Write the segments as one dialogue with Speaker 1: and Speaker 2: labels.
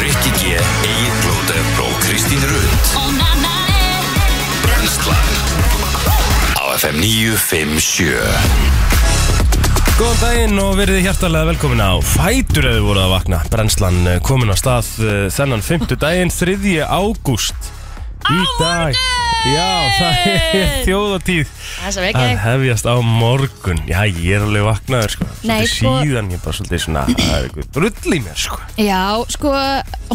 Speaker 1: Rikki G, Egil Blóter og Kristín Rund Brenslan Á FM 957
Speaker 2: Góðan daginn og verið hjertalega velkomin á Fætur eða voruð að vakna Brennslan eh, komin á stað eh, þennan 5. daginn 3. ágúst Í dag Já, það er þjóðatíð
Speaker 3: Það er svo
Speaker 2: að
Speaker 3: ekki
Speaker 2: hefjast á morgun Já, ég er alveg vaknaður sko
Speaker 3: Nei,
Speaker 2: Svolítið
Speaker 3: sko-
Speaker 2: síðan ég bara svolítið svona Það er eitthvað drull í mér sko
Speaker 3: Já, sko,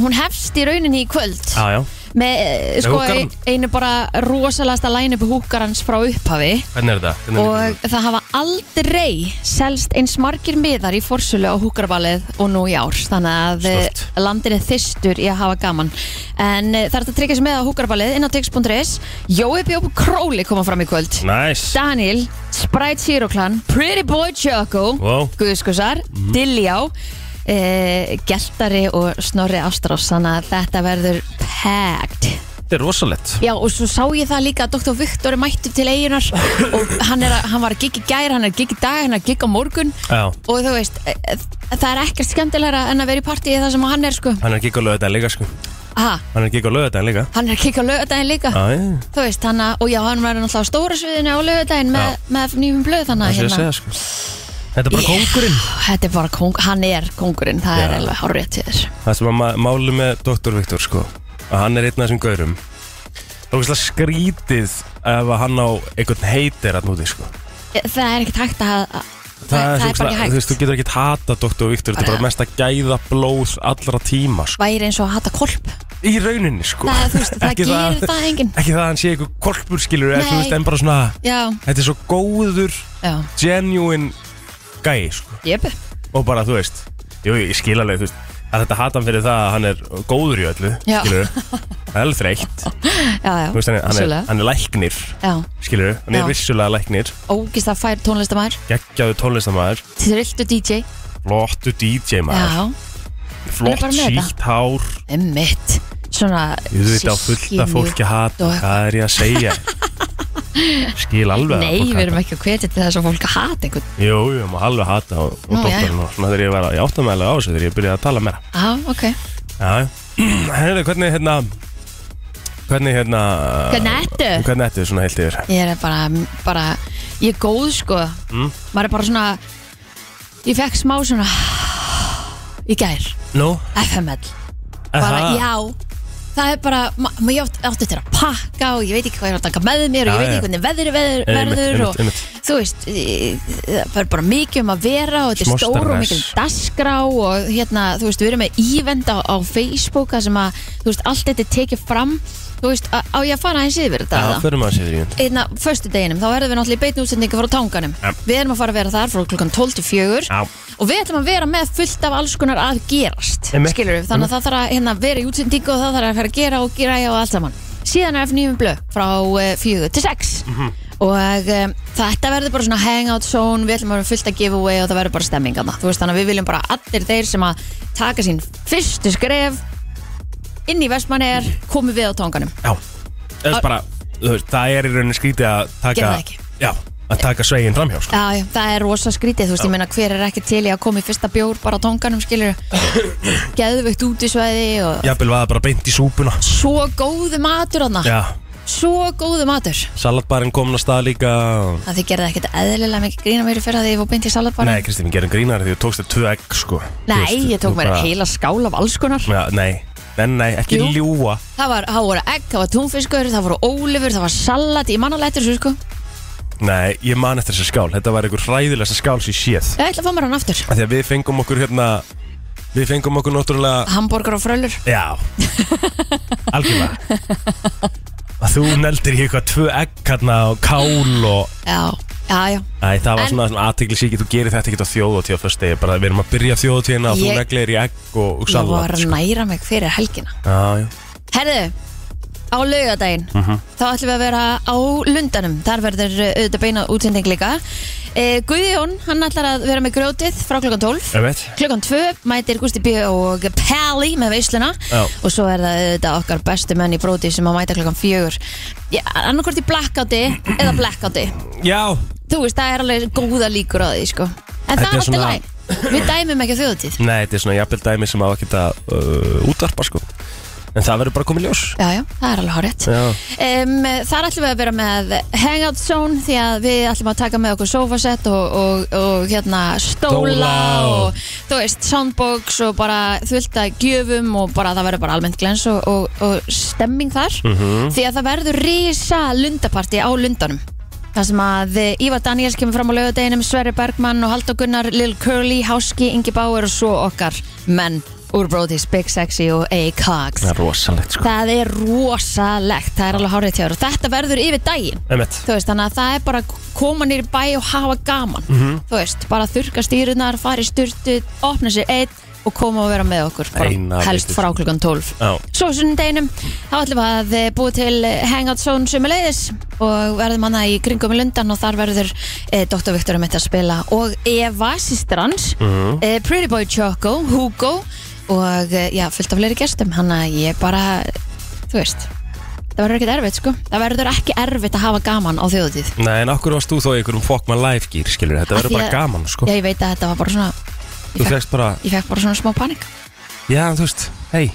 Speaker 3: hún hefst í rauninni í kvöld
Speaker 2: Já, já,
Speaker 3: með, eh, sko,
Speaker 2: húkkarann.
Speaker 3: ein- einu bara rosalasta line-up húkarans frá upphafi
Speaker 2: hvernig er þetta? Hvernig er
Speaker 3: og það hafa aldrei selst eins margir miðar í forsölu á húkarvalið og nú í ár þannig að eh,
Speaker 2: Stórt.
Speaker 3: landin er þystur í að hafa gaman en eh, það er hægt að tryggja sig með á húkarvalið inn á tix.is Jói Bjóp Króli koma fram í kvöld
Speaker 2: þetta? Næs
Speaker 3: Daniel, Sprite Zero Clan Pretty Boy Choco
Speaker 2: Wow.
Speaker 3: Guðskusar,
Speaker 2: Mhm.
Speaker 3: Dilljá e, Geltari og Snorri Ástrós þannig að þetta verður packed
Speaker 2: Þetta er rosalett
Speaker 3: Já og svo sá ég það líka að Dr. Viktor er mættur til eigunar og hann, er að, hann var að gigga í gær, hann er að gigga í dag, hann er að gigga á morgun
Speaker 2: Já,
Speaker 3: og þú veist, e, e, það er ekkert skemmtilegra en að vera í partíi þar sem hann er sko
Speaker 2: hann er ekki á lögðan líka sko
Speaker 3: ha,
Speaker 2: Hann er ekki á lögðan líka
Speaker 3: Hann er að gigga á lögadaginn líka
Speaker 2: Já, já,
Speaker 3: Þú veist, hann að, og já, hann verður náttúrulega á stóra sviðinu á lögadaginn með, með nýjum blöð
Speaker 2: það
Speaker 3: þannig að
Speaker 2: sé
Speaker 3: hérna-
Speaker 2: að segja sko Þetta er bara kóngurinn
Speaker 3: Þetta er bara kong, hann er kongurinn, það er
Speaker 2: Já.
Speaker 3: alveg horrið til þér.
Speaker 2: Það sem að ma- máli með Dr. Viktor sko að hann er einn af þessum gaurum Það er ógeðslega skrítið ef að hann á einhvern heitir að núti sko
Speaker 3: Eh, Það er ekkert hægt að, að það, það
Speaker 2: svo
Speaker 3: er bara ekki
Speaker 2: ógeðslega-
Speaker 3: hægt.
Speaker 2: Þú veist, þú getur ekkert hata Dr. Viktor Þetta er bara mesta gæða blóð allra tíma sko
Speaker 3: Væri eins og að hata kolp.
Speaker 2: Í rauninni sko
Speaker 3: Nei, þú veist, það
Speaker 2: Ekki
Speaker 3: gerir það enginn.
Speaker 2: Ekki það að hann sé einhver korpur skilur en,
Speaker 3: Nei.
Speaker 2: þú veist, en bara svona
Speaker 3: Já,
Speaker 2: Þetta er svo góður,
Speaker 3: já,
Speaker 2: genuine gæi sko
Speaker 3: jöp.
Speaker 2: og bara þú veist Jú, ég skil alveg, þú veist Það er þetta hatan fyrir það að hann er góður í öllu
Speaker 3: Já.
Speaker 2: skilur Það er alveg þreytt
Speaker 3: Já, já,
Speaker 2: Þú veist, hann, er- hann, er,
Speaker 3: vissulega.
Speaker 2: hann er læknir,
Speaker 3: Já,
Speaker 2: skilur Hann
Speaker 3: Já.
Speaker 2: er vissulega læknir,
Speaker 3: ógist að fær tónlistamæður,
Speaker 2: geggjaðu tónlistamæður
Speaker 3: trilltu DJ,
Speaker 2: Flottu DJ maður,
Speaker 3: já,
Speaker 2: flott
Speaker 3: bara með
Speaker 2: sítt hár
Speaker 3: emmitt, svona
Speaker 2: Þú veit á fullta fólki hata,
Speaker 3: og-
Speaker 2: hvað er ég að segja Skil alveg að
Speaker 3: Nei,
Speaker 2: fólk
Speaker 3: við erum
Speaker 2: hatar.
Speaker 3: ekki að hvetja til þess að fólk að hata einhvern.
Speaker 2: Jú, jú, maður alveg hata og, og
Speaker 3: Nú,
Speaker 2: doktorinn og svona þegar ég var að, ég átta mig alveg á þessu þegar ég byrjaði að tala meira
Speaker 3: Já, ok.
Speaker 2: Já, hérna, hvernig hérna Hvernig hérna
Speaker 3: Hvernig ertu?
Speaker 2: Hvernig ertu svona heilt yfir?
Speaker 3: Ég er bara, bara ég er góð sko
Speaker 2: Mm.
Speaker 3: maður er bara svona ég fekk smá svona í gær,
Speaker 2: Nú,
Speaker 3: FML bara já, það er bara ma- ma- ég átt- átti til að pakka og ég veit ekki hvað ég átti að taka með mér
Speaker 2: Já,
Speaker 3: og ég veit
Speaker 2: já.
Speaker 3: ekki hvernig veðri veður,
Speaker 2: Einmitt,
Speaker 3: verður
Speaker 2: einmitt,
Speaker 3: og
Speaker 2: einmitt.
Speaker 3: þú veist ég- það er bara mikið um að vera og þetta
Speaker 2: Smá
Speaker 3: er stór og
Speaker 2: stress.
Speaker 3: mikil dasgrá og hérna, þú veist, við erum með ívend á, á Facebook þar sem að, þú veist, allt þetta er tekið fram þú veist, á á ég að fara eins yfir þetta eða?
Speaker 2: Já, förum að sér í hund
Speaker 3: einna förstu deginum, þá verðum við náttúrulega í beitn útsendingu frá tanganum.
Speaker 2: Já.
Speaker 3: Við erum að fara að vera þar frá klukkan 12 til 4
Speaker 2: Já.
Speaker 3: og við ætlum að vera með fullt af alls konar að gerast,
Speaker 2: Einmitt.
Speaker 3: skilur við, þannig að það þarf að hérna, vera í útsendingu og það þarf að fara að gera og gera og allt saman. Síðan er F9 blöð frá eh, 4 til 6
Speaker 2: Mhm.
Speaker 3: og um, þetta verður bara svona hangout zone, við ætlum að vera fullt að giveaway og það verður bara stemming þarna. Þú veist þannig að við viljum bara allir þeir sem að taka sín fyrstu skref inn í Vestmannegar komi við á tanganum.
Speaker 2: Já, það er bara, þú veist, það er í rauninni skrítið að taka
Speaker 3: Gerðu það ekki.
Speaker 2: Já, að taka sveginn framhjá, sko
Speaker 3: Já, já, það er rosa skrítið, þú veist, ég meina hver er ekki til í að koma í fyrsta bjór bara á tónganum, skilur Geðveikt út í svæði og
Speaker 2: Jafnvel var það bara beint í súpuna
Speaker 3: svo góðu matur aðna,
Speaker 2: Já,
Speaker 3: svo góðu matur
Speaker 2: salatbarinn komin á stað líka og-
Speaker 3: Það þið gerði ekkert eðlilega mikið grína mér fyrir að því ég fór beint í salatbarna
Speaker 2: Nei, Kristín, við gerum grínari því þú tókst þér tvö egg, sko Þú
Speaker 3: Nei,
Speaker 2: veist,
Speaker 3: ég tók
Speaker 2: þú
Speaker 3: mér
Speaker 2: bara-
Speaker 3: heila skál af alls konar
Speaker 2: Já, nei, nei, nei, ekki
Speaker 3: Jú.
Speaker 2: ljúa
Speaker 3: Það var, það voru egg, það var túnfiskur, það voru ólifur, það var salat, ég manna lætur svo, sko
Speaker 2: Nei, ég man eftir þessa skál, þetta var einhver hræðilegsta skál sem ég séð
Speaker 3: Ég ætla að fá mér hann aftur
Speaker 2: Af Því að við fengum okkur hérna Við fengum okkur náttúrulega
Speaker 3: Hamborgar og frölur
Speaker 2: Já Algjörlega Að þú neldir í eitthvað tvö egg hérna og kál og
Speaker 3: Já, já, já
Speaker 2: Æ, það var
Speaker 3: En-
Speaker 2: svona, svona aðtegli síkið, þú gerir þetta ekkert á þjóðotíð á fyrst degi, bara við erum að byrja þjóðotíðina og þú
Speaker 3: Ég-
Speaker 2: neglir í egg og, og
Speaker 3: Ég var
Speaker 2: salat
Speaker 3: að næra mig fyrir helgina
Speaker 2: Já, já,
Speaker 3: Herðu, á laugardaginn
Speaker 2: Mhm.
Speaker 3: þá ætlum við að vera á lundanum þar verður uh, auðvitað beina útsending líka e, Guðjón, hann ætlar að vera með grjótið frá klukkan 12
Speaker 2: ef veit
Speaker 3: klukkan 2 mætir Gusti B. og Pally með veisluna
Speaker 2: Já.
Speaker 3: og svo er það auðvitað okkar bestu menn í bróti sem að mæta klukkan 4 ja, annarkvort í blackouti eða blackouti
Speaker 2: Já,
Speaker 3: þú veist, það er alveg góða líkur á því sko.
Speaker 2: þetta
Speaker 3: en það er
Speaker 2: er
Speaker 3: alltaf
Speaker 2: svona Mm.
Speaker 3: læg Við dæmum ekki á þjóðutíð
Speaker 2: Nei, þetta er svona jafnvel dæmi sem á að geta uh, útarpa sko En það verður bara komið ljós
Speaker 3: Já, já, það er alveg horrið
Speaker 2: Já,
Speaker 3: Um, þar ætlum við að vera með hangout zone því að við ætlum að taka með okkur sofasett og, og, og hérna stóla,
Speaker 2: Stóla og-
Speaker 3: og þú veist soundbox og bara þvölda gjöfum og bara það verður bara almennt glens og, og, og stemming þar því að það verður risa lundaparti á lundanum Það sem að eh, Ívar Daniels kemur fram á laugardeginum, Sverri Bergmann og Haldur Gunnar, Lil Curly, Háski, Ingi Bauer og svo okkar menn úr Brody's Big Sexy og A-Cogs.
Speaker 2: það er rosalegt sko
Speaker 3: Það er rosalegt, það er alveg hárið tjáður og þetta verður yfir daginn
Speaker 2: Emmett
Speaker 3: Þú veist, þannig að það er bara að koma nýri bæ og hafa gaman
Speaker 2: Mhm.
Speaker 3: Þú veist, bara þurka stýrunar, fara í sturtu, opna sér einn og koma og vera með okkur bara
Speaker 2: Eina
Speaker 3: Helst
Speaker 2: vitið.
Speaker 3: frá klukkan 12
Speaker 2: Já,
Speaker 3: Svo sunnudeginum, þá ætlum við að eh, búa til eh, Hangout Zone sömuleiðis og verðum hana í kringum í Lundan og þar verður eh, Dr. Viktor um þetta að spila og Eva, sýstrans,
Speaker 2: Mhm.
Speaker 3: eh, Pretty Boy Choco, Hugo og eh, já, fullt af fleiri gestum, hann að ég bara, þú veist, það verður ekkert erfitt sko, það verður ekki erfitt að hafa gaman á þjóðutíð.
Speaker 2: nei en okkur varst þú þó í einhverjum fuck my life gýr skilur Þetta
Speaker 3: Af því
Speaker 2: verður bara
Speaker 3: að-
Speaker 2: gaman sko
Speaker 3: Já, ég veit að þetta var bara svona,
Speaker 2: Þú fegst bara,
Speaker 3: ég fekk bara svona smá panik,
Speaker 2: já en þú veist, hei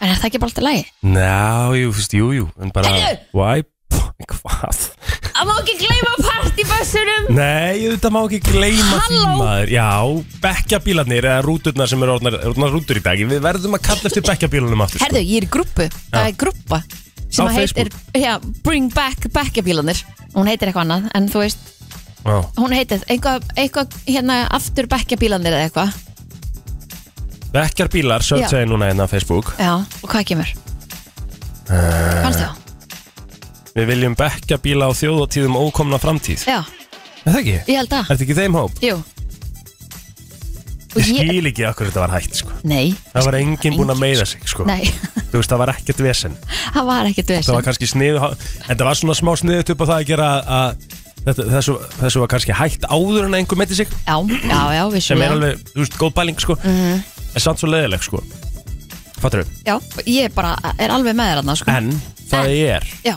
Speaker 3: en er það ekki bara alltaf lægi?
Speaker 2: Ná, jú, þú veist, jú, jú En bara,
Speaker 3: Heyrðu!
Speaker 2: why, Pff, hvað
Speaker 3: Það má ekki gleyma partybössunum!
Speaker 2: Nei, þetta má ekki gleyma því
Speaker 3: Halló!
Speaker 2: maður Já, bekkjabílarnir eða rúturnar sem eru orðnar, orðnar rútur í dag Við verðum að kalla eftir bekkjabílunum aftur
Speaker 3: Herðu, ég er í grúpu, það er grúpa sem
Speaker 2: Á
Speaker 3: að heitir já, Bring Back Bekkjabílanir hún heitir eitthvað annað, en þú veist
Speaker 2: Já,
Speaker 3: hún heitir eitthvað, eitthvað hérna aftur Bekkjabílanir eða eitthvað
Speaker 2: bekkjarbílar,
Speaker 3: Já.
Speaker 2: sögð segir núna hérna á Facebook
Speaker 3: já, og hvað kemur?
Speaker 2: Eh.
Speaker 3: fannst það?
Speaker 2: Við viljum bekkjabíla á þjóðatíðum ókomna framtíð
Speaker 3: Já,
Speaker 2: Er það ekki?
Speaker 3: ég held
Speaker 2: Er
Speaker 3: að,
Speaker 2: þetta ekki í þeim hóp?
Speaker 3: jú Og
Speaker 2: Ég skil ekki okkur þetta var hægt, sko
Speaker 3: nei,
Speaker 2: Það var enginn búinn að meiða sig, sko
Speaker 3: nei
Speaker 2: Þú veist, það var ekkert vesen
Speaker 3: það var ekkert
Speaker 2: það
Speaker 3: vesen
Speaker 2: var kannski sniðu en það var svona smá sniðu upp á það að gera að- að þetta, þessu, þessu var kannski hægt áður en einhver meiti sig
Speaker 3: já, já,
Speaker 2: sem
Speaker 3: já, Mhm.
Speaker 2: er
Speaker 3: vissulega
Speaker 2: alveg, þú veist, góð bæling sko en samt svo leðileg sko fattur þau,
Speaker 3: já, ég bara er alveg með þér annars sko.
Speaker 2: en það er
Speaker 3: já,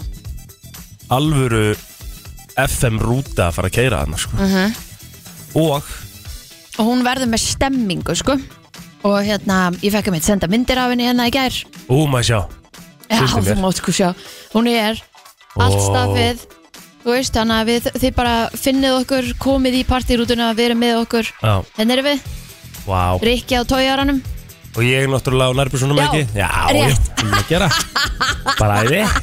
Speaker 2: alvöru FM rúta að fara að keira þarna sko
Speaker 3: Mhm.
Speaker 2: og
Speaker 3: og hún verður með stemmingu sko. og hérna, ég fekk að mitt senda myndir af henni hérna í gær
Speaker 2: ú, maður sjá
Speaker 3: Já,
Speaker 2: Sýndu mér.
Speaker 3: þú mátt sko sjá Hún er allt
Speaker 2: Ó.
Speaker 3: stafið Þú veist, þannig að við, þið bara finnið okkur komið í partírútuna að vera með okkur
Speaker 2: já,
Speaker 3: Henn erum við,
Speaker 2: vá,
Speaker 3: Rikki á tójaranum
Speaker 2: og ég er náttúrulega á nærbjörnsunum
Speaker 3: Já,
Speaker 2: ekki já, já,
Speaker 3: rétt.
Speaker 2: um að gera bara æði ok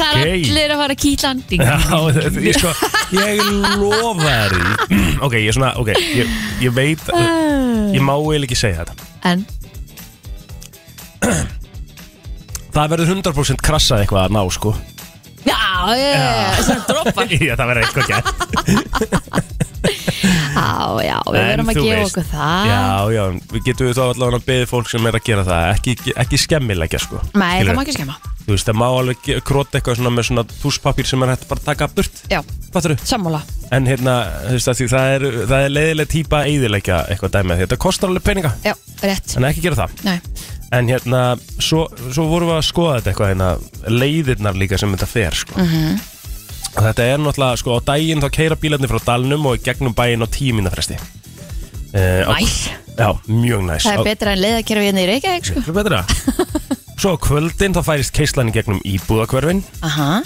Speaker 3: Það er allir að fara að kýla hann Ding.
Speaker 2: Já, þetta- ég, sko, ég lofa þér því. Ok, ég er svona, ok Ég, ég veit,
Speaker 3: Ah.
Speaker 2: ég má eiginlega ekki segja þetta
Speaker 3: En,
Speaker 2: Það verður 100% krassað eitthvað að ná, sko
Speaker 3: já, ég, svona droppar
Speaker 2: Já, það verður eitthvað gert
Speaker 3: Já, já, við
Speaker 2: En
Speaker 3: verum að
Speaker 2: þú
Speaker 3: gefa
Speaker 2: veist.
Speaker 3: okkur það
Speaker 2: Já, já, við getum við þá allavega að beðið fólk sem er að gera það Ekki, ekki skemmilegja, sko
Speaker 3: Nei, það
Speaker 2: Skilurðu?
Speaker 3: má ekki skemma
Speaker 2: Þú veist, það má alveg ge- krota eitthvað svona með svona túspapír sem er hægt bara að taka af burt
Speaker 3: Já,
Speaker 2: Fattarðu?
Speaker 3: sammála
Speaker 2: En hérna, þú veist, af því það er, það er leiðileg típa að eyðileggja eitthvað dæmi Þetta kostar alveg peninga,
Speaker 3: Já, rétt
Speaker 2: en ekki gera það
Speaker 3: Nei,
Speaker 2: En hérna, svo, svo vorum við að skoða þetta eitthvað hérna, leiðirnar líka sem þetta fer sko.
Speaker 3: Mhm.
Speaker 2: Og þetta er náttúrulega, sko, á daginn þá keira bílarnir frá dalnum og í gegnum bæinn á tíu mínútna fresti. Eh, á-
Speaker 3: næs
Speaker 2: Já, mjög næs. Á-
Speaker 3: Það er betra en leiðakerfi hérna í Reykjavík sko.
Speaker 2: Það er betra. svo á kvöldin þá færist keislan í gegnum íbúðakverfin.
Speaker 3: Aha,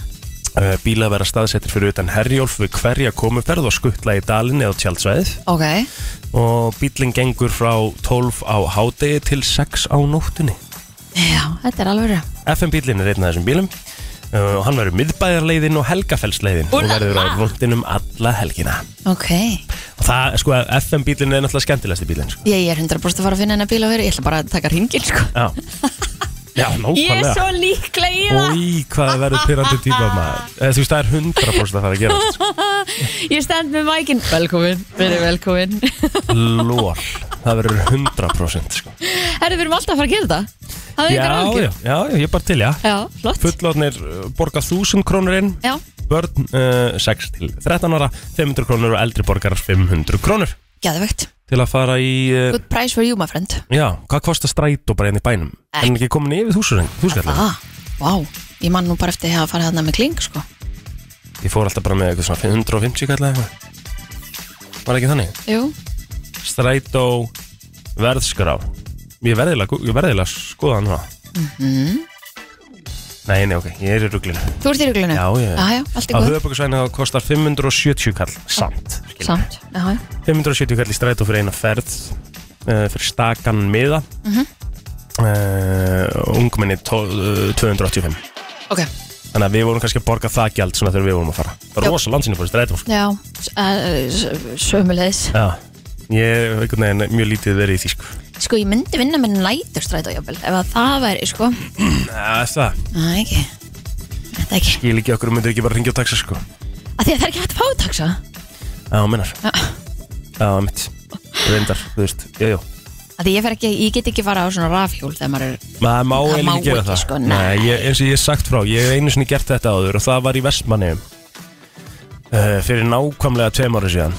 Speaker 2: Eh, Bílar vera staðsettir fyrir utan herjólf við hverja komuferð og skuttla í dalinn eða á tjaldsvæðið.
Speaker 3: ok
Speaker 2: Og bílinn gengur frá 12 á hádegi til 6 á nóttunni.
Speaker 3: Já, þetta er alveg rétt.
Speaker 2: FM bílinn er einn af þessum bílum uh, og hann verður miðbæðarleiðin og helgafellsleiðin og verður á rúndinum alla helgina
Speaker 3: Ok,
Speaker 2: og það, sko, FM bílinn er náttúrulega skemmtilegasti bílinn sko.
Speaker 3: ég er 100% að fara að finna hennar bíl á verið Ég ætla bara að taka hringil sko
Speaker 2: já, já, nákvæmlega
Speaker 3: líklega í
Speaker 2: og í hvað það verður pyrrandi tíma maður Eh, þú veist, það er 100% að fara að gerast sko.
Speaker 3: Ég stend með mækin Velkomin, verið velkomin
Speaker 2: lór, það verður 100% sko.
Speaker 3: Herðu, við erum alltaf að fara að gera þetta Það er
Speaker 2: já,
Speaker 3: ykkur
Speaker 2: já,
Speaker 3: ágjur
Speaker 2: já, ég er bara til, já
Speaker 3: Já, flott
Speaker 2: fullotnir uh, borga 1000 krónur inn
Speaker 3: Já,
Speaker 2: börn uh, 6 til 13 ára 500 krónur og eldri borgarar 500 krónur
Speaker 3: gæðvegt
Speaker 2: til að fara í uh,
Speaker 3: Good price for you, my friend
Speaker 2: Já, hvað kostar strætó bara hérna í bænum? Er hann ekki komin yfir þúsurinn? Þúsurinn?
Speaker 3: Ah, vá Ég man nú bara eftir að hafa farið þarna með kling sko
Speaker 2: Ég fór alltaf bara með eitthvað svona 150 kallar eitthvað Var ekki þannig?
Speaker 3: Jú,
Speaker 2: Strætó verðskrá Ég verðilega, ég verðilega skoða hann það Mhm. Nei, nei, ok, ég er í ruglinu
Speaker 3: þú ert í ruglunum
Speaker 2: Já, já, já.
Speaker 3: já, allt
Speaker 2: Á
Speaker 3: er góð,
Speaker 2: höfuborgarsvæðinu þá kostar 570 kall Samt
Speaker 3: samt já, já.
Speaker 2: 570 kall í strætó fyrir eina ferð uh, fyrir stakan miða mm ungminni tó- eh, 285
Speaker 3: Ok,
Speaker 2: þannig að við vorum kannski að borga það gjald svona þegar við vorum að fara
Speaker 3: Já.
Speaker 2: rosa landsinu fyrir strætó sko.
Speaker 3: já, s- eh, s- sömulegis
Speaker 2: já ég hef einhvern veginn mjög lítið verið í því sko
Speaker 3: Sko, ég myndi vinna með næturstrætó jafnvel Ef að það væri, sko
Speaker 2: Æ, það
Speaker 3: Næ, ekki Þetta ekki
Speaker 2: ég líki okkur myndir ekki bara ringja og taxa sko
Speaker 3: að Því að það er ekki hægt að fá að taksa
Speaker 2: já minnar
Speaker 3: Ah.
Speaker 2: já mitt reyndar þú veist já já
Speaker 3: að Því ég, fer ekki, ég get ekki fara á svona rafhjól Þegar maður er
Speaker 2: maður má
Speaker 3: Það
Speaker 2: eiginlega
Speaker 3: má
Speaker 2: ekki gera
Speaker 3: ekki,
Speaker 2: það
Speaker 3: sko,
Speaker 2: nei,
Speaker 3: nei.
Speaker 2: ég, eins og ég hef sagt frá ég hef einu sinni gert þetta áður og það var í Vestmanneum uh, fyrir nákvæmlega tveim ári síðan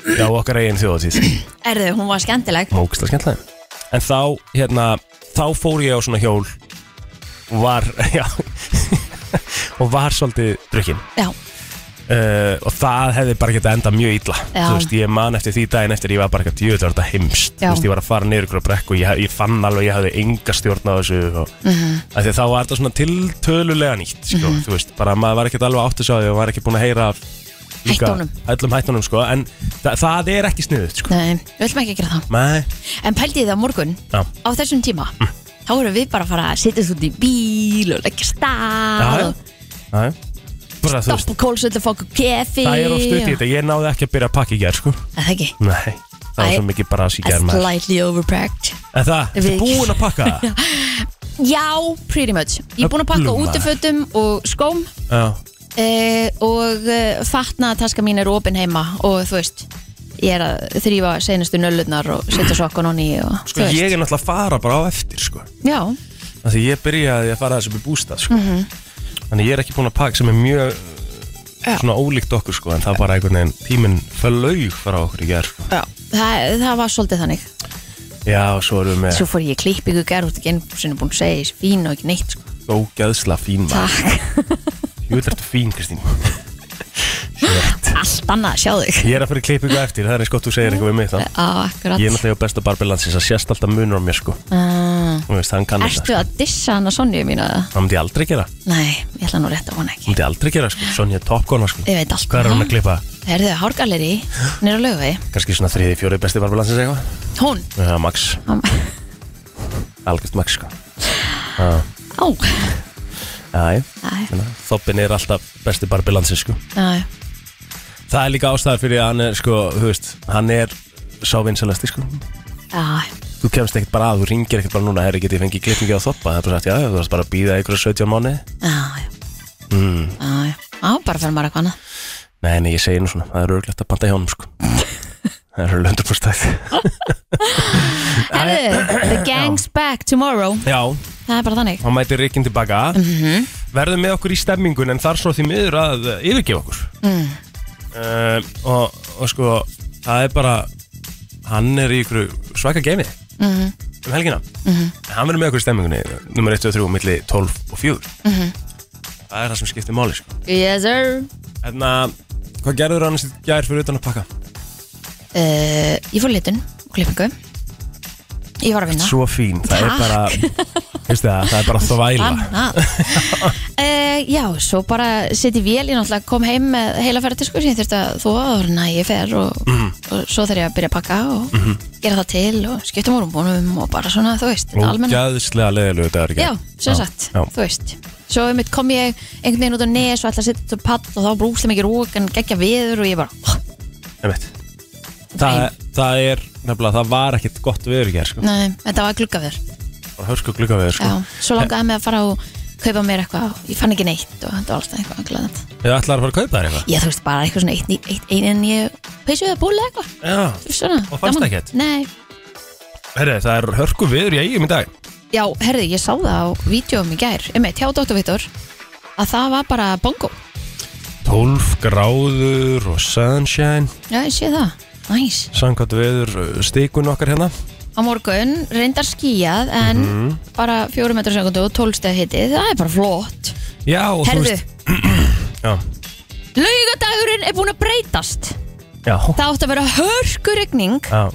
Speaker 3: Já.
Speaker 2: já okkar eigin þjóðatíð
Speaker 3: Erðu, hún var skemmtileg
Speaker 2: Mókislega skemmtlaði En þá, hérna, þá fór ég á svona hjól og var, já og var svolítið drukkin
Speaker 3: Já,
Speaker 2: uh, og það hefði bara getað endað mjög illa
Speaker 3: Já.
Speaker 2: þú veist, ég man eftir því daginn eftir ég var bara eitthvað djöður þetta heimst,
Speaker 3: Já.
Speaker 2: þú veist, ég var að fara niður ykkur á brekk og ég, ég fann alveg að ég hafði enga stjórn á þessu og
Speaker 3: Mhm.
Speaker 2: af því að þá var þetta svona tiltölulega nýtt sko, þú veist, bara maður var ekkert alveg átt að sjá því og var ekki búin að heyra líka
Speaker 3: Hættunum.
Speaker 2: öllum hættunum, sko, en þa það er ekki sniðut, sko
Speaker 3: nei, við viljum ekki gera það
Speaker 2: Nei,
Speaker 3: En pældi ég það á morgun
Speaker 2: já, Mm.
Speaker 3: á þessum tíma Þá erum við bara að fara að setja út í bíl og leggja
Speaker 2: Já,
Speaker 3: stað
Speaker 2: já.
Speaker 3: og
Speaker 2: já, já. Bara, þú veist,
Speaker 3: Stoppa kólsöldu, fá okkur kefi
Speaker 2: Það er ofta út í þetta, ég náði ekki að byrja að pakka í gerð sko
Speaker 3: Er Það ekki
Speaker 2: Nei, það var
Speaker 3: Æ,
Speaker 2: svo mikið bara að síkja
Speaker 3: That's
Speaker 2: maður
Speaker 3: slightly overpacked
Speaker 2: En það, ertu
Speaker 3: Við-
Speaker 2: búin að pakka það?
Speaker 3: Já, pretty much Ég er búin að pakka
Speaker 2: Öflum maður.
Speaker 3: útifötum og skóm
Speaker 2: Já,
Speaker 3: uh, og uh, fatna að taska mín er opin heima og þú veist ég er að þrýfa seinustu nöllurnar og setja sokkun honni í og
Speaker 2: sko ég er náttúrulega að fara bara á eftir sko
Speaker 3: já,
Speaker 2: Af Því ég byrjaði að fara þessu upp í bústað sko
Speaker 3: Mhm.
Speaker 2: Þannig ég er ekki búin að pakka sem er mjög uh,
Speaker 3: Já.
Speaker 2: svona ólíkt okkur sko En það var bara einhvern veginn, tíminn flaug frá okkur í gerð sko
Speaker 3: já. Það, það var svolítið þannig
Speaker 2: Já, og svo erum við með
Speaker 3: svo fór ég í klippingu gerð út ekki einu sinni búin að segja ég sé fín og ekki neitt sko.
Speaker 2: ógæðsla fín maður
Speaker 3: takk,
Speaker 2: Jú, þetta ertu fín Kristín
Speaker 3: allt annað að sjá þig
Speaker 2: Ég er að fara í klippingu eftir, það er eins gott þú segir eitthvað við mig þá
Speaker 3: á, akkurat
Speaker 2: Ég er náttúrulega hjá besta barbilansins að sést alltaf munur á mér sko
Speaker 3: Ah,
Speaker 2: Þú veist, hann kann þetta sko.
Speaker 3: ertu að dissa hana sonju mínu eða?
Speaker 2: Það myndi ég aldrei gera,
Speaker 3: nei, ég ætla nú rétt að vona
Speaker 2: það
Speaker 3: ekki
Speaker 2: myndi ég aldrei gera sko. Sonja er topkona sko
Speaker 3: ég veit allt
Speaker 2: Hvað er hún að klippa?
Speaker 3: Herðu, Hárgalleri, hún er á lögu
Speaker 2: Kanski svona þriði, fjóri besti barbalansins eitthvað
Speaker 3: hún,
Speaker 2: Já, Max,
Speaker 3: á,
Speaker 2: algjörst Max sko Já,
Speaker 3: Æ.
Speaker 2: já Þoppin er alltaf besti barbilansins sko
Speaker 3: á,
Speaker 2: Það er líka ástæður fyrir að hann er sko, þú veist Hann er sá vinsalasti sko
Speaker 3: á
Speaker 2: Þú kemst ekkert bara að, þú ringir ekkert bara núna Herri, geti ég fengið klippingi á þoppa Það er bara sagt, já, þú varst bara að býða einhverja 17 mánu
Speaker 3: Já, já. Já, já. Já, bara fyrir maður eitthvað annað.
Speaker 2: Nei, nei, ég segi nú svona, það er örglegt að banda hjá honum sko Það er örglegt að
Speaker 3: Herðu, the gang's back tomorrow.
Speaker 2: Já,
Speaker 3: Það er bara þannig.
Speaker 2: hann mætir Rikkin tilbaka mm
Speaker 3: Mhm.
Speaker 2: verður með okkur í stemmingun en þar svo því miður að uh, yfirgefa okkur mm. og, og sko það er bara hann er í ykkur svaka geimi
Speaker 3: Mhm.
Speaker 2: um helgina en hann verður með okkur í stemmingunni nummer 1 og 3 milli 12 og 4
Speaker 3: Mhm.
Speaker 2: það er það sem skiptir máli sko.
Speaker 3: Yes, sir.
Speaker 2: en að hvað gerður hann sér gær fyrir utan að pakka
Speaker 3: Uh, ég fór í litun og klippingu. Ég var að vinna.
Speaker 2: svo fín, það er
Speaker 3: Takk.
Speaker 2: bara veistu það, það er bara þvæla
Speaker 3: Annað. uh, já, svo bara sitt í vél. Ég náttúrulega kom heim með heila ferðartisku sem ég þurfti að þóa og hérna ég fer og, og svo þarf ég að byrja að pakka og gera það til og skipta morgumbúnum og bara svona, þú veist, almenna
Speaker 2: ógæðslega leðilegu dagur í gær.
Speaker 3: Já, sem sagt,
Speaker 2: já.
Speaker 3: þú veist Svo um kom ég einhvern veginn út á nes og ætla að setja upp patt og þá brúsla mikið rók en geggja viður og ég bara "Ah,
Speaker 2: Einmitt. Það, það er nefnilega, það var ekkert gott viður í gerð sko.
Speaker 3: Nei, þetta var gluggaviður
Speaker 2: bara hörsku glugga viður sko.
Speaker 3: Já, svo langaði mig að fara og kaupa mér eitthvað og ég fann ekki neitt og þetta var alltaf eitthvað glæðant
Speaker 2: Ég ætlaði að fara að kaupa þér eitthvað
Speaker 3: Ég þú veist bara eitthvað svona eitt, eitt, eitt einin ég peysuði að búla eitthvað
Speaker 2: Já,
Speaker 3: Þú veist, svona,
Speaker 2: Og fannst
Speaker 3: gaman.
Speaker 2: ekkert?
Speaker 3: Nei,
Speaker 2: herri, það er hörsku viður í eigum í dag
Speaker 3: já, herði, ég sá það á vídjóum í gær, einmitt, hjá Dóttar Vítor að það var bara bongo
Speaker 2: 12 gráður og sunshine
Speaker 3: Já, ég sé það, næs
Speaker 2: Sankvæmt viður uh, stikun okkar hérna
Speaker 3: á morgun, reyndar skíjað en
Speaker 2: Mhm.
Speaker 3: bara 4 metrar sekundu og 12 steg hiti, það er bara flott
Speaker 2: Já, og
Speaker 3: Herðu,
Speaker 2: Já,
Speaker 3: laugardagurinn er búin að breytast
Speaker 2: Já,
Speaker 3: Það átti að vera hörkurigning
Speaker 2: já,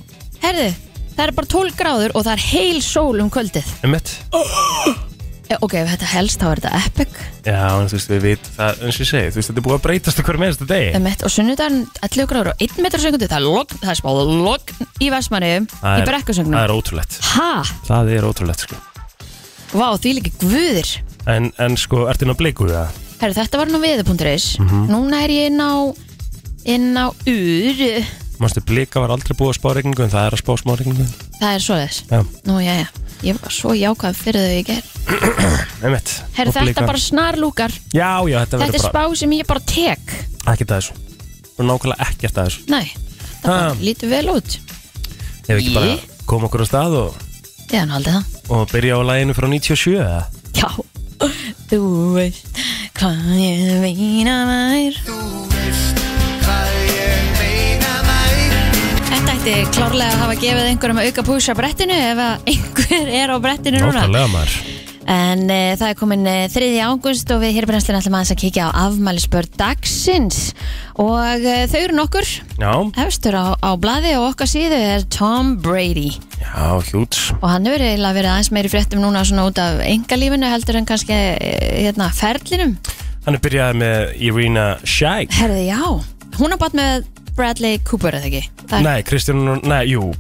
Speaker 3: Herðu, það er bara 12 gráður og það er heil sól um kvöldið
Speaker 2: einmitt
Speaker 3: e, Ok, ef þetta helst þá er þetta epic
Speaker 2: Já, en þú veist, við vit, það, eins og ég segi, þú veist, þetta er búið að breytast okkur með þetta degi
Speaker 3: um Og sunnudagen 11 gráður og 1 metrar sekundi Það er logn, það er spáð logn í Vestmanni
Speaker 2: Það
Speaker 3: Í
Speaker 2: er-
Speaker 3: brekkusögnum
Speaker 2: Það er ótrúlegt,
Speaker 3: Ha,
Speaker 2: það er ótrúlegt, sko
Speaker 3: vá, því líka guðir
Speaker 2: En, en sko, ertu inn á bliku það?
Speaker 3: Herru, þetta var nú viður.is
Speaker 2: Mhm.
Speaker 3: Núna er ég inn á inn á UR
Speaker 2: Mástu, blika var aldrei búið að spá regningu, en það er að spá smá regningu
Speaker 3: Það er svoleiðis
Speaker 2: Já,
Speaker 3: Nú, já, já, ég var svo jákvæð fyrir þau ég ger
Speaker 2: einmitt
Speaker 3: Herru,
Speaker 2: Og
Speaker 3: þetta
Speaker 2: Blikar-
Speaker 3: bara snarlúkar
Speaker 2: Já, já, þetta
Speaker 3: Þetta er
Speaker 2: verður
Speaker 3: spá
Speaker 2: bara
Speaker 3: sem ég bara tek
Speaker 2: Ekkert að þessu Og nákvæmlega ekkert að þessu
Speaker 3: Nei, þetta
Speaker 2: Ha.
Speaker 3: bara lítur vel út
Speaker 2: Ef við ekki
Speaker 3: Í?
Speaker 2: bara koma okkur á stað og,
Speaker 3: Ég hann haldið það
Speaker 2: og byrja á læginu frá 97 eða?
Speaker 3: Já, þú veist hvað ég veina mær Þetta ætti klárlega að hafa gefið einhverjum að auka púsa brettinu ef að einhver er á brettinu núna
Speaker 2: Nákvæmlega maður
Speaker 3: En uh, það er komin uh, 3. ágúst og við hér í brennslinu ætlum aðeins að kíkja á afmælisbörn dagsins og uh, þau eru nokkur
Speaker 2: Já,
Speaker 3: hefstur á, á blaði og okkar síðu er Tom Brady
Speaker 2: já, hjút
Speaker 3: og hann hefur eiginlega verið aðeins meiri fréttum núna svona út af engalífinu heldur en kannski eh, hérna ferlinum
Speaker 2: Hann er byrjaði með Irina Shayk
Speaker 3: Herði, já, hún á bát með Bradley Cooper eða ekki? Það er-
Speaker 2: Nei, Kristján, nei, jú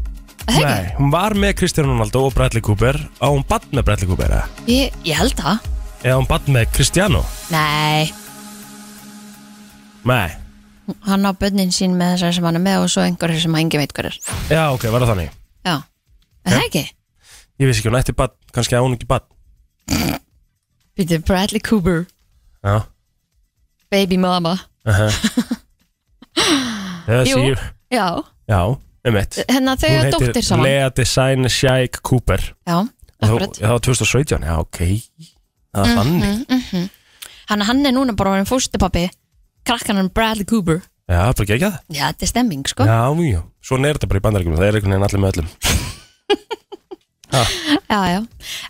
Speaker 3: Er það
Speaker 2: Nei, hún var með Kristján Ronaldo og Bradley Cooper og hún bann með Bradley Cooper eða?
Speaker 3: Ég, ég held það
Speaker 2: Eða hún bann með Kristjánu
Speaker 3: Nei,
Speaker 2: Nei,
Speaker 3: hann á bönnin sín með þessar sem hann er með og svo einhverjur sem hann engi veit hver er
Speaker 2: já, ok, var það þannig
Speaker 3: Já, er það ekki?
Speaker 2: Ég vissi ekki, hún ætti bann, kannski að hún ekki bann
Speaker 3: Býtu Bradley Cooper,
Speaker 2: Já,
Speaker 3: baby mama
Speaker 2: aha Þessi,
Speaker 3: Jú.
Speaker 2: ég-
Speaker 3: Já,
Speaker 2: já, um eitt
Speaker 3: hérna þau er dóttir saman
Speaker 2: Lea Design Shayk Cooper
Speaker 3: Já,
Speaker 2: Þá-
Speaker 3: akkurat Mhm.
Speaker 2: Það var 2017, já, ok Það er þannig
Speaker 3: Hann, hann er núna bara orðin fóstupappi Krakkanum Bradley Cooper
Speaker 2: Já, bara gegja það
Speaker 3: Já, þetta er stemming sko
Speaker 2: Já, já, svona er þetta bara í bandaríkjum Það er einhvern veginn allir með öllum
Speaker 3: Já, já.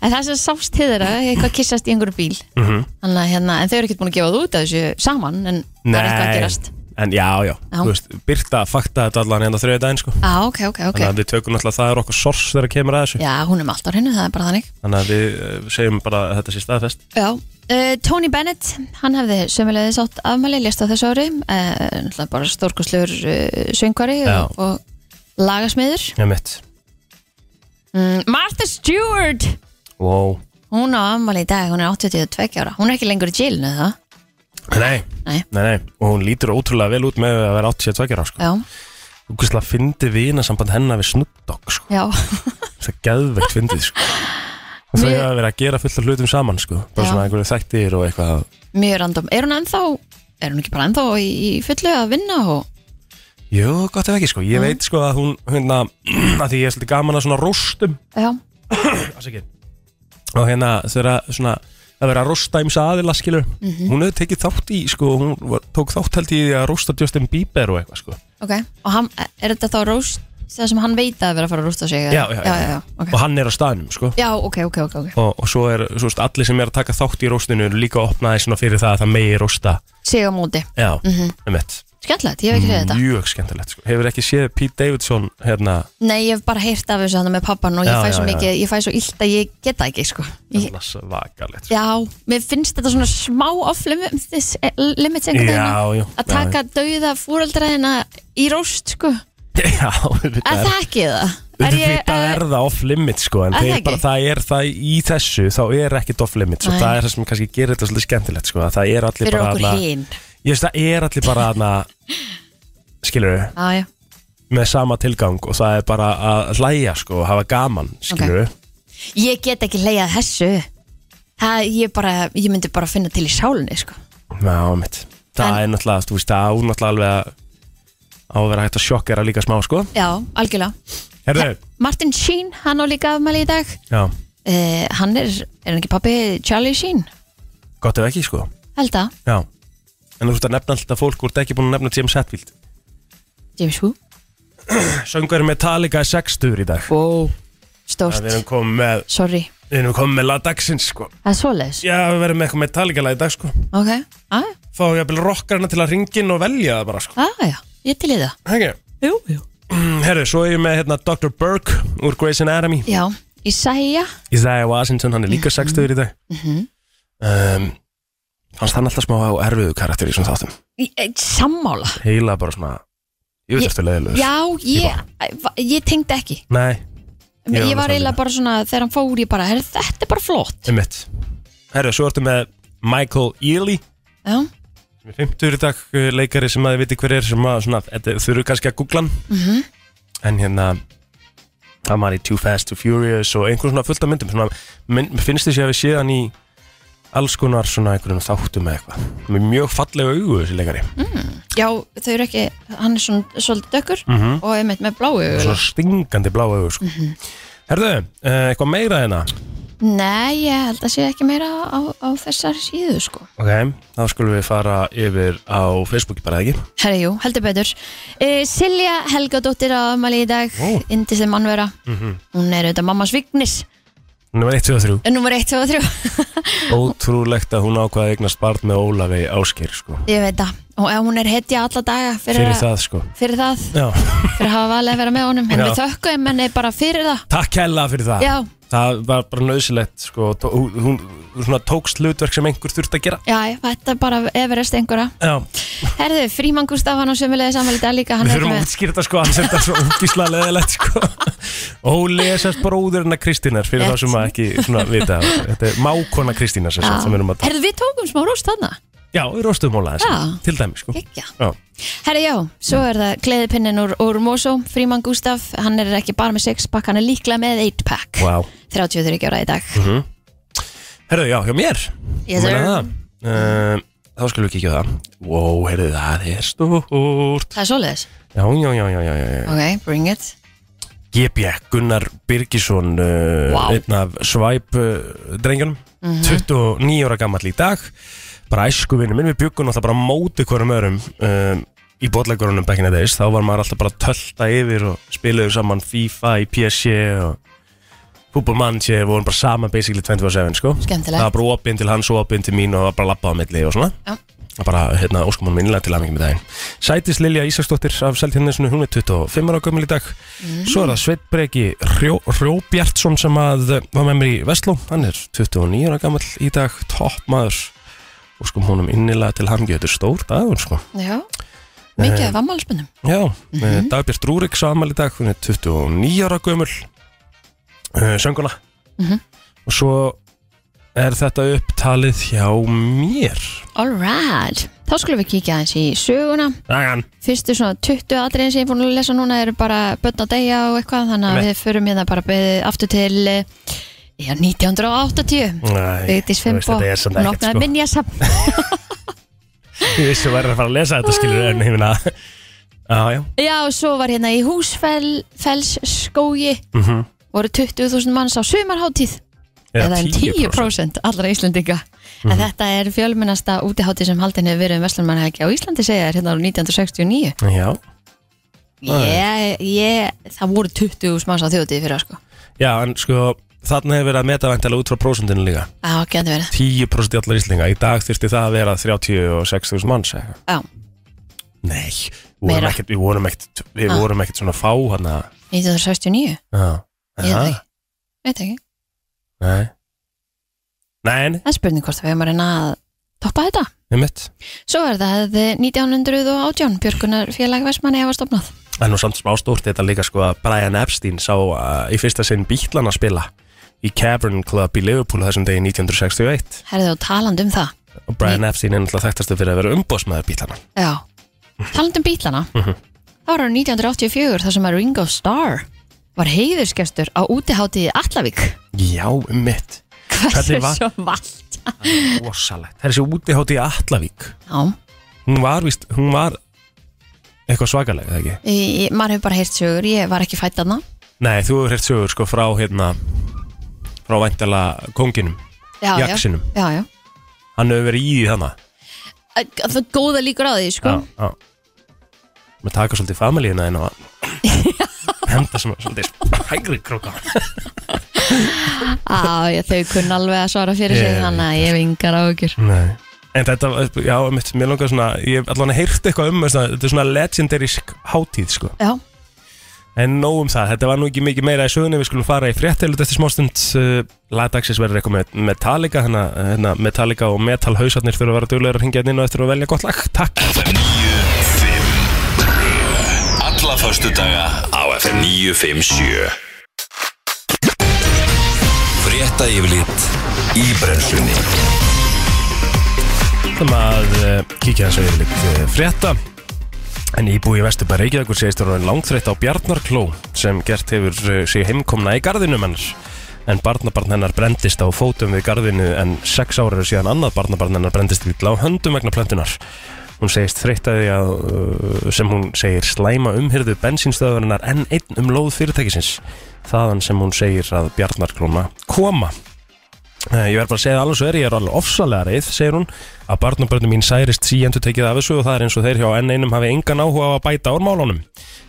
Speaker 3: En það sem sást hiðra, eitthvað kissast í einhverju bíl.
Speaker 2: Mhm.
Speaker 3: Þannig að hérna, en þau eru ekki búin að gefa það út af þessu saman, en það er eitthvað að gerast.
Speaker 2: en já, já,
Speaker 3: Já.
Speaker 2: þú veist, Birta fakta þetta allan hérna þriðið daginn sko
Speaker 3: Já, ok, ok, ok.
Speaker 2: Þannig að við tökum alltaf það er okkar sors þegar kemur að þessu
Speaker 3: Já, hún er með allt á hennu, það er bara þannig.
Speaker 2: Þannig að við eh, segjum bara að þetta sé staðfest
Speaker 3: Já. Uh, Tony Bennett, hann hefði sömulegðis átt afmæli, lést á þessu ári, uh, náttúrulega bara stórkustlur uh, söngvari og,
Speaker 2: Já.
Speaker 3: og lagasmiður.
Speaker 2: Já, mitt
Speaker 3: Mm, Martha Stewart,
Speaker 2: Wow
Speaker 3: hún á afmæli í dag, hún er 82 ára. Hún er ekki lengur í jailinu, það?
Speaker 2: Nei,
Speaker 3: Nei.
Speaker 2: nei, nei, og hún lítur ótrúlega vel út með að vera 82 ára sko
Speaker 3: Já,
Speaker 2: Þú veist að fyndi vinasamband hennar við Snoop Dogg sko
Speaker 3: já,
Speaker 2: Það er geðvegt fyndið sko Og þau
Speaker 3: Mér-
Speaker 2: hafa verið að gera fullt af hlutum saman sko Bara
Speaker 3: Já.
Speaker 2: svona einhverju þættir og eitthvað
Speaker 3: mjög random. Er hún ennþá, er hún ekki bara ennþá í, í fullu að vinna og...
Speaker 2: Jú, gott ef ekki sko, ég veit sko að hún hérna, að því ég er svolítið gaman að svona róstum
Speaker 3: Já,
Speaker 2: Afsakið. og hérna þegar svona að vera að rósta ímsa aðila skilur
Speaker 3: Mhm.
Speaker 2: hún hefði tekið þátt í sko, hún var, tók þátt held ég í því að rósta Justin Bieber og eitthvað sko
Speaker 3: ok Og hann, er þetta þá róst það sem hann veit að vera að fara að rústa sig eða?
Speaker 2: Já, já, já.
Speaker 3: já, já, ok,
Speaker 2: og hann er á staðnum sko
Speaker 3: já, ok, ok, ok, okay.
Speaker 2: og, og svo er, svo veist, allir sem er að taka þátt í róstinu eru líka að opna þessuna fyrir það að það megi rósta
Speaker 3: Sig á móti,
Speaker 2: já, mm
Speaker 3: Mhm.
Speaker 2: -hmm. emitt
Speaker 3: skemmtilegt, ég hef ekki séð þetta
Speaker 2: mjög skemmtilegt sko, hefur ekki séð Pete Davidson hérna,
Speaker 3: Nei, ég hef bara heyrt af þessu hann með pappan og ég
Speaker 2: Já,
Speaker 3: fæ
Speaker 2: já,
Speaker 3: svo
Speaker 2: já.
Speaker 3: mikið, ég fæ svo illt að ég geta ekki, sko ég,
Speaker 2: hérna svakalegt sko.
Speaker 3: Já, mér finnst þetta svona smá off limits, eh, limits einhvern veginn að-
Speaker 2: já, já,
Speaker 3: að taka dauða fúreldraðina í róst, sko
Speaker 2: já, já, auðvitað
Speaker 3: Er það ekki það? Er ég,
Speaker 2: Þetta er það off-limit sko en
Speaker 3: Er það
Speaker 2: þeir
Speaker 3: ekki?
Speaker 2: bara, það er það í þessu þá er ekkert off-limit sko.
Speaker 3: Nei.
Speaker 2: það er það sem kannski gerir þetta svolítið skemmtilegt sko. að það er allir
Speaker 3: fyrir
Speaker 2: bara
Speaker 3: okkur
Speaker 2: þarna-
Speaker 3: hinn
Speaker 2: ég veist það er allir bara hana, skilur
Speaker 3: Já, já,
Speaker 2: með sama tilgang og það er bara að hlæja sko og hafa gaman skilur
Speaker 3: ég get ekki leiðað þessu Það, ég bara, ég myndi bara finna til í sálinni, sko
Speaker 2: Já, mitt það er náttúrulega, þú veist það á náttúrulega alveg að á að vera hægt að sjokkera líka smá sko
Speaker 3: Já, algjörlega.
Speaker 2: Herðu,
Speaker 3: Martin Sheen, hann á líka afmæli í dag.
Speaker 2: já,
Speaker 3: Uh, hann er, er hann ekki pappi Charlie Sheen?
Speaker 2: gott ef ekki sko
Speaker 3: Held að,
Speaker 2: Já, en þú veist að nefna alltaf fólk úr ekki búin að nefna James Hetfield
Speaker 3: James Wu.
Speaker 2: Söngur Metallica er 60 í dag
Speaker 3: Wow.
Speaker 2: Já,
Speaker 3: Stórt,
Speaker 2: Við erum komið með,
Speaker 3: sorry.
Speaker 2: við erum komið með lag dagsins sko
Speaker 3: Það er svoleiðis.
Speaker 2: Já, við verðum með eitthvað Metallica lag í dag sko
Speaker 3: Ok, Ah, aðja,
Speaker 2: Fá ég að byrja rockarna til að ringin og velja það bara sko
Speaker 3: aðja. ég til í það
Speaker 2: Hægja
Speaker 3: Jú, jú
Speaker 2: Herru, svo er ég með hérna, Dr. Burke úr Grey's Anatomy
Speaker 3: Já, Isaiah
Speaker 2: Isaiah Washington, hann er líka 60 í dag
Speaker 3: Mhm.
Speaker 2: um, Fannst hann alltaf smá á erfiðu karakter í svona þáttum
Speaker 3: Í- eh, Sammála
Speaker 2: Heila bara svona Ég veit
Speaker 3: Ég-
Speaker 2: eftir leiðilegur
Speaker 3: Já, ég, ég tengdi ekki
Speaker 2: Nei, Ég var
Speaker 3: Ég var
Speaker 2: alveg
Speaker 3: eiginlega
Speaker 2: sammála.
Speaker 3: bara svona, þegar hann fór ég bara "Herra, Þetta er bara flott
Speaker 2: einmitt Herru, svo ertu með Michael Ealy
Speaker 3: Já,
Speaker 2: sem er 50 í dag uh, leikari sem að þið viti hver er sem að svona, þetta, þau eru kannski að googla hann -hmm. en hérna hann var í Too Fast, Too Furious og einhver svona fullt af myndum svona, mynd, finnst þið sér að við séð hann í alls konar svona einhverjum þáttum eða eitthvað með mjög fallega augu þessi leikari
Speaker 3: já þau eru ekki Hann er svona svolítið dökkur
Speaker 2: Mhm.
Speaker 3: Og einmitt með bláu augu.
Speaker 2: svona stingandi blá augu sko. Herðu, uh, eitthvað meira hérna
Speaker 3: Nei, ég held að sé ekki meira á, á þessar síðu sko
Speaker 2: ok, þá skulum við fara yfir á Facebooki bara eða ekki
Speaker 3: Herri, jú, heldur betur uh, Silja Helgadóttir á afmæli í dag
Speaker 2: Ó.
Speaker 3: Indislega mannvera Hún er auðvitað mammas vignis
Speaker 2: Númer 1, 2 og 3
Speaker 3: Númer 1, 2 og 3
Speaker 2: Ótrúlegt að hún ákvaði eignast barn með Ólafi Ásgeir sko.
Speaker 3: Ég veit það Og eh, hún er hetja alla daga fyrir,
Speaker 2: Fyrir
Speaker 3: að-
Speaker 2: það sko
Speaker 3: Fyrir það,
Speaker 2: Já,
Speaker 3: fyrir að hafa valið að vera með honum En
Speaker 2: Já.
Speaker 3: við þökkum henni bara fyrir það
Speaker 2: takk hella fyrir það
Speaker 3: Já,
Speaker 2: Það var bara nöðsilegt sko, tó- hún, hún svona tókst hlutverk sem einhver þurft að gera
Speaker 3: já, já, þetta er bara everest einhverja
Speaker 2: Já,
Speaker 3: Herðu, Fríman Gustaf hann á sömulegði samvæli dag líka hann
Speaker 2: við
Speaker 3: er
Speaker 2: þurfum
Speaker 3: með-
Speaker 2: að útskýra þetta sko, hann sem þetta er svo útgísla leðilegt sko Óli er sérst bróðurinn að Kristínar fyrir
Speaker 3: Rétt.
Speaker 2: þá sem að ekki svona vita Þetta er mákona Kristínar sem, sagt, sem við erum að um.
Speaker 3: Herðu, við tókum smá róst þarna
Speaker 2: Já, við róstum Óla
Speaker 3: Já.
Speaker 2: þessi, til dæmi sko
Speaker 3: Gekja
Speaker 2: Já,
Speaker 3: Herra já, svo er það gleðipinnin úr, úr Mosó, Fríman Gústaf, hann er ekki bara með 6-pack, hann er líklega með 8-pack
Speaker 2: wow
Speaker 3: 33 ára í dag
Speaker 2: Mhm. Herðu, já, hjá mér
Speaker 3: Yes,
Speaker 2: Ég meina
Speaker 3: sir.
Speaker 2: það. Ehm, Þá skulum við kíkja á það Wow, herðu, það er stórt
Speaker 3: Það er svoleiðis
Speaker 2: Já, já, já, já, já, já, já.
Speaker 3: Ok, bring it
Speaker 2: GB Gunnar Birgisson uh,
Speaker 3: Vá.
Speaker 2: einn af svæp uh, drengjunum
Speaker 3: Mhm.
Speaker 2: 29 ára gammal í dag bara æskuvinni minn við byggum alltaf bara á móti hverjum örum um, í bótlegurunum back in the days þá var maður alltaf bara að tölta yfir og spilaðu saman FIFA í PSG og fútbolmannsje við vorum bara saman basically 27 sko
Speaker 3: Skemmtilegt.
Speaker 2: það var bara opinn til hans og opinn til mín og það var bara labbað á milli og svona
Speaker 3: Já.
Speaker 2: Það bara hérna óskum hann minnilega til aðmengi með daginn Sætis Lilja Ísaksdóttir af Seltjarnesinu hún er 25 ára gömul í dag
Speaker 3: Mhm.
Speaker 2: svo er það Sveit Breki Hrjó, Hrjóbjartsson sem að eh, var með mér í Vestló hann er 29 ára gammal í dag toppmaður óskum honum innilega til hann getur stór dagur sko
Speaker 3: Já,
Speaker 2: Eh.
Speaker 3: mikið af ammálspennum
Speaker 2: Já, mm
Speaker 3: Mhm.
Speaker 2: -hmm. Dagbjörn Rúrik samal í dag, hún er 29 ára gömul uh, sönguna
Speaker 3: Mhm.
Speaker 2: og svo er þetta upptalið hjá mér
Speaker 3: Alright, þá skulum við kíkja aðeins í söguna
Speaker 2: Dagan
Speaker 3: Fyrstu svona 20 atriðin sem ég er búin að lesa núna eru bara börn á degja og eitthvað þannig að
Speaker 2: Einmitt.
Speaker 3: við förum hérna bara beðið aftur til eh, já, 1980
Speaker 2: Nei,
Speaker 3: Vigdís
Speaker 2: þú veist,
Speaker 3: Fimbo,
Speaker 2: þetta er samt
Speaker 3: hún
Speaker 2: ekkert
Speaker 3: opnaði
Speaker 2: sko
Speaker 3: minnjasafn
Speaker 2: Ég vissi að verður að fara að lesa þetta skilur en ég finna Já, já
Speaker 3: Já, og svo var hérna í húsfellsskógi
Speaker 2: mm
Speaker 3: voru 20.000 manns á sumarháttíð eða um 10% allra Íslandinga
Speaker 2: Mhm.
Speaker 3: en þetta er fjölmennasta útiháttíð sem haldin hefur verið um Vestlunmannhækja á Íslandi segja þér hérna á 1969
Speaker 2: Já,
Speaker 3: ég, ég, það voru 20.000 manns á þjóðtíð fyrir sko
Speaker 2: já, en sko Þarna hefur verið að meta væntalega út frá prósundinu líka
Speaker 3: Já, gæti verið
Speaker 2: 10% í allar Íslinga Í dag þyrfti það að vera 36.000 manns eða eitthvað.
Speaker 3: Já,
Speaker 2: Nei, við vorum
Speaker 3: Meira.
Speaker 2: ekkert Við vorum ekkert, við
Speaker 3: Ah.
Speaker 2: vorum ekkert svona fá hann að
Speaker 3: 1969,
Speaker 2: Já.
Speaker 3: ég veit
Speaker 2: Aha,
Speaker 3: ekki veit ekki,
Speaker 2: Nei Nei, nei,
Speaker 3: það er spurning hvort við hefum að reyna að toppa þetta
Speaker 2: ég mitt
Speaker 3: Svo er það 1918 Björgunar félag Vestmanni hafa stopnað
Speaker 2: En nú samt smá stórt þetta líka sko að Brian Epstein sá uh, í fyrsta sinn bítlana spila í Cavern Club í Liverpool á þessum degi 1961
Speaker 3: Herðu og talandi um það
Speaker 2: og Brian Epstein er náttúrulega þekktastu fyrir að vera umbóðsmaður bítlana
Speaker 3: Já, talandum bílana
Speaker 2: Mhm.
Speaker 3: Það var á 1984 þar sem að Ringo Starr var heiðurskestur á útiháttiði Allavík
Speaker 2: Já, um mitt
Speaker 3: Hversu
Speaker 2: Hvernig var-
Speaker 3: svo vallt
Speaker 2: Rosalegt Það er þessi útihátt í Allavík
Speaker 3: Já,
Speaker 2: Hún var, víst, hún var eitthvað svakalega, eða ekki?
Speaker 3: í, í- maður hefur bara heyrt sögur ég var ekki fætt aðna
Speaker 2: Nei, þú hefur hert sögur sko frá hérna frá væntala konginum
Speaker 3: Já, já,
Speaker 2: Jaxinum.
Speaker 3: já, já.
Speaker 2: Hann hefur verið í því þannig
Speaker 3: Æ, Það er góða líkur á því, sko
Speaker 2: Já, já Maður taka svolítið familíina inn á að Henda svona svolítið hægri króka
Speaker 3: Á, já, þau kunna alveg að svara fyrir sig
Speaker 2: Ég
Speaker 3: þannig að ég vingar á okkur
Speaker 2: Nei En þetta, já, mitt, mér langar svona Ég hef allan heyrt eitthvað um þess að Þetta er svona legendarisk hátíð, sko
Speaker 3: Já,
Speaker 2: En nóg um það, þetta var nú ekki mikið meira í sögunni Við skulum fara í fréttilut eftir smástund uh, Lagdagsins verður eitthvað með Metallica hana, hana, Metallica og Metal hausarnir Fyrir að vera duglegur að hringja hérna inn og eftir að velja gott lag Takk
Speaker 1: FM 957 Alla förstu daga á FM 957 Frétta yfirlit í brennslunni
Speaker 2: ætlum að uh, kíkja hans við litt uh, frétta en íbúi í Vesturbæ Reykjavíkur segist að hún er langþreytt á Bjarnarkló sem gert hefur uh, sig heimkomna í garðinum hennar en barnabarn hennar brendist á fótum við garðinu en sex ára eru síðan annað barnabarn hennar brendist illa á höndum vegna plöntunar hún segist þreytt að því að uh, sem hún segir slæma umhyrðu bensínstöðurinnar enn einn um lóð fyrirtækisins þaðan sem hún segir að Bjarnarklóna koma Eh, Ég verð bara að segja það alveg svo er, ég er alveg ofsalega reið, segir hún, að barnabörnum mín særist síendur tekið af þessu og það er eins og þeir hjá enn einum hafi engan áhuga á að bæta úr málunum,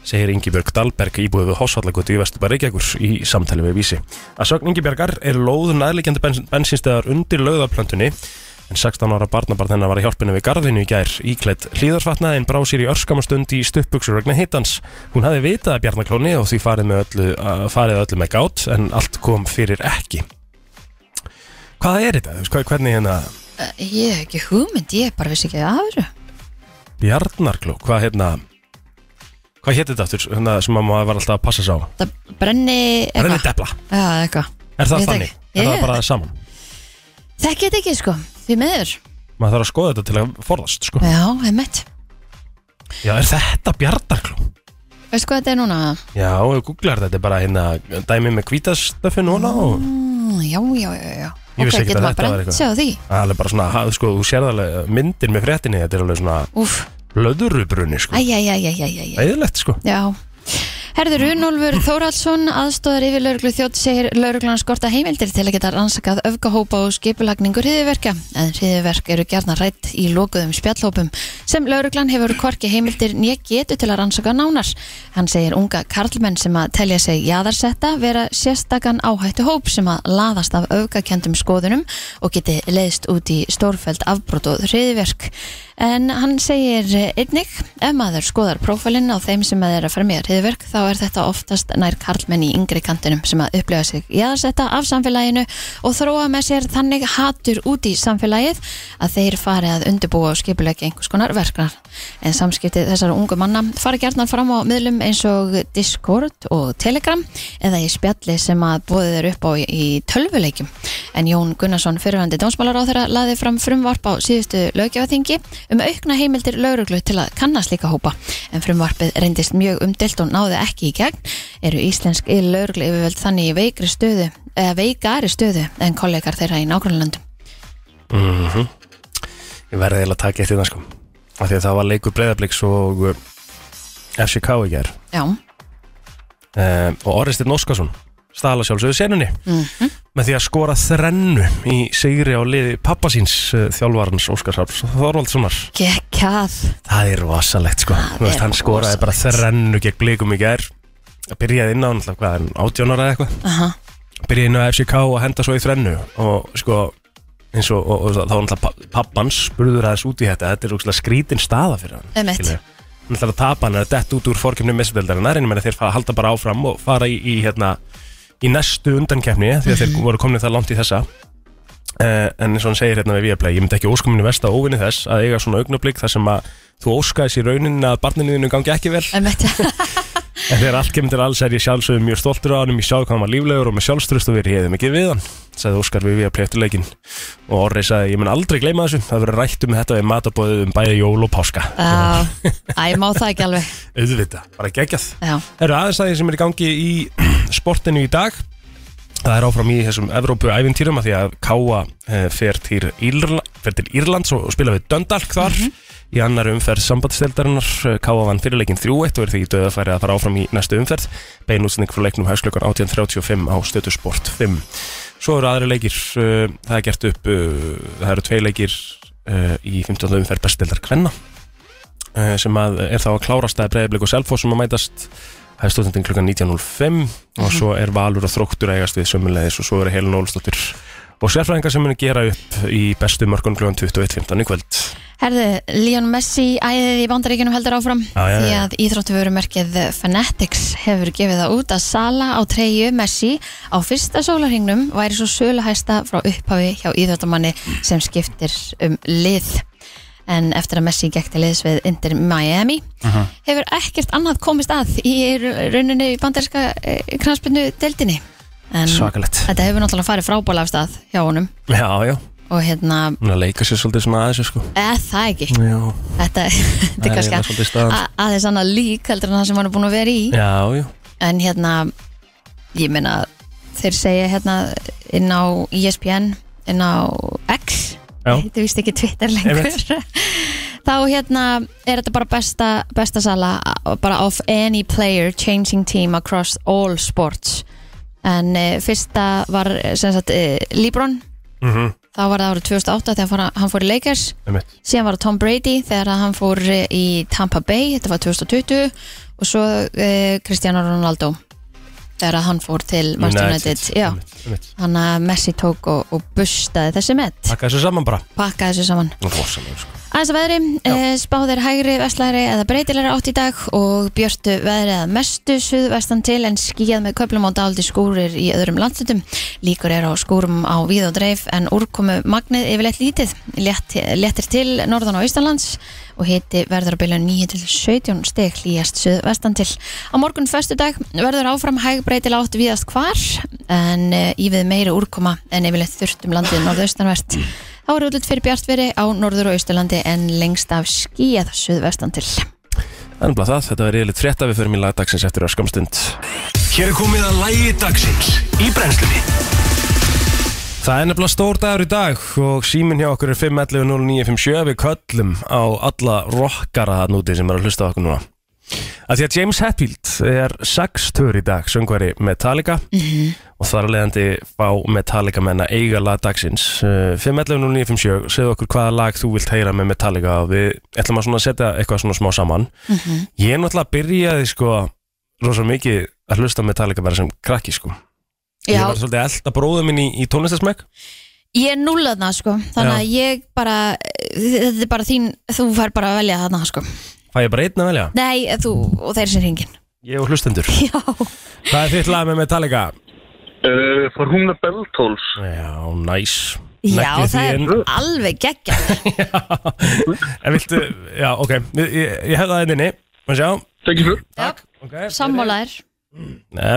Speaker 2: segir Ingibjörg Dahlberg íbúið við Hossvallagutu í Vesturbæri Reykjavíkur í samtali við Vísi. Að sögn Ingibjörgar er lóð næðlíkjandi bens bensinstöðar undir lögðaplöntunni, en 16 ára barnabart hennar var í hjálpinu við garðinu í gær íklætt hlýðarsvatna en brá sér í örskamastund í stuppbuksur vegna hittans. Hún hafi vitað að bjarnaklóni og því farið, með öllu, að- farið öllu með gát en allt kom fyrir ekki hvað er þetta? Þú veist, hvað- Hvernig hérna
Speaker 3: Eh, ég hef ekki hugmynd, ég bara vissi ekki að þessu
Speaker 2: Bjarnarkló, hvað hérna hvað hétt þetta aftur hérna, sem að maður var alltaf að passa sig á
Speaker 3: Það brenni
Speaker 2: Renni debla,
Speaker 3: Já, eitthvað
Speaker 2: er það
Speaker 3: Ég veit
Speaker 2: þannig?
Speaker 3: ekki.
Speaker 2: Er
Speaker 3: Ég
Speaker 2: það
Speaker 3: veit
Speaker 2: bara saman?
Speaker 3: Þekki þetta ekki sko, því meður
Speaker 2: Maður þarf að skoða þetta til að forðast sko.
Speaker 3: Já, einmitt
Speaker 2: Já, er þetta Bjarnarkló?
Speaker 3: Veistu hvað þetta er núna?
Speaker 2: Já, ef þú googlar þetta, þetta er bara hérna dæmi með hvítastöffi núna og
Speaker 3: Mm, já, já, já, já
Speaker 2: Ég vissi ekki
Speaker 3: getur
Speaker 2: að
Speaker 3: maður
Speaker 2: þetta var
Speaker 3: brennt
Speaker 2: eitthvað.
Speaker 3: sig á því
Speaker 2: það er bara svona, ha- sko, þú sérð alveg myndir með fréttinni, þetta er alveg svona
Speaker 3: Úf,
Speaker 2: löðurubrunni, sko,
Speaker 3: æjæjæjæjæjæjæ
Speaker 2: æðilegt, sko
Speaker 3: Já. Herður Runolfur Þóraldsson, aðstóðar yfir lauruglu þjótt, segir lauruglan skorta heimildir til að geta rannsakað öfgahópa og skipulagningu hriðiverka. En hriðiverk eru gerna rætt í lokuðum spjallhópum sem lauruglan hefur korki heimildir nýja getu til að rannsaka nánar. Hann segir unga karlmenn sem að telja sig jaðarsetta vera sérstakann áhættu hóp sem að laðast af öfgakendum skoðunum og geti leiðst út í stórfæld afbrot og hriðiverk. En hann segir einnig, ef maður skoðar prófælinn á þeim sem maður er að fremja hriðverk, þá er þetta oftast nær karlmenn í yngri kantinum sem að upplifa sig jaðarsetta af samfélaginu og þróa með sér þannig hatur út í samfélagið að þeir fari að undirbúa og skipulegja einhvers konar verknar. En samskiptið þessar ungu manna fara gertnar fram á miðlum eins og Discord og Telegram eða í spjalli sem að bóðið er upp á í tölvuleikjum. En Jón Gunnarsson, fyrirhandi dómsmálaráþara, laði fram frumvarp á síðustu löggefaþingi um aukna heimildir lauruglu til að kannast líka hópa. En frumvarpið reyndist mjög umdelt og náði ekki í gegn. Eru íslensk í lauruglu yfirvöld þannig í veikri stöðu, eða veikari stöðu en kollegar þeirra í nágrannlandum.
Speaker 2: Mhm. Ég verði eiginlega að taka eftir það, sko af því að það var leikur breyðabliks og uh, FCK í gær
Speaker 3: Já,
Speaker 2: uh, og Oristinn Óskarsson stala sjálfsögðu senunni með því að skora þrennu í sigri á liði pappasíns uh, þjálfarans Óskarsarps Þorvaldssonar
Speaker 3: gekkað.
Speaker 2: það er rosalegt sko Þú veist,
Speaker 3: er
Speaker 2: hann skoraði bara þrennu gegn blikum í gær að byrjaði inn á hann hvað, er hann, 18 ára eða eitthvað
Speaker 3: Aha.
Speaker 2: byrjaði inn á FCK og henda svo í þrennu og sko eins og, og, og þá var náttúrulega pappans spurður aðeins út í þetta, þetta er úkslega skrítin staða fyrir hann
Speaker 3: Einmitt.
Speaker 2: skilurðu. hann ætlar að tapa hann er að dett út úr fórkjöfnum messeldeldarinnar en ég meina þeir fara- halda bara áfram og fara í, í hérna í næstu undankefni því að þeir voru komni það langt í þessa uh, en eins og hann segir hérna við Viaplay ég myndi ekki óskuminu vest að óvinni þess að eiga svona augnablík þar sem að þú óskaði sér raunin að barninu þínu gangi ekki vel
Speaker 3: Einmitt.
Speaker 2: en þegar allt kemur til alls er ég sjálfsögum mjög stoltur á hann ég sjáði hvað hann var líflegur og með sjálfstrust og við reyðum ekki við hann sagði Óskar við Viaplay eftir leikinn og Orri sagði ég mun aldrei gleyma þessu það verður rætt um þetta við matabóðið um bæði jól og páska
Speaker 3: Já, æ, má það ekki alveg.
Speaker 2: auðvitað, bara geggjað
Speaker 3: Já,
Speaker 2: Það eru aðeins aðeins sem er í gangi í sportinu í dag Það er áfram í þessum Evrópu ævintýrum að því að Káa eh, fer til, Írla, fer til Írlands og, og spila við Döndalk þar í annar umferð eh, sambandsteldarinnar Káa vann fyrirleikin 3-1 og er því í döðafæri að fara áfram í næstu umferð beinútsning frá leiknum hægsklökan 18.35 á stötu sport 5 Svo eru aðri leikir, eh, það er gert upp eh, það eru tvei leikir eh, í 15. umferð bestildar kvenna eh, sem að er þá að klárast að breyðblik og selfos sem að mætast Það er stóðsendin
Speaker 3: Mhm.
Speaker 2: klukkan 19.05 og svo er Valur og Þróttur að eigast við sömulegis og svo eru Helena Ólfsdóttir og sérfræðingar sem munu gera upp í bestu mörgun kljóðan 21.15 í kvöld
Speaker 3: Herðu, Leon Messi æðið í bandaríkjunum heldur áfram
Speaker 2: Já, já, já.
Speaker 3: því að íþróttuvörumerkið Fanatics hefur gefið það út að sala á treyju Messi á fyrsta sólarhingnum væri svo söluhæsta frá upphafi hjá íþróttamanni sem skiptir um lið en eftir að Messi gekk til liðs við Inter Miami
Speaker 2: Mhm.
Speaker 3: hefur ekkert annað komist að í rauninni í bandaríska kranspinnu deildinni en
Speaker 2: Svakalegt
Speaker 3: þetta hefur náttúrulega farið frábóla af stað hjá honum
Speaker 2: Já, já,
Speaker 3: og hérna,
Speaker 2: hún er að leika sér svolítið svona aðeins sko.
Speaker 3: eða það ekki
Speaker 2: Já,
Speaker 3: Þetta, þetta er
Speaker 2: Það er eiginlega
Speaker 3: kannski
Speaker 2: svolítið staðan,
Speaker 3: a- aðeins annað lík heldur en það sem hann er búin að vera í
Speaker 2: já, já
Speaker 3: en hérna, ég meina þeir segja hérna inn á E ESPN, inn á X,
Speaker 2: Já.
Speaker 3: þetta víst ekki Twitter lengur þá hérna er þetta bara besta, besta sala uh, bara of any player changing team across all sports en e, fyrsta var eh, sem sagt e, Lebron
Speaker 2: mm -hmm.
Speaker 3: þá var það árið 2008 þegar hann fór, hann fór í Lakers síðan var það Tom Brady þegar að hann fór eh, í Tampa Bay, þetta var 2020 og svo eh, Cristiano Ronaldo þegar að hann fór til Manchester United, já hann að Messi tók og, og bustaði þessi met,
Speaker 2: Takka þessu saman bara
Speaker 3: pakkaði þessu saman
Speaker 2: Rósalega sko
Speaker 3: aðeins að veðri, eh, spáðir hægri vestlæri eða breytilegri átt í dag og björtu veðri að mestu suðvestan til en skíjað með köplum og dáldi skúrir í öðrum landsutum, líkur er á skúrum á víð og dreif en úrkomu magnið yfirleitt lítið, Létt, léttir til norðan og austanlands og hiti verður á bylun 9 til 17 steg hlýjast suðvestan til. Á morgun föstudag verður áfram hæg breytileg átt víðast hvar en eh, í við meiri úrkoma en yfirleitt þurft um landið norðaustanvert. Þá er útlut fyrir bjartveri á norður og austurlandi en lengst af skíjað suðvestan til.
Speaker 2: En bara það, þetta var reyðilegt frétta við förum í lagdagsins eftir öskamstund
Speaker 1: Hér er komið að lægi dagsins í brennslunni
Speaker 2: Það er nefnilega stór dagur í dag og síminn hjá okkur er 511-0957 við köllum á alla rockara þarna úti sem eru að hlusta á okkur núna að Því að James Hetfield er sextur í dag, söngveri Metallica og þar af leiðandi fá Metallica menna eiga lagdagsins uh, 511-0957, segðu okkur hvaða lag þú vilt heyra með Metallica og við ætlum að svona setja eitthvað svona smá saman Ég er náttúrulega byrjaði sko rosa mikið að hlusta á Metallica bara sem krakki sko Ég
Speaker 3: Já,
Speaker 2: var svolítið að elda bróðum minn í, í tónlistasmæk
Speaker 3: ég er núlað það sko, þannig að ég bara, þetta er bara þín, þú fær bara að velja þarna sko.
Speaker 2: Fæ ég bara einn að velja?
Speaker 3: Nei, þú og þeir sem hringin.
Speaker 2: Ég og hlustendur
Speaker 3: Já.
Speaker 2: Hvað er þitt lag með Metallica?
Speaker 4: Eh,
Speaker 5: Uh, for whom the bell tolls
Speaker 2: Já, næs
Speaker 3: Já,
Speaker 2: Neglið
Speaker 3: það
Speaker 2: því
Speaker 3: er
Speaker 2: inn.
Speaker 3: alveg geggja
Speaker 2: En viltu, já, ok Ég, ég, ég hef það einn inni Má sjá
Speaker 5: Thank you
Speaker 3: Takk.
Speaker 2: Ok
Speaker 3: Sammálaðir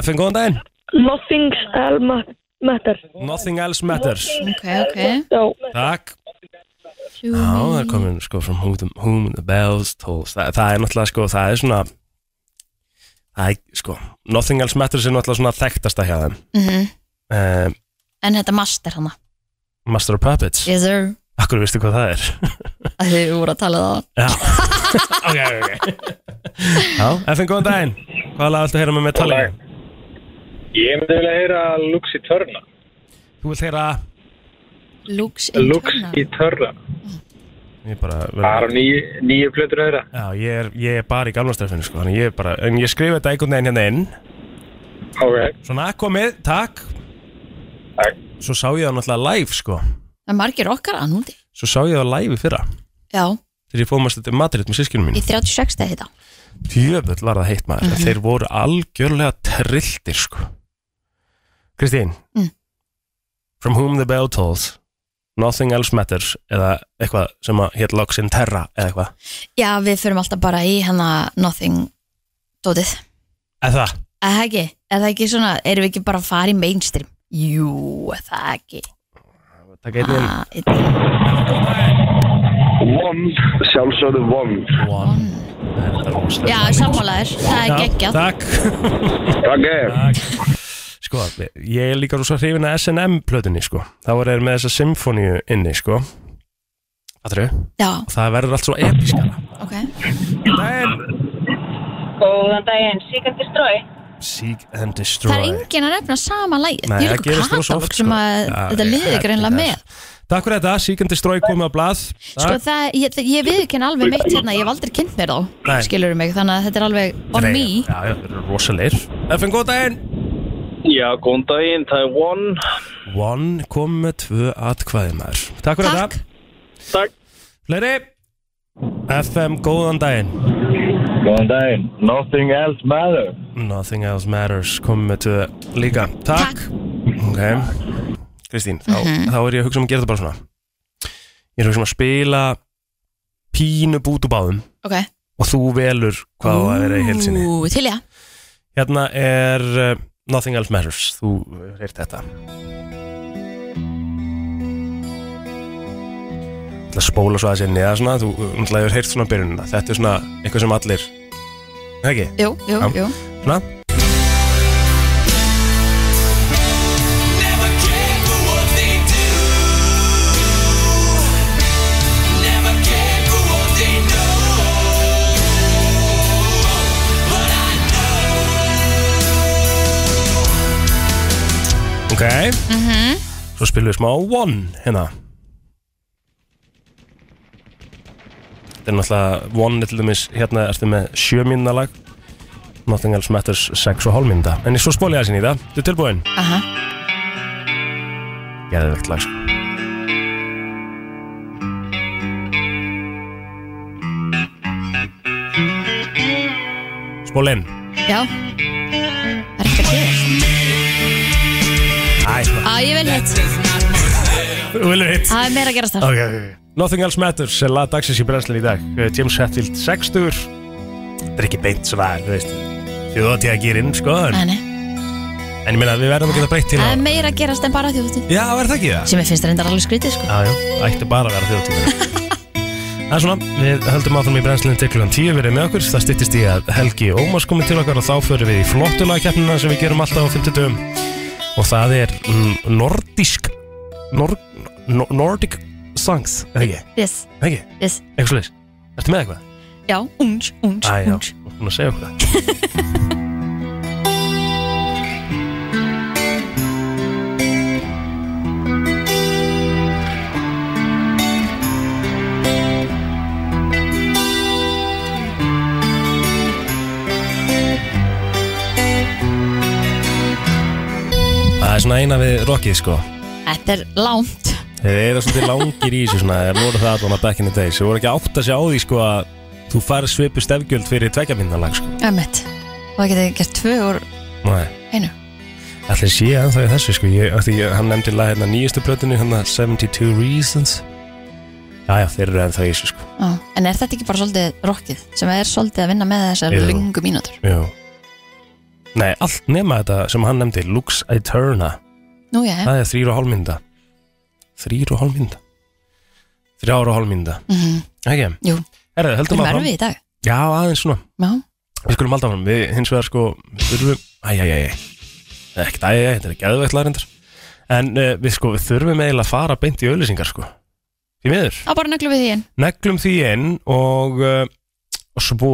Speaker 2: FN, góðan daginn
Speaker 6: Nothing Alma Matter
Speaker 2: Nothing else matters
Speaker 3: Ok, ok
Speaker 6: Já,
Speaker 2: Takk Já, það er komin sko from whom the, whom the bells tolls Þa, Það er náttúrulega sko, það er svona Það er sko Nothing else matters er náttúrulega svona þekktasta hjá þeim
Speaker 3: Mhm.
Speaker 2: uh,
Speaker 3: En þetta master hana
Speaker 2: Master of Puppets
Speaker 3: Yes sir
Speaker 2: Akkur veistu hvað það er?
Speaker 3: að Þið voru að tala um það
Speaker 2: Já Ok, ok Já, FN, góðan daginn Hvaða lag viltu heyra með Metallica?
Speaker 4: Ég myndi vilja heyra Lux Eterna.
Speaker 2: Þú vilt heyra
Speaker 3: Lux
Speaker 4: Lux
Speaker 3: Interna
Speaker 4: Eterna.
Speaker 2: Ég er bara
Speaker 4: Bara nýju, nýju plötur þeirra.
Speaker 2: Já, ég er, ég er bara í gamla strefinu sko Þannig ég er bara En ég skrifa þetta einhvern veginn hérna inn
Speaker 4: Ok,
Speaker 2: Svona, "Ah, komið, takk
Speaker 4: takk.
Speaker 2: Svo sá ég það náttúrulega live sko
Speaker 3: Það er margir okkar að núti
Speaker 2: Svo sá ég það live í fyrra
Speaker 3: Já,
Speaker 2: Þegar ég fóðum að stætti Madrid með sískinum
Speaker 3: í Mhm.
Speaker 2: mín
Speaker 3: 36 stegi þetta
Speaker 2: Tjöfull var það heitt maður Þeir voru algjörlega trilltir sko Kristín
Speaker 3: Mm.
Speaker 2: From whom the bell tolls Nothing else matters Eða eitthvað sem að hétt Logs in Terra Eða eitthvað
Speaker 3: Já, við förum alltaf bara í hana nothing dótið
Speaker 2: Eða það
Speaker 3: Er það ekki? Er það ekki svona, erum við ekki bara að fara í mainstream? Jú, er það ekki
Speaker 2: Takk einnig
Speaker 3: ah, einn-
Speaker 5: One, sjálfsögðu one
Speaker 2: One Þetta er rosalega.
Speaker 3: Já, sammálaðir, það er geggjað
Speaker 2: Takk
Speaker 5: Takk er
Speaker 2: Sko, ég er líka rosa hrifin að S&M plötunni sko Það voru þeir með þessa symfóníu inni sko Fattur
Speaker 3: Já,
Speaker 2: Það verður allt svo episkara
Speaker 3: ok
Speaker 2: Daginn
Speaker 7: Góðan daginn, Sigurður Strói.
Speaker 2: Seek and Destroy
Speaker 3: Það er engin að nefna sama
Speaker 2: Nei,
Speaker 3: lægið Það er
Speaker 2: það
Speaker 3: eitthvað
Speaker 2: gerist rosa
Speaker 3: katalóg
Speaker 2: oft,
Speaker 3: sem
Speaker 2: sko.
Speaker 3: að
Speaker 2: Já,
Speaker 3: þetta liðið
Speaker 2: heldur
Speaker 3: greinlega
Speaker 2: það.
Speaker 3: með
Speaker 2: Takk fyrir þetta, Seek and Destroy komið á blað
Speaker 3: Sko það, ég, ég viðurkenn alveg mitt hérna, ég hef aldrei kynnt mér þá,
Speaker 2: Nei.
Speaker 3: skilurðu mig, þannig að þetta er alveg on me.
Speaker 2: Já, já, þeir eru rosalegir FN, góð daginn
Speaker 4: Já, góðan daginn, það er One.
Speaker 2: One kom með tvö atkvæði maður Takk fyrir
Speaker 3: Takk.
Speaker 2: þetta
Speaker 4: Takk.
Speaker 2: Fleiri FM, góðan daginn
Speaker 4: Góðan daginn. Nothing else matter.
Speaker 2: Nothing else matters kom með tvö líka Takk, Ok Kristín, þá, þá er ég að hugsa um að gera þetta bara svona Ég er að hugsa um að spila pínu bút úr báðum
Speaker 3: Ok
Speaker 2: og þú velur hvað það er í heilsinni
Speaker 3: Ú, Til já
Speaker 2: Hérna er uh, Nothing Else Matters Þú reyrt þetta Það að spóla svo aðeins inni eða svona, þú umtlaði hefur heyrt svona byrjunina þetta er svona eitthvað sem allir Er það ekki,
Speaker 3: Jú, jú,
Speaker 2: Já.
Speaker 3: jú
Speaker 2: svona ok, svo spilum við smá One hérna þetta er náttúrulega One er til dæmis, hérna ertu með sjö mínuna lag Nothing Else Matters 6 og hálf mínúta En ég svo spóli aðeins inn í það, þetta er tilbúin
Speaker 3: Aha
Speaker 2: Geðvegt lag sko. Spóla inn
Speaker 3: Já Það er ekkert að gerast
Speaker 2: Æ,
Speaker 3: Á, ég vil hitt
Speaker 2: vilur hitt
Speaker 3: Það er meira að gerast þar
Speaker 2: okay. Nothing Else Matters er lag dagsins í brennslinn í dag Eh, James Hetfield 60 Þetta er ekki beint svona, þú veist Þjóðatíða gýrinn, sko En,
Speaker 3: Nei, nei.
Speaker 2: en ég meina, við verðum að geta breytt til á
Speaker 3: Það er meira að gerast en bara þjóðtíð
Speaker 2: Já, er það ekki það?
Speaker 3: Sem ég finnst reyndar alveg skrítið sko
Speaker 2: Já, já, það ætti bara að vera þjóðtíð Það er svona, við höldum áfram í brennslinni til klukkan 10 verið með okkur, það styttist í að Helgi Ómars komið til okkar og þá förum við í flottulagkeppnina sem við gerum alltaf á 50 dögum og það er mm, nordisk nor, no, Nordic Songs, eða ekki,
Speaker 3: Yes,
Speaker 2: eða ekki,
Speaker 3: yes
Speaker 2: eitthvað slags Ertu með eitthvað?
Speaker 3: Já, ungs, ungs,
Speaker 2: Æ, já,
Speaker 3: ungs
Speaker 2: hún að segja okkur það Það er svona eina við rockið sko
Speaker 3: Þetta er lánt
Speaker 2: Þeir eru svolítið langir í þessu svona Þeir voru það allan að back in the days Þeir voru ekki átt að sjá því sko að Þú farið svipu stefgjöld fyrir tvekja minnalag sko
Speaker 3: Ömmett Og það getið gert tvö úr
Speaker 2: Nei
Speaker 3: einu
Speaker 2: Allir sé ennþá í þessu sko ég, af því, ég, Hann nefndi lag hérna nýjustu plötinu hérna 72 Reasons Jæja, þeir eru ennþá í þessu sko
Speaker 3: Já. En er þetta ekki bara svolítið rockið sem er svolítið að vinna með þessar
Speaker 2: Jú.
Speaker 3: lungu mínútur?
Speaker 2: Jú Nei, allt nema þetta sem hann nefndi Lux Eterna
Speaker 3: Nú já,
Speaker 2: Það er þrýr og hálf mynda Þrýr og hálf mynda Þrjár og hálf mynda
Speaker 3: Mhm.
Speaker 2: Ekki?
Speaker 3: Jú.
Speaker 2: Herðu, höldum
Speaker 3: hvernig verðum
Speaker 2: áfram
Speaker 3: við í dag?
Speaker 2: Já, aðeins svona
Speaker 3: Já,
Speaker 2: Við skulum alltaf fram, við hins vegar sko þurfum, æjæjæjæ ekkert æjæjæ, þetta er geðveikt lagrindar en uh, við sko, við þurfum eiginlega að fara beint í auðlýsingar sko, því miður
Speaker 3: þá bara nöglum við því inn
Speaker 2: neglum því inn og uh, og svo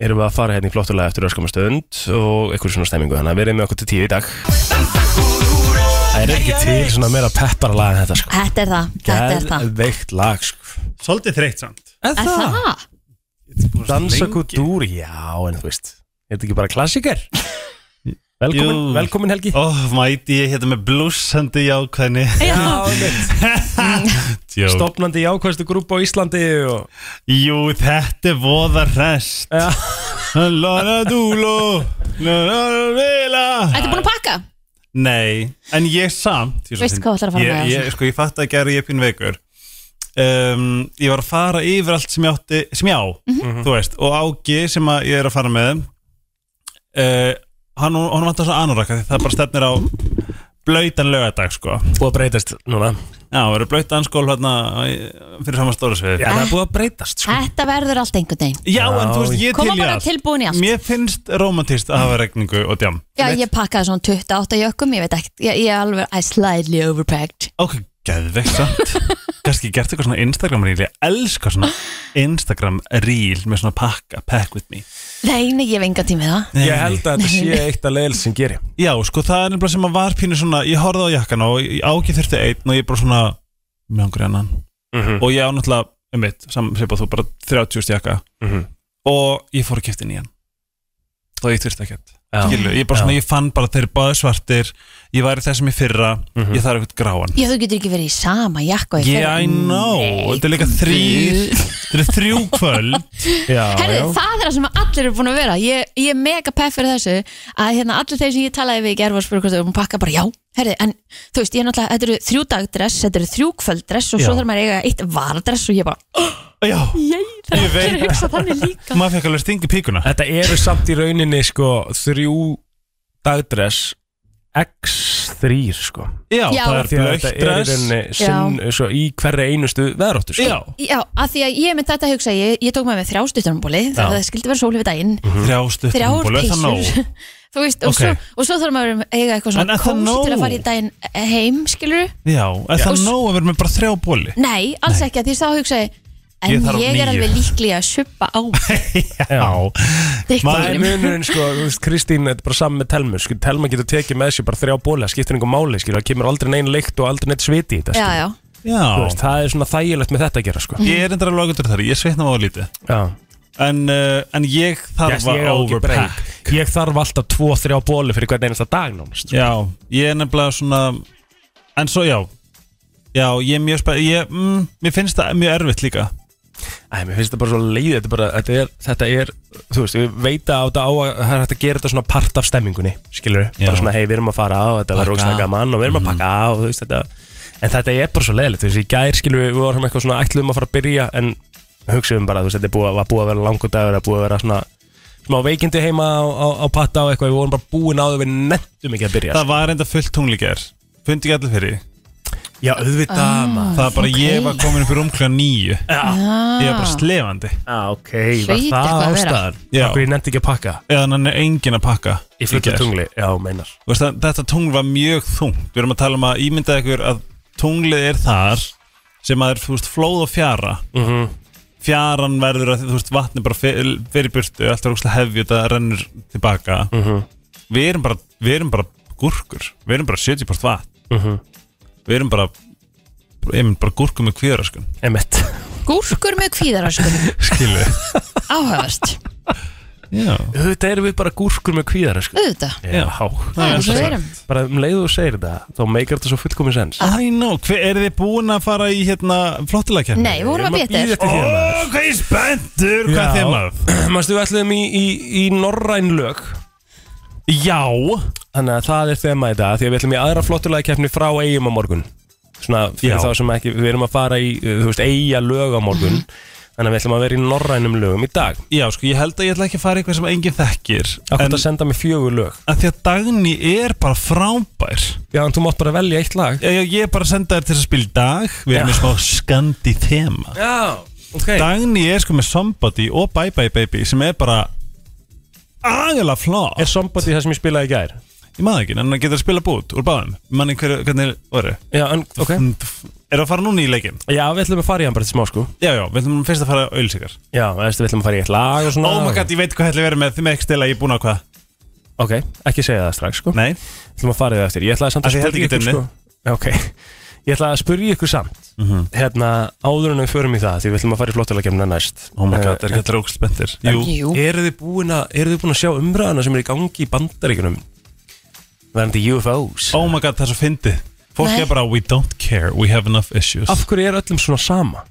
Speaker 2: erum við að fara hérna í flottulega eftir öskama stund og eitthvað svona stemmingu, þannig að við erum með okkur til tíu í dag Það er ekki til svona meira peppara lag en þetta sko
Speaker 3: Þetta er það, þetta er það
Speaker 2: Geðveikt lag sko
Speaker 8: Svolítið þreytt samt
Speaker 2: Er
Speaker 3: Er það?
Speaker 2: Dansa kútur, já, en þú veist Er þetta ekki bara klassiker? Velkomin,
Speaker 8: Jú.
Speaker 2: velkomin Helgi
Speaker 8: Ó, Oh, mæti ég hérna með blúsandi jákvæðni
Speaker 2: Já,
Speaker 8: Djók.
Speaker 2: Stopnandi jákvæðstu grúpa á Íslandi og...
Speaker 8: Jú, þetta er voða rest
Speaker 2: Já.
Speaker 8: Lana dúlo Lana vila
Speaker 3: Þetta er búin að pakka?
Speaker 8: Nei, en ég samt ég er svo
Speaker 3: Veistu
Speaker 8: finn-
Speaker 3: hvað þú ætlar að fara
Speaker 8: ég,
Speaker 3: með
Speaker 8: ég, Sko, ég fatt að gera ég er pín veikur um, Ég var að fara yfir allt sem ég átti sem ég á,
Speaker 3: Mhm.
Speaker 8: þú veist og ági sem að ég er að fara með uh, hann, hann vantar svo anoraka því það bara stefnir á blöytan lögadag, sko
Speaker 2: Búið að breytast núna
Speaker 8: Já, það verður blöytan skól hérna í- fyrir saman stóra svið
Speaker 2: Já, það er búið að breytast sko.
Speaker 3: Þetta verður allt einhvern veginn
Speaker 8: Já, en þú veist, ég er
Speaker 3: Koma
Speaker 8: til í
Speaker 3: bara
Speaker 8: allt
Speaker 3: tilbúin í allt
Speaker 8: Mér finnst romantist að hafa regningu og djám
Speaker 3: Já, ég pakkaði svona 28 jökum, ég veit ekkert, ég, ég er alveg, I slightly overpacked.
Speaker 8: Ok, geðveikt samt Kanski gert eitthvað svona Instagram reel Ég elska svona Instagram reel Með svona pakka, pack with me
Speaker 3: Nei, nei, ég hef enga tími í það.
Speaker 8: Nei,
Speaker 2: Ég held að þetta
Speaker 3: Nei, nei.
Speaker 2: sé eitt að leil sem gerir
Speaker 8: Já, sko það er nefnilega sem að var pínu svona Ég horfði á jakkan og ég ágið þurfti einn Og ég bara svona Mjög angri annan
Speaker 2: Mhm.
Speaker 8: Og ég á náttúrulega Um mitt, saman sem þú bara 30 jakka
Speaker 2: Mhm.
Speaker 8: Og ég fór að kipta inn í hann Þó ég þurfti ekkert
Speaker 2: Já.
Speaker 8: skilu, ég, bara svona, ég fann bara að þeir eru báði svartir ég væri þessum í fyrra ég þarf eitthvað gráan
Speaker 3: Já, þú getur ekki verið í sama jakka í fyrra.
Speaker 8: yeah, Mhm. I know, þetta er líka þrýr þetta eru þrjú kvöld
Speaker 2: já, já.
Speaker 3: Herðu, það er það sem allir eru búin að vera Ég, ég er mega pepp fyrir þessu að hérna, allir þeir sem ég talaði við í gerð var að spyrja hvort þau erum að pakka bara já, herðu, en þú veist, ég er náttúrulega þetta eru þrjú dagdress, þetta eru þrjú kvölddress og svo
Speaker 2: Já.
Speaker 3: þarf maður að eiga eitt varadress og ég bara,
Speaker 8: já,
Speaker 3: jæ, það er allir að hugsa þannig líka
Speaker 8: maður fekk alveg stingi píkuna
Speaker 2: Þetta eru samt í rauninni sko þrjú dagdress x3 sko
Speaker 8: já,
Speaker 3: Já.
Speaker 8: það er
Speaker 2: Því að þetta
Speaker 8: blöitt
Speaker 2: er í
Speaker 8: dress
Speaker 2: rauninni
Speaker 3: Já.
Speaker 2: sinn, svo, í hverri einustu veðróttu sko.
Speaker 8: já,
Speaker 3: Já, að því að ég mynd þetta að hugsa ég, ég tók með mig þrjá stuttunambóli
Speaker 2: Já.
Speaker 3: þegar það skildi vera sóli við daginn
Speaker 8: Mm, Mhm. þrjástu
Speaker 3: þrjár
Speaker 8: nóg
Speaker 3: peysur Þú veist, og,
Speaker 8: Ok.
Speaker 3: svo, og svo þarf maður að eiga eitthvað
Speaker 8: En
Speaker 3: svona
Speaker 8: er það
Speaker 3: kósi til
Speaker 8: nóg?
Speaker 3: að fara í daginn heim, skilur
Speaker 8: já,
Speaker 3: Og
Speaker 8: er það
Speaker 3: s-
Speaker 8: nóg að vera með bara þrjá bóli
Speaker 3: Nei, alls ekki, því þá hugsa ég En
Speaker 8: Ég
Speaker 3: ég,
Speaker 8: þarf
Speaker 3: er
Speaker 8: níu.
Speaker 3: alveg líklega að suppa á
Speaker 2: Já. Það er
Speaker 3: drikkjum
Speaker 2: munurinn sko, þú veist, Kristín þetta er bara saman með Telmu, sko, Telma getur tekið með sér bara þrjá bóla, skiptir einhver máli, sko, það kemur aldrei neinn leikt og aldrei neitt sviti í þetta,
Speaker 3: Já, Mm.
Speaker 2: sko.
Speaker 3: já,
Speaker 8: já,
Speaker 2: Þú veist, það er svona þægilegt með þetta að gera, sko.
Speaker 8: ég er endur að loka til þar ég sveitna á lítið
Speaker 2: Já.
Speaker 8: en, uh, en ég þarf
Speaker 2: Yes, ég, á
Speaker 8: að
Speaker 2: ekki breyk.
Speaker 8: overpack
Speaker 2: ég þarf alltaf tvo, þrjá bóli fyrir hvern einasta dag, nánast.
Speaker 8: Já, ég er nefnilega svona En svo já Já, ég er mjög spennt ég, mm, Mér finnst það mjög erfitt líka
Speaker 2: Æ, mér finnst þetta bara svo leið, þetta, er bara, þetta, er, þetta er, þú veist, við veita á þetta á að það er hægt að gera þetta svona part af stemmingunni, skilur við,
Speaker 8: Já.
Speaker 2: bara svona, hei, við erum að fara á, þetta verður
Speaker 8: Pakka. Mhm.
Speaker 2: ógstæða gaman og við erum að pakka á, þú veist, þetta, en þetta er bara svo leiðilegt, þú veist, í gær, skilur við, við vorum eitthvað svona ætluðum að fara að byrja, en hugsaðum bara, þú veist, þetta er búið, að- var búið að vera langur dagur, það er búið að vera svona, smá veikindi heima á, á, á patta og eitthvað, við vorum bara búin á því við nettum ekki að byrja,
Speaker 8: Það var enda fullt tunglíkjær Fundi ekki allir fyrir því.
Speaker 2: já, auðvitað,
Speaker 3: Ah.
Speaker 2: maður.
Speaker 8: Það var bara
Speaker 3: ok.
Speaker 8: ég var komin upp í rúmkljóða nýju Ég var bara
Speaker 3: já.
Speaker 8: slefandi
Speaker 2: Ah, ok, var
Speaker 3: Hlaut
Speaker 2: það
Speaker 3: eitthvað að vera.
Speaker 2: ástæðan?
Speaker 8: Já.
Speaker 2: Af hverju ég nennti ekki að pakka?
Speaker 8: Eða hann er engin að pakka
Speaker 2: Í fullu
Speaker 8: gær.
Speaker 2: tungli, já, meinar.
Speaker 8: Þú veist, það- Þetta tungl var mjög þungt Við erum að tala um að ímynda ykkur að tunglið er þar sem að er þú veist, flóð og fjara
Speaker 2: Mhm.
Speaker 8: fjaran verður að þú veist vatni bara fer- fer í burtu allt er ógslag hefði þetta rennur tilbaka
Speaker 2: Mhm.
Speaker 8: við erum bara við erum bara gúrkur við erum bara 70% vatn
Speaker 2: Mhm.
Speaker 8: við erum bara ég mynd bara gúrkur með sko. kvíðaraskun
Speaker 2: Emmett
Speaker 3: Gúrkur með kvíðaraskunum
Speaker 8: skilu
Speaker 3: Áhæfast,
Speaker 8: já
Speaker 2: Þetta erum við bara gúrkur með kvíðara sko
Speaker 3: auðvitað
Speaker 2: Já,
Speaker 3: Það er eins og við
Speaker 8: það.
Speaker 3: erum
Speaker 2: bara um leið og þú segir þetta þá meikar þetta svo fullkomin sens
Speaker 8: I know hver er þið búin að fara í hérna flottilega hérna. kemni
Speaker 3: Nei, við vorum að
Speaker 2: Ég er
Speaker 3: betur
Speaker 2: maður að bíða
Speaker 8: Ó, hvað ég er spenntur, hvað er
Speaker 2: Já.
Speaker 8: þið maður?
Speaker 2: Mástu við ætluðum í, í, í norræn lög
Speaker 8: Já,
Speaker 2: Þannig að það er þema í dag Því að við ætlum í aðra flottulega keppni frá eigum á morgun Svona fyrir
Speaker 8: Já.
Speaker 2: þá sem ekki Við erum að fara í, uh, þú veist, eiga lög á morgun Þannig að við ætlum að vera í norrænum lögum í dag
Speaker 8: já, sko, ég held að ég ætla ekki að fara í eitthvað sem enginn þekkir
Speaker 2: Akkur
Speaker 8: En
Speaker 2: að senda mig fjögur lög
Speaker 8: að því að Dagný er bara frábær
Speaker 2: Já, en þú mátt bara velja eitt lag
Speaker 8: Já, já, ég er bara að senda þér til þess að spila í dag Við erum
Speaker 2: Já.
Speaker 8: með smá skandi þema
Speaker 2: Já, ok
Speaker 8: Dagný er sko með Somebody og Bye Bye Baby sem er bara agalega flott
Speaker 2: Er somebody það sem ég spilaði í gær?
Speaker 8: Ég maður ekki, en hann getur að spila bút úr báðum Manni hverju, hvernig voru
Speaker 2: Já, en, ok
Speaker 8: Mm, pff. Er það að fara núna í leikin?
Speaker 2: Já, við ætlum að fara í hann bara til smá sko
Speaker 8: Já, já, við ætlum fyrst að fara auðlýsingar
Speaker 2: Já, þú veist, við ætlum að fara í eitt lag og svona
Speaker 8: Oh my god, ég veit hvað ætla að vera með Þið með ekki stela, ég er búin á hvað
Speaker 2: Ok, ekki segja það strax sko
Speaker 8: Nei,
Speaker 2: Við ætlum að fara í það eftir Ég ætlaði samt
Speaker 8: Af
Speaker 2: að
Speaker 8: því ég held
Speaker 2: spyrja
Speaker 8: ekki
Speaker 2: ykkur sko
Speaker 8: dimmi.
Speaker 2: Já, Ok Ég ætlaði að spyrja ykkur samt Hérna, áður en við förum í það Því við ætlum að fara í flottulegkemna næst Eh, hérna,
Speaker 8: oh my god, er ekki að drókst bentir Jú,
Speaker 3: Jú,
Speaker 2: Eru þið búin að, eru þið búin að sjá umræðana sem er í gangi í bandaríkunum Verðandi UFOs
Speaker 8: oh my god, það er svo fyndið Fólk
Speaker 3: Nei.
Speaker 8: er bara, we don't care, we have enough issues
Speaker 2: Af hverju er öllum svona sama?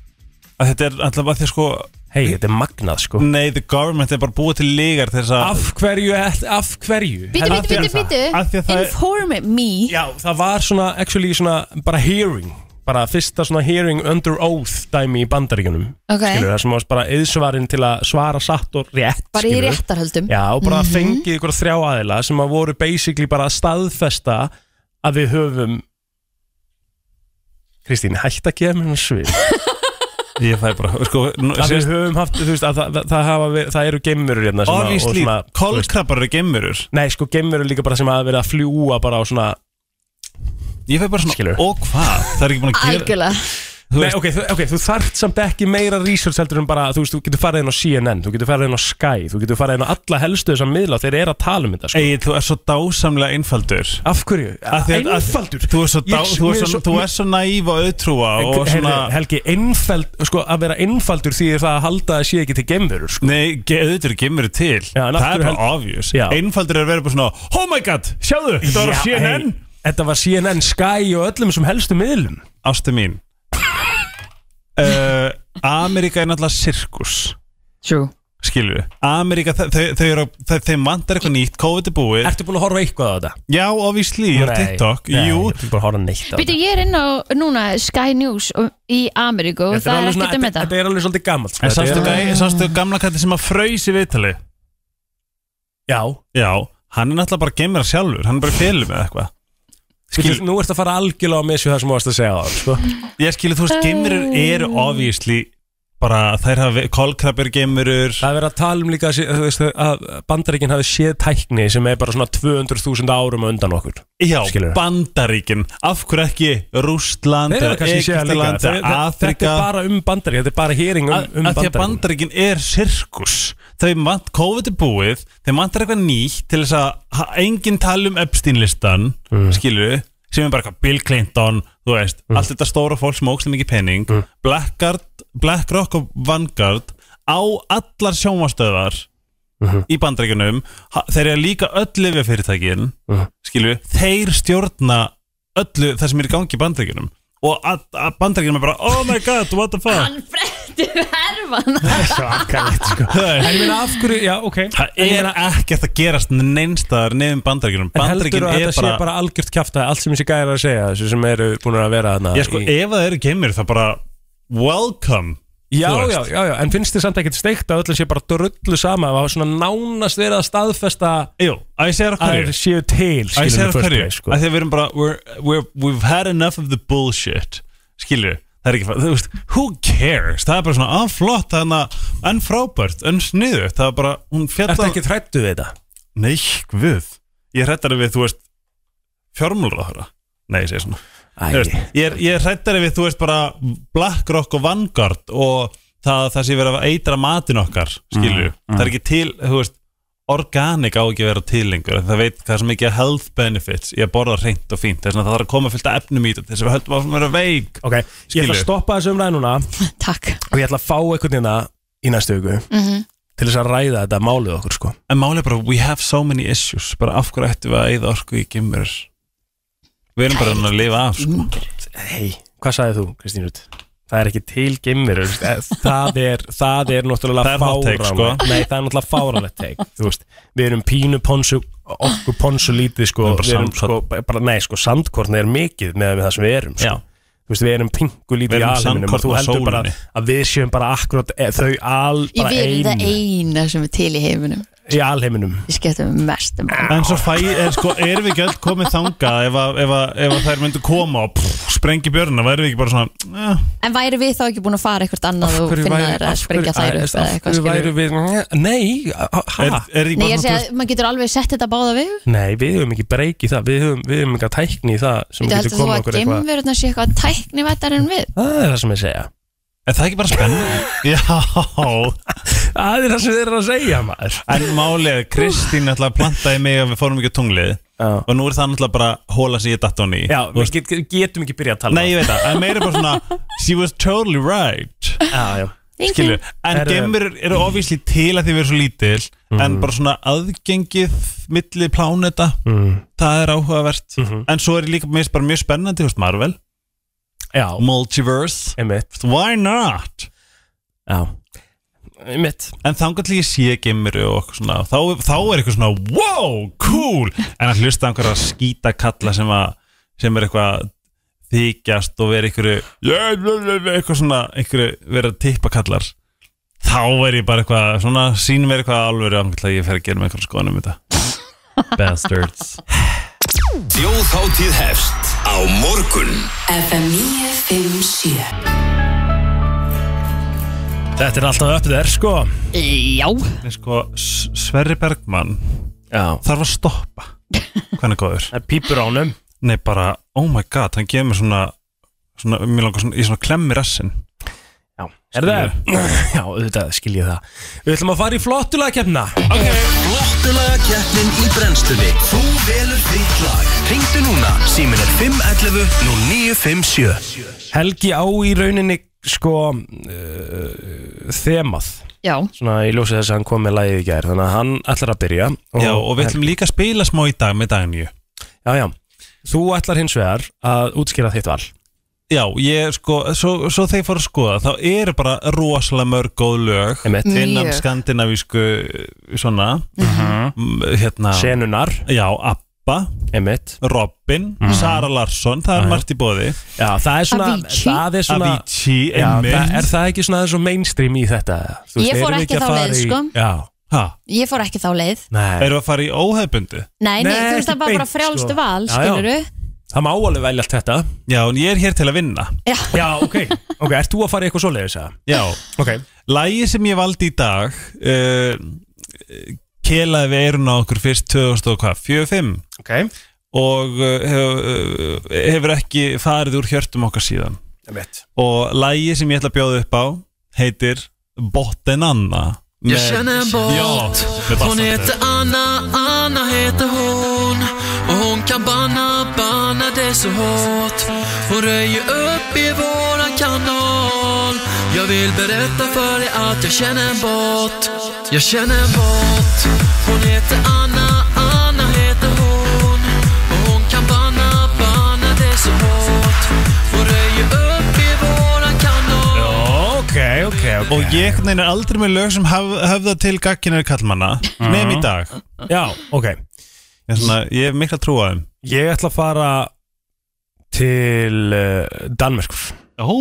Speaker 8: Að Þetta er alltaf að því að sko
Speaker 2: Hei, þetta er magnað sko
Speaker 8: Nei, the government er bara búið til lígar til þess að
Speaker 2: Af hverju, af hverju
Speaker 3: býtu,
Speaker 8: Af því
Speaker 3: býtu,
Speaker 8: að
Speaker 3: býtu,
Speaker 8: það- af því
Speaker 3: býtu
Speaker 8: að það er-
Speaker 3: Inform me
Speaker 2: Já, það var svona, actually svona bara hearing, bara fyrsta svona hearing under oath dæmi í bandaríkunum
Speaker 3: Ok.
Speaker 2: skilur, það sem var bara yðsvarin til að svara satt og rétt,
Speaker 3: Bara í Mhm.
Speaker 2: skilurðu.
Speaker 3: réttarhöldum Mm,
Speaker 2: Já, og bara fengið ykkur þrjá aðila sem að voru basically bara að staðfesta að við höfum Kristín, hætt að gefa mér hennar svið
Speaker 8: Ég fæ bara, sko nú-
Speaker 2: að
Speaker 8: síðast-
Speaker 2: við höfum haft, þú veist, að það, það, það, hafa verið- það eru geimurur hérna sem að- og
Speaker 8: Obviously,
Speaker 2: svona-
Speaker 8: kolkrabbar eru geimurur
Speaker 2: Nei, sko, geimurur líka bara sem að verið að fljúa bara á svona
Speaker 8: Ég fæ bara svona,
Speaker 2: Skilur.
Speaker 8: og hvað? Það er ekki búin að gera
Speaker 3: Algjörlega
Speaker 8: Þú
Speaker 2: Nei,
Speaker 8: veist-
Speaker 2: ok, þú, okay, þú þarft samt ekki meira research heldur en bara, þú veist, þú getur farið inn á CNN, þú getur farið inn á Sky, þú getur farið inn á alla helstu þessar miðla, þeir eru að tala um þetta, sko.
Speaker 8: Egil, þú er svo dásamlega einfaldur
Speaker 2: Af hverju?
Speaker 8: Af því að- að-
Speaker 2: Einfaldur?
Speaker 8: Þú er svo, dá,
Speaker 2: Ég-
Speaker 8: þú
Speaker 2: mér
Speaker 8: er
Speaker 2: er
Speaker 8: svo,
Speaker 2: svo-
Speaker 8: þú er svo næf og auðtrúa og
Speaker 2: Heyrðu,
Speaker 8: svona
Speaker 2: Helgi, einfald, sko, að vera einfaldur því það að halda að sé ekki til gemverur, sko.
Speaker 8: Nei, ge- auðvitað kemur til
Speaker 2: Já, en af
Speaker 8: Það er
Speaker 2: hverju
Speaker 8: bara obvious
Speaker 2: Já.
Speaker 8: Einfaldur er að vera bara svona Oh my god, sjáðu, þetta var á
Speaker 2: Já,
Speaker 8: CNN
Speaker 2: hey, Þetta var CNN, Sky og öllum sem helstu miðlum.
Speaker 8: Ástu mín uh, Amerika er náttúrulega sirkus
Speaker 3: True
Speaker 8: Skilju Amerika, þau, þau, þau, eru- þau, þeim vantar eitthvað nýtt COVID er búið
Speaker 2: Ertu búin að horfa eitthvað á þetta?
Speaker 8: Já, obviously, ég er á
Speaker 2: Nei,
Speaker 8: TikTok
Speaker 2: Nei,
Speaker 8: Jú,
Speaker 2: Ég er bara að horfa neitt á þetta.
Speaker 3: Býtu, ég er inn á núna Sky News og- í Ameríku og það er
Speaker 2: alveg svona-
Speaker 3: ekkert um
Speaker 2: þetta
Speaker 3: þetta
Speaker 2: er alveg svolítið gammalt sko.
Speaker 8: en
Speaker 2: Þetta
Speaker 8: sástu,
Speaker 2: er-
Speaker 8: gæ, sástu gamla kalli sem að fraus í viðtali
Speaker 2: Já
Speaker 8: Já, hann er náttúrulega bara gemur sjálfur Hann er bara í félum eða eitthvað
Speaker 2: Skil,
Speaker 8: Skil-
Speaker 2: Nú ertu að fara algjörlega á missu það sem þú varst að segja á sko.
Speaker 8: Ég skilu, þú veist, geimurur eru obviously bara, þær hafa, kolkrabir geimurur
Speaker 2: Það er verið að tala um líka að sé- þú veist, að bandaríkinn hafi séð tækni sem er bara svona 200.000 árum á undan okkur
Speaker 8: Já,
Speaker 2: skilurðu.
Speaker 8: Bandaríkin, af hverju ekki Rústland,
Speaker 2: Þeir eru kannski séð það líka Þe- þe- Þetta
Speaker 8: Afrika
Speaker 2: er bara um bandaríkinn, þetta er bara hering um,
Speaker 8: að,
Speaker 2: um
Speaker 8: að því að
Speaker 2: bandaríkinn
Speaker 8: bandaríkin er sirkus þau vant COVID er búið þau vantar eitthvað nýtt til þess að ha- enginn tala um Epstein listan mm. skilu, sem er bara eitthvað Bill Clinton þú veist, allt þetta stóra fólk sem ógst mikið pening, Blackguard BlackRock og Vanguard á allar sjómastöðar í bandaríkinum Ha- þeir eru líka öll lifja fyrirtækin skilu, þeir stjórna öllu það sem er í gangi í bandaríkinum og að, að bandaríkinum er bara oh my god, what the fuck
Speaker 3: Hann frettir herfana
Speaker 2: sko.
Speaker 8: Þú veist.
Speaker 2: En ég meina af hverju, já ok
Speaker 8: Það er ekkert að gerast neinstæðar nefn bandaríkjunum
Speaker 2: En heldur
Speaker 8: Bandaríkjun
Speaker 2: að
Speaker 8: er
Speaker 2: þetta sé
Speaker 8: bara,
Speaker 2: bara algjört kjafta allt sem þessi gæri að segja, þessu sem eru búin að vera þarna
Speaker 8: Ég sko,
Speaker 2: í-
Speaker 8: ef það eru geimur það bara Welcome
Speaker 2: Já,
Speaker 8: þú veist.
Speaker 2: já, já, já, en finnst þið samt ekkert steikt að öll sé bara drullu sama að hafa svona nánast verið að staðfesta
Speaker 8: Jú, að ég segir
Speaker 2: að
Speaker 8: okkur
Speaker 2: þeir séu til
Speaker 8: Að
Speaker 2: skilur
Speaker 8: ég segir
Speaker 2: við, first
Speaker 8: okkur
Speaker 2: place, sko.
Speaker 8: Að því að við erum bara we're, we're, We've had enough of the bullshit Skilju Það er ekki, fa- þú veist, who cares? Það er bara svona, að flott, þannig að, en frábært, en sniðu, það er bara, hún
Speaker 2: Ertu
Speaker 8: fjallar,
Speaker 2: ekki hrættu við þetta?
Speaker 8: nei, við, ég hrættar við, þú veist, fjármúlur á þeirra, nei, ég segi svona, Þú veist, ég er, ég er hrættari við, þú veist, bara BlackRock og Vanguard og það, það sé verið að eitra matin okkar skilju, það er ekki til, þú veist organic á ekki að vera til lengur það veit það er svo mikið health benefits í að borða reynt og fínt, þess að það þarf að koma fyllt af efnum í þetta, þess að við höldum áfram að vera veik
Speaker 2: Ok, ég ætla að
Speaker 8: Skilur.
Speaker 2: stoppa þessu umræði núna
Speaker 3: Takk
Speaker 2: og ég ætla að fá einhvern veginn í næstu viku til þess að ræða þetta málið okkur sko
Speaker 8: en málið er bara, we have so many issues bara af hverju ættum við að eyða orku í gimmur við erum bara að lifa af sko.
Speaker 2: Hei, hvað sagðið þú, Kristín Rut? Það er ekki til geimverur þú veist, Eh, það er, það er
Speaker 8: Það
Speaker 2: náttúrulega
Speaker 8: er hot take,
Speaker 2: fáránlegt.
Speaker 8: sko.
Speaker 2: Nei, það er náttúrulega fáránlegt teik veist, Við erum pínu ponsu okkur ponsu lítið sko,
Speaker 8: Við erum
Speaker 2: við erum,
Speaker 8: bara
Speaker 2: sko
Speaker 8: sandkorn.
Speaker 2: bara, Nei, sko, sandkorn er mikið með, með það sem við erum sko.
Speaker 8: Já.
Speaker 2: Þú veist, við erum pingu lítið
Speaker 8: Við
Speaker 2: í
Speaker 8: erum
Speaker 2: alheiminum og
Speaker 8: sandkorn
Speaker 2: þú
Speaker 8: á
Speaker 2: heldur bara
Speaker 8: sólinni.
Speaker 2: að við séum bara akkurat e, þau al,
Speaker 3: Ég
Speaker 2: bara
Speaker 3: verið það
Speaker 2: einu
Speaker 3: eina sem er til í heiminum
Speaker 2: í alheiminum
Speaker 3: Ég skipti mig mest um það
Speaker 8: En svo fæ, er, sko, erum við ekki öll komið þangað ef, að, ef, að, ef að þær myndu koma og pff, sprengi björna, væri við ekki bara svona eh,
Speaker 3: En væri við þá ekki búin að fara eitthvað annað og finna þær að sprengja þær upp eða eitthvað skilur
Speaker 2: við Nei,
Speaker 8: er,
Speaker 2: hæ?
Speaker 8: er ekki
Speaker 3: Nei,
Speaker 8: bara
Speaker 3: ég
Speaker 8: svona
Speaker 3: segi að maður getur alveg sett þetta báða við
Speaker 2: Nei, við höfum ekki breyk í það Við höfum, við höfum ekki tækni í það sem
Speaker 3: Þú
Speaker 2: getur
Speaker 3: heldur þú
Speaker 2: komið
Speaker 3: að
Speaker 2: okkur eitthvað
Speaker 3: geimverðna sé eitthvað tæknivættar en við
Speaker 2: Það er það sem ég segja
Speaker 8: Er það ekki bara spennandi? Já
Speaker 2: Það er það sem þið eru að segja maður
Speaker 8: En málið, Kristín ætlaði að planta í mig að við fórum ekki á tunglið
Speaker 2: Já,
Speaker 8: og nú er það náttúrulega bara hóla sem ég datt á ný
Speaker 2: Já við get, getum ekki byrjað að tala um
Speaker 8: Nei, ég veit það, en meira bara svona She was totally right
Speaker 2: Já, já
Speaker 8: Skilu, en
Speaker 2: Herðu.
Speaker 8: gemur eru ofísli til að því við erum svo lítil en bara svona aðgengið milli pláneta, það er áhugavert en svo er líka mér finnst bara mjög spennandi þú veist, Marvel,
Speaker 2: Já,
Speaker 8: Multiverse
Speaker 2: einmitt
Speaker 8: Why not?
Speaker 2: Já Einmitt
Speaker 8: En þangar til ég sé gemuru og okkur svona þá, þá er eitthvað svona, wow, cool En að hlusta á einhverja skítakalla sem, að, sem er eitthvað að þykjast og vera einhverju yeah, blah, blah, blah, eitthvað svona, einhverju vera tippakallar þá er ég bara eitthvað, svona sýnum mér eitthvað alvöru af að ég fer að gera með einhverjum skoðanum um þetta Bastards
Speaker 1: Þjóðháttíð hefst á morgun
Speaker 9: FM 957
Speaker 2: Þetta er alltaf upp þér, sko
Speaker 3: Já,
Speaker 8: En sko, S- Sverri Bergmann
Speaker 2: Já
Speaker 8: þarf að stoppa Hvernig góður?
Speaker 2: Það er pípur ánum
Speaker 8: Nei bara, oh my god, hann gefur mér svona svona, mér langar svona, ég svona klemmi rassin
Speaker 2: Já, er það? Já, auðvitað skil ég það Við ætlum að fara í hérna. flottulega kemna
Speaker 1: Flottulega keppnin í brennstunni Þú velur þitt lag Ringdu núna, símin er 511 0957
Speaker 2: Helgi á í rauninni sko uh, þemað
Speaker 3: Já,
Speaker 2: svona í ljósi þess að hann kom með lagið í gær þannig að hann ætlar að byrja og,
Speaker 8: Já, og við ætlum líka að spila smá í dag með daginju
Speaker 2: Já, já, þú ætlar hins vegar að útskýra þitt val
Speaker 8: Já, ég sko, svo, svo þegar ég fór að skoða þá eru bara rosalega mörg góð lög
Speaker 2: Einmitt.
Speaker 8: innan
Speaker 3: Mjög.
Speaker 8: skandinavísku svona mm, hérna,
Speaker 2: Senunar,
Speaker 8: já, Abba
Speaker 2: emitt
Speaker 8: Robin, Sara Larsson það er margt í bóði
Speaker 2: Já, það er svona,
Speaker 3: Avicii.
Speaker 2: það er svona
Speaker 8: Avicii,
Speaker 2: Já,
Speaker 8: Emmitt
Speaker 2: það, er það ekki svona svo mainstream í þetta? Þú
Speaker 3: Ég fór
Speaker 2: erum við
Speaker 3: ekki
Speaker 2: að
Speaker 3: þá
Speaker 2: fara
Speaker 3: leið,
Speaker 2: í-
Speaker 3: sko.
Speaker 2: Já,
Speaker 8: ha,
Speaker 3: ég fór ekki þá leið
Speaker 2: nei,
Speaker 8: erum við að fara í óhefbundi?
Speaker 3: Nei, nei,
Speaker 2: Nei,
Speaker 3: þú veist
Speaker 2: ekki
Speaker 3: það var bara
Speaker 2: beint,
Speaker 3: frjálstu
Speaker 2: sko.
Speaker 3: val,
Speaker 2: Já, já.
Speaker 3: skiluru
Speaker 2: það má alveg velja allt þetta
Speaker 8: Já, en ég er hér til að vinna
Speaker 3: Já,
Speaker 2: Já, ok, ok, ert þú að fara í eitthvað svoleiðis að?
Speaker 8: Já,
Speaker 2: Ok,
Speaker 8: lægi sem ég valdi í dag uh, kelaði við eirun á okkur fyrst 2045
Speaker 2: ok,
Speaker 8: og uh, hef, uh, hefur ekki farið úr hjörtum okkar síðan
Speaker 2: emitt
Speaker 8: og lægi sem ég ætla að bjóða upp á heitir Botten Anna
Speaker 10: Jag känner en båt, hon heter Anna, Anna heter hon Och hon kan banna, banna det så hårt Hon röjer upp i våran kanal Jag vill berätta för dig att jag känner en båt Jag känner en båt, hon heter Anna, Anna heter hon Och hon kan banna, banna det så hårt Hon röjer upp i våran kanal
Speaker 2: Ok, ok, ok
Speaker 8: og ég einhvern veginn er aldrei með lög sem haf, höfða til gagkinar kallmanna nefn í dag
Speaker 2: Já, ok
Speaker 8: ég, er svona, ég hef mikla trú á þeim
Speaker 2: Ég ætla að fara til uh, Danmerkur
Speaker 8: Ó,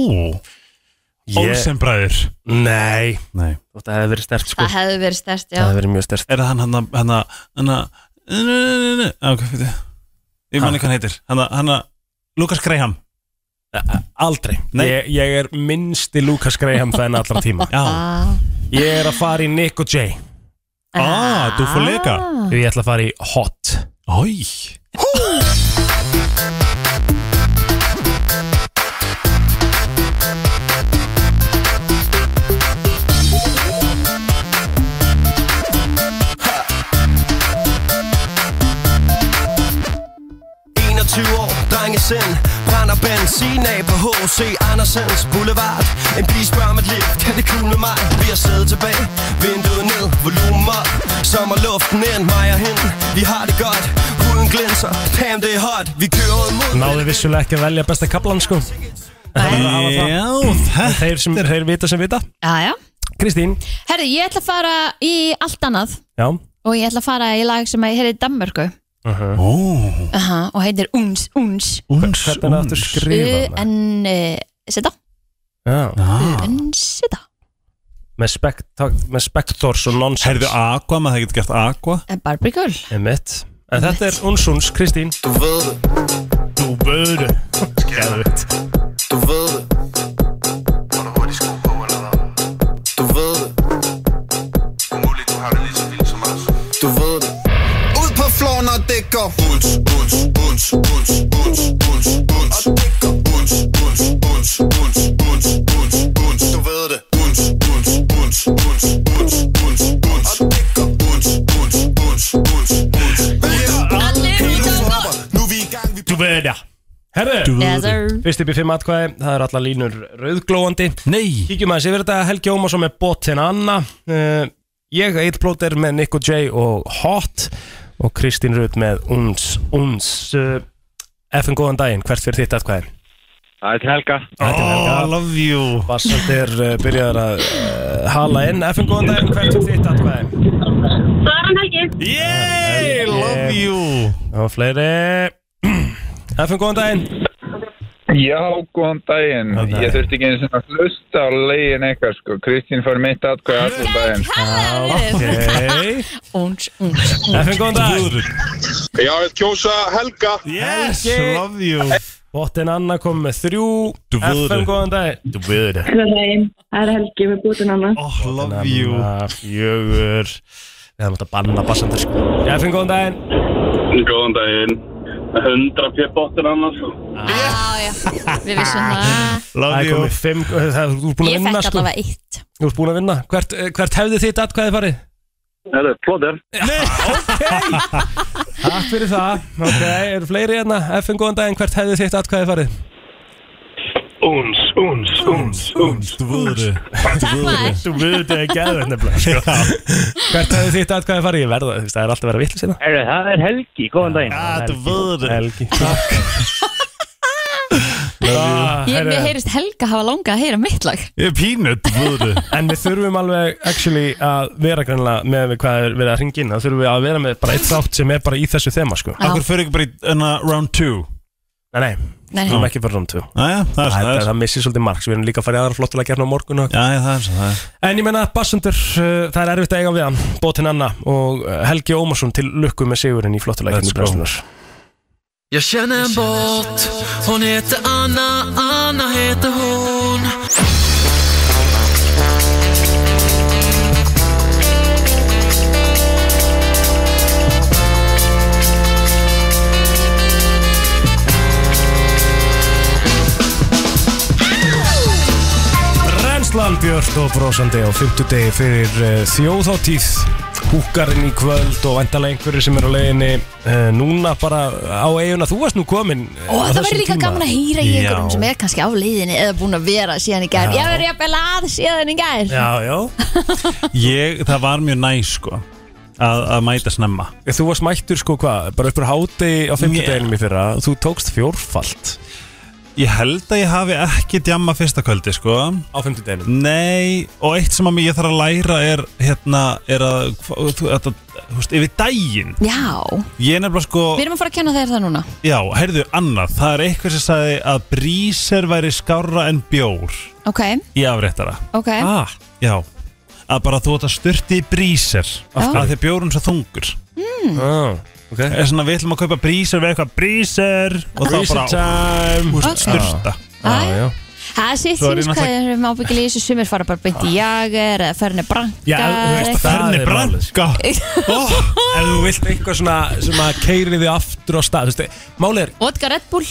Speaker 8: Olsenbræður
Speaker 2: Nei,
Speaker 8: Nei
Speaker 2: þetta hefði verið stert sko
Speaker 3: það hefði verið stærst, já
Speaker 2: Það hefði verið mjög stert
Speaker 8: Er það hann hann hann hann hann hann Ég manni hvað hann heitir Hann hann Lukas Graham
Speaker 2: Aldrei
Speaker 8: Nei.
Speaker 2: ég, ég er minnsti Lucas Graham það en allra tíma
Speaker 3: Ah.
Speaker 8: Já
Speaker 2: Ég er að fara í Nick og Jay
Speaker 8: Ah, du får leka.
Speaker 2: Ég ætla að fara í Hot
Speaker 8: Ói
Speaker 10: Drengesend Brænder benzin af på H.C. Andersens Boulevard En pige spørger mit liv, kan det kugle mig? Vi har siddet tilbage, vinduet ned, volumen op Sommerluften ind, mig og hende, vi har det godt Huden glinser, damn det er hot Vi kører ud mod
Speaker 2: Náðu vissulega ekki að velja besta kaplan sko Ah.
Speaker 8: Já, það
Speaker 2: Þeir sem, þeir vita sem vita
Speaker 3: Já, já
Speaker 2: Kristín,
Speaker 3: Herði, ég ætla að fara í allt annað
Speaker 2: já
Speaker 3: og ég ætla að fara í lag sem að ég heyrði í Danmörku
Speaker 8: Ó
Speaker 3: Aha, og heitir Uns, Uns
Speaker 8: Uns,
Speaker 2: Hvernig er aftur skrifað maður?
Speaker 3: U-N-Sita
Speaker 2: Já,
Speaker 3: U-N-Sita
Speaker 2: Með, spektak, með spektors og nonsens
Speaker 8: Herðu Aqua, maður það getur gert Aqua
Speaker 3: Barbie Girl
Speaker 2: Emitt En þetta er Unsuns, Kristín
Speaker 10: Du ved det,
Speaker 2: Þú böðu Geðvitt
Speaker 10: du ved det Har du hurtigt sko på eller hvad? Du ved det Umuligt, du har det lige så vildt som os Du ved det Ud på floor, når det går Uns, uns, uns, uns, uns, uns, uns Og det går Uns, uns, uns, uns, uns, uns, uns Du ved det Uns, uns, uns, uns, uns, uns, uns Og det går Uns, uns, uns, uns, uns, uns
Speaker 3: Allir út að
Speaker 10: Rapper, nu er vi i gang, vi
Speaker 2: Þú böðu Herðu
Speaker 3: Yes, sir.
Speaker 2: Fyrst upp í fimm atkvæði Það er allar línur rauðglóandi
Speaker 8: Nei
Speaker 2: Kíkjum aðeins yfir þetta Helgi Ómarsson með Botin Anna uh, Ég Eil Plóter með Nico J og Hot Og Kristín Rut með Uns Uns uh, FN góðan daginn, hvert fyrir þitt atkvæði?
Speaker 4: Það er til Helga.
Speaker 2: Þetta er
Speaker 8: Oh, I
Speaker 2: Helga
Speaker 8: love you
Speaker 2: Vassand er uh, byrjaður að uh, hala inn FN góðan daginn, hvert fyrir þitt atkvæði?
Speaker 7: Aron Helgi.
Speaker 8: Yay, love you
Speaker 2: Og fleiri FN góðan daginn
Speaker 4: Já, góðan daginn. Ég þurfti ekki einu sinna að hlusta á legin eitthvað, sko. Kristín fór mitt atkvæði allir daginn.
Speaker 3: Ah.
Speaker 2: okay.
Speaker 3: Uns, Uns
Speaker 2: FN góðan daginn
Speaker 5: Já, ég kjósa Helga
Speaker 8: Yes,
Speaker 2: Helgi.
Speaker 8: love you
Speaker 2: Botin Anna kom með þrjú
Speaker 8: Þú vöður.
Speaker 2: FN góðan daginn Þú vöður
Speaker 6: Það er Helgi með bútin annað.
Speaker 8: Oh, love you
Speaker 2: Fjögur Við hefum átt að banna bassandur sko Jæfn, góðan daginn
Speaker 5: Góðan daginn
Speaker 11: 100 pjö bóttin annars
Speaker 3: Ah, Já, já, við vissum það
Speaker 2: Það er komið fimm eh, það er- Þú ert búin að
Speaker 3: Ég
Speaker 2: vinna
Speaker 3: fekk
Speaker 2: sko
Speaker 3: allavega eitt
Speaker 2: Þú ert búin að vinna Hvert, eh, hvert hefði þitt atkvæði farið?
Speaker 11: Herru, plóðir
Speaker 2: Takk fyrir það Ok, eru fleiri hérna FN góðan daginn Hvert hefði þitt atkvæði farið?
Speaker 11: Úns, úns, úns, úns
Speaker 8: Þú vöðu
Speaker 2: Þú vöðu er gæður nefnilega sko. Hvert hefði þitt atkvæði farið? Ég verða, þú veist, það er alltaf að vera vitlis hérna
Speaker 12: Herru, það er Helgi, góðan daginn
Speaker 2: Ah, þú vöður Helgi Takk
Speaker 3: Ég, mér heyrist Helga hafa langað að heyra mitt lag
Speaker 2: Ég er pínut vöðu En við þurfum alveg actually að vera grannlega með við hvað er verið að ringin Það þurfum við að vera með bara eitt þátt sem er bara í þessu þema sko
Speaker 8: Akkur fyrir ekki bara í enna round 2
Speaker 2: Nei, nei,
Speaker 3: Nei, nei.
Speaker 2: við erum ekki fyrir round 2
Speaker 8: Næja, það er
Speaker 2: Það,
Speaker 8: það
Speaker 2: það, það missir svolítið marks, við erum líka að fara í aðra flottulega að á morgun og...
Speaker 8: Já, já, það er svo það er
Speaker 2: En ég menna, Bassundur, uh, það er erfitt að eiga við hann Bótin Anna og uh, Helgi Ómarsson til lukku með sigurinn í flottulega
Speaker 10: Let's
Speaker 2: kemur
Speaker 10: go.
Speaker 2: brennslunar
Speaker 10: Jag känner en båt, hon heter Anna, Anna heter hon
Speaker 2: Brennslan Björk og brosandi á 50 degi fyrir uh, þjóðháttíð Húkarinn í kvöld og vandalega einhverju sem er á leiðinni uh, núna bara á eiguna Þú varst nú komin uh,
Speaker 3: Og
Speaker 2: á
Speaker 3: það
Speaker 2: þessum
Speaker 3: verður líka
Speaker 2: tíma.
Speaker 3: gaman að heyra í einhverjum
Speaker 2: Já.
Speaker 3: sem er kannski á leiðinni eða búin að vera síðan í gær
Speaker 8: Já.
Speaker 3: Ég verður jafnvel að síðan í gær
Speaker 2: já
Speaker 8: Ég, það var mjög næ sko að, að mæta snemma
Speaker 2: Þú varst mættur sko hvað, bara uppur háti á 50 deginum í fyrra Þú tókst fjórfalt
Speaker 8: Ég held að ég hafi ekki djamma fyrsta kvöldi sko Á
Speaker 2: 50 deginum
Speaker 8: Nei, og eitt sem að mér ég þarf að læra er hérna, er að, hva- þú að, að húst, yfir daginn
Speaker 3: Já,
Speaker 8: Ég er nefnilega sko
Speaker 3: við erum að fara að kenna þér það núna
Speaker 8: Já, heyrðu, annað, það er eitthvað sem sagði að bríser væri skárra en bjór
Speaker 3: Ok,
Speaker 8: í afréttara
Speaker 3: ok
Speaker 2: Ah.
Speaker 8: Já, að bara þú átt að styrti í bríser
Speaker 3: Af hverju?
Speaker 8: að því bjórun svo þungur
Speaker 3: mm.
Speaker 2: ah, okay.
Speaker 8: er svona við ætlum að kaupa bríser við eitthvað bríser og þá
Speaker 2: Breezer
Speaker 8: bara
Speaker 2: time.
Speaker 8: húst,
Speaker 3: Ok.
Speaker 8: styrta
Speaker 3: Já, já Það er sitt
Speaker 8: Svo er ég
Speaker 3: síns hvað
Speaker 8: náttúrulega-
Speaker 3: erum ábyggilega í þessu sumir fara bara beint í jager eða ferni
Speaker 2: Já, þú veist,
Speaker 3: brankar
Speaker 2: það er branka oh, Ef þú vilt eitthvað svona sem að keiri þig aftur á stað þú veist, Málið er
Speaker 3: Vodka Red Bull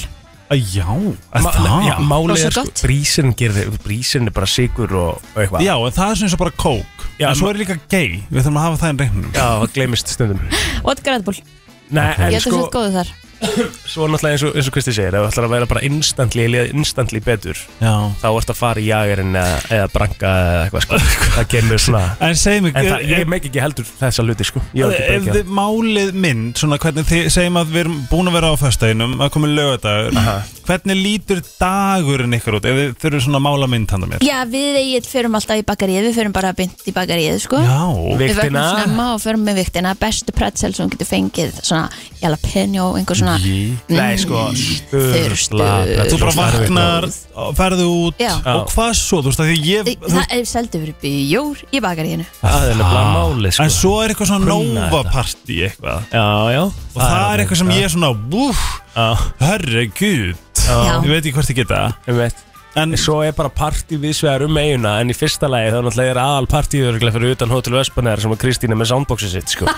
Speaker 8: Að Já, að
Speaker 2: Ma-
Speaker 8: það?
Speaker 2: Já, málið
Speaker 8: Rosa
Speaker 2: er sko, brísin gerði, brísin er bara sigur og, og eitthvað
Speaker 8: Já, en það er svona eins og bara kók
Speaker 2: Já,
Speaker 8: En svo er líka gay, við þurfum að hafa það í reynum
Speaker 2: Já, það gleymist stundum
Speaker 3: Vodka Red Bull
Speaker 2: Nei,
Speaker 3: Ég
Speaker 2: en
Speaker 3: held að
Speaker 2: sko,
Speaker 3: þú ert góðu þar
Speaker 2: svo náttúrulega eins og, eins og Kristi segir Ef þú ætlar að vera bara instantly, eða instantly betur
Speaker 8: Já.
Speaker 2: Þá ert að fara í jagerinn eða, eða branka eða eitthvað sko Það kemur svona
Speaker 8: En segðu mig,
Speaker 2: En það,
Speaker 8: er-
Speaker 2: ég meik ekki heldur þessa hluti sko Ég er
Speaker 8: Ef
Speaker 2: ekki
Speaker 8: þið málið minn, svona hvernig þið segjum að við erum búin að vera á föstaðinum að komið lögadagur, hvernig lítur dagurinn ykkur út, ef þið þurfum svona að mála mynd handa mér?
Speaker 3: Já, við eigið förum alltaf í bakaríð Við förum bara beint í bakaríð, sko
Speaker 8: Já.
Speaker 3: Við verðum
Speaker 8: Vigtina.
Speaker 3: snemma og förum með viktina Bestu pretzel sem þú getur fengið Svona jalapeno, einhver svona Mm,
Speaker 2: Nei, sko, spursla
Speaker 8: Þú bara vaknar, ferðu út
Speaker 3: Já.
Speaker 8: og hvað svo, þú veist að því ég
Speaker 3: Þi- Það er seldu fyrir bjór í bakaríðinu
Speaker 2: Það er nefnilega máli sko
Speaker 8: Ah, En svo er eitthvað svona
Speaker 2: Kunna þetta.
Speaker 8: nóvapartí eitthvað
Speaker 2: Já, já
Speaker 8: Og það, er eitthvað sem ég er svona, búf, herregud
Speaker 2: Já.
Speaker 8: Ég veit ekki hvort ég geta
Speaker 2: Ég veit
Speaker 8: En
Speaker 2: svo er bara partí viðsvegar um eiguna En í fyrsta lagi þá náttúrulega er aðal partíður örugglega fyrir utan Hotel Vespaneðar sem að Kristín er með soundboxið sitt sko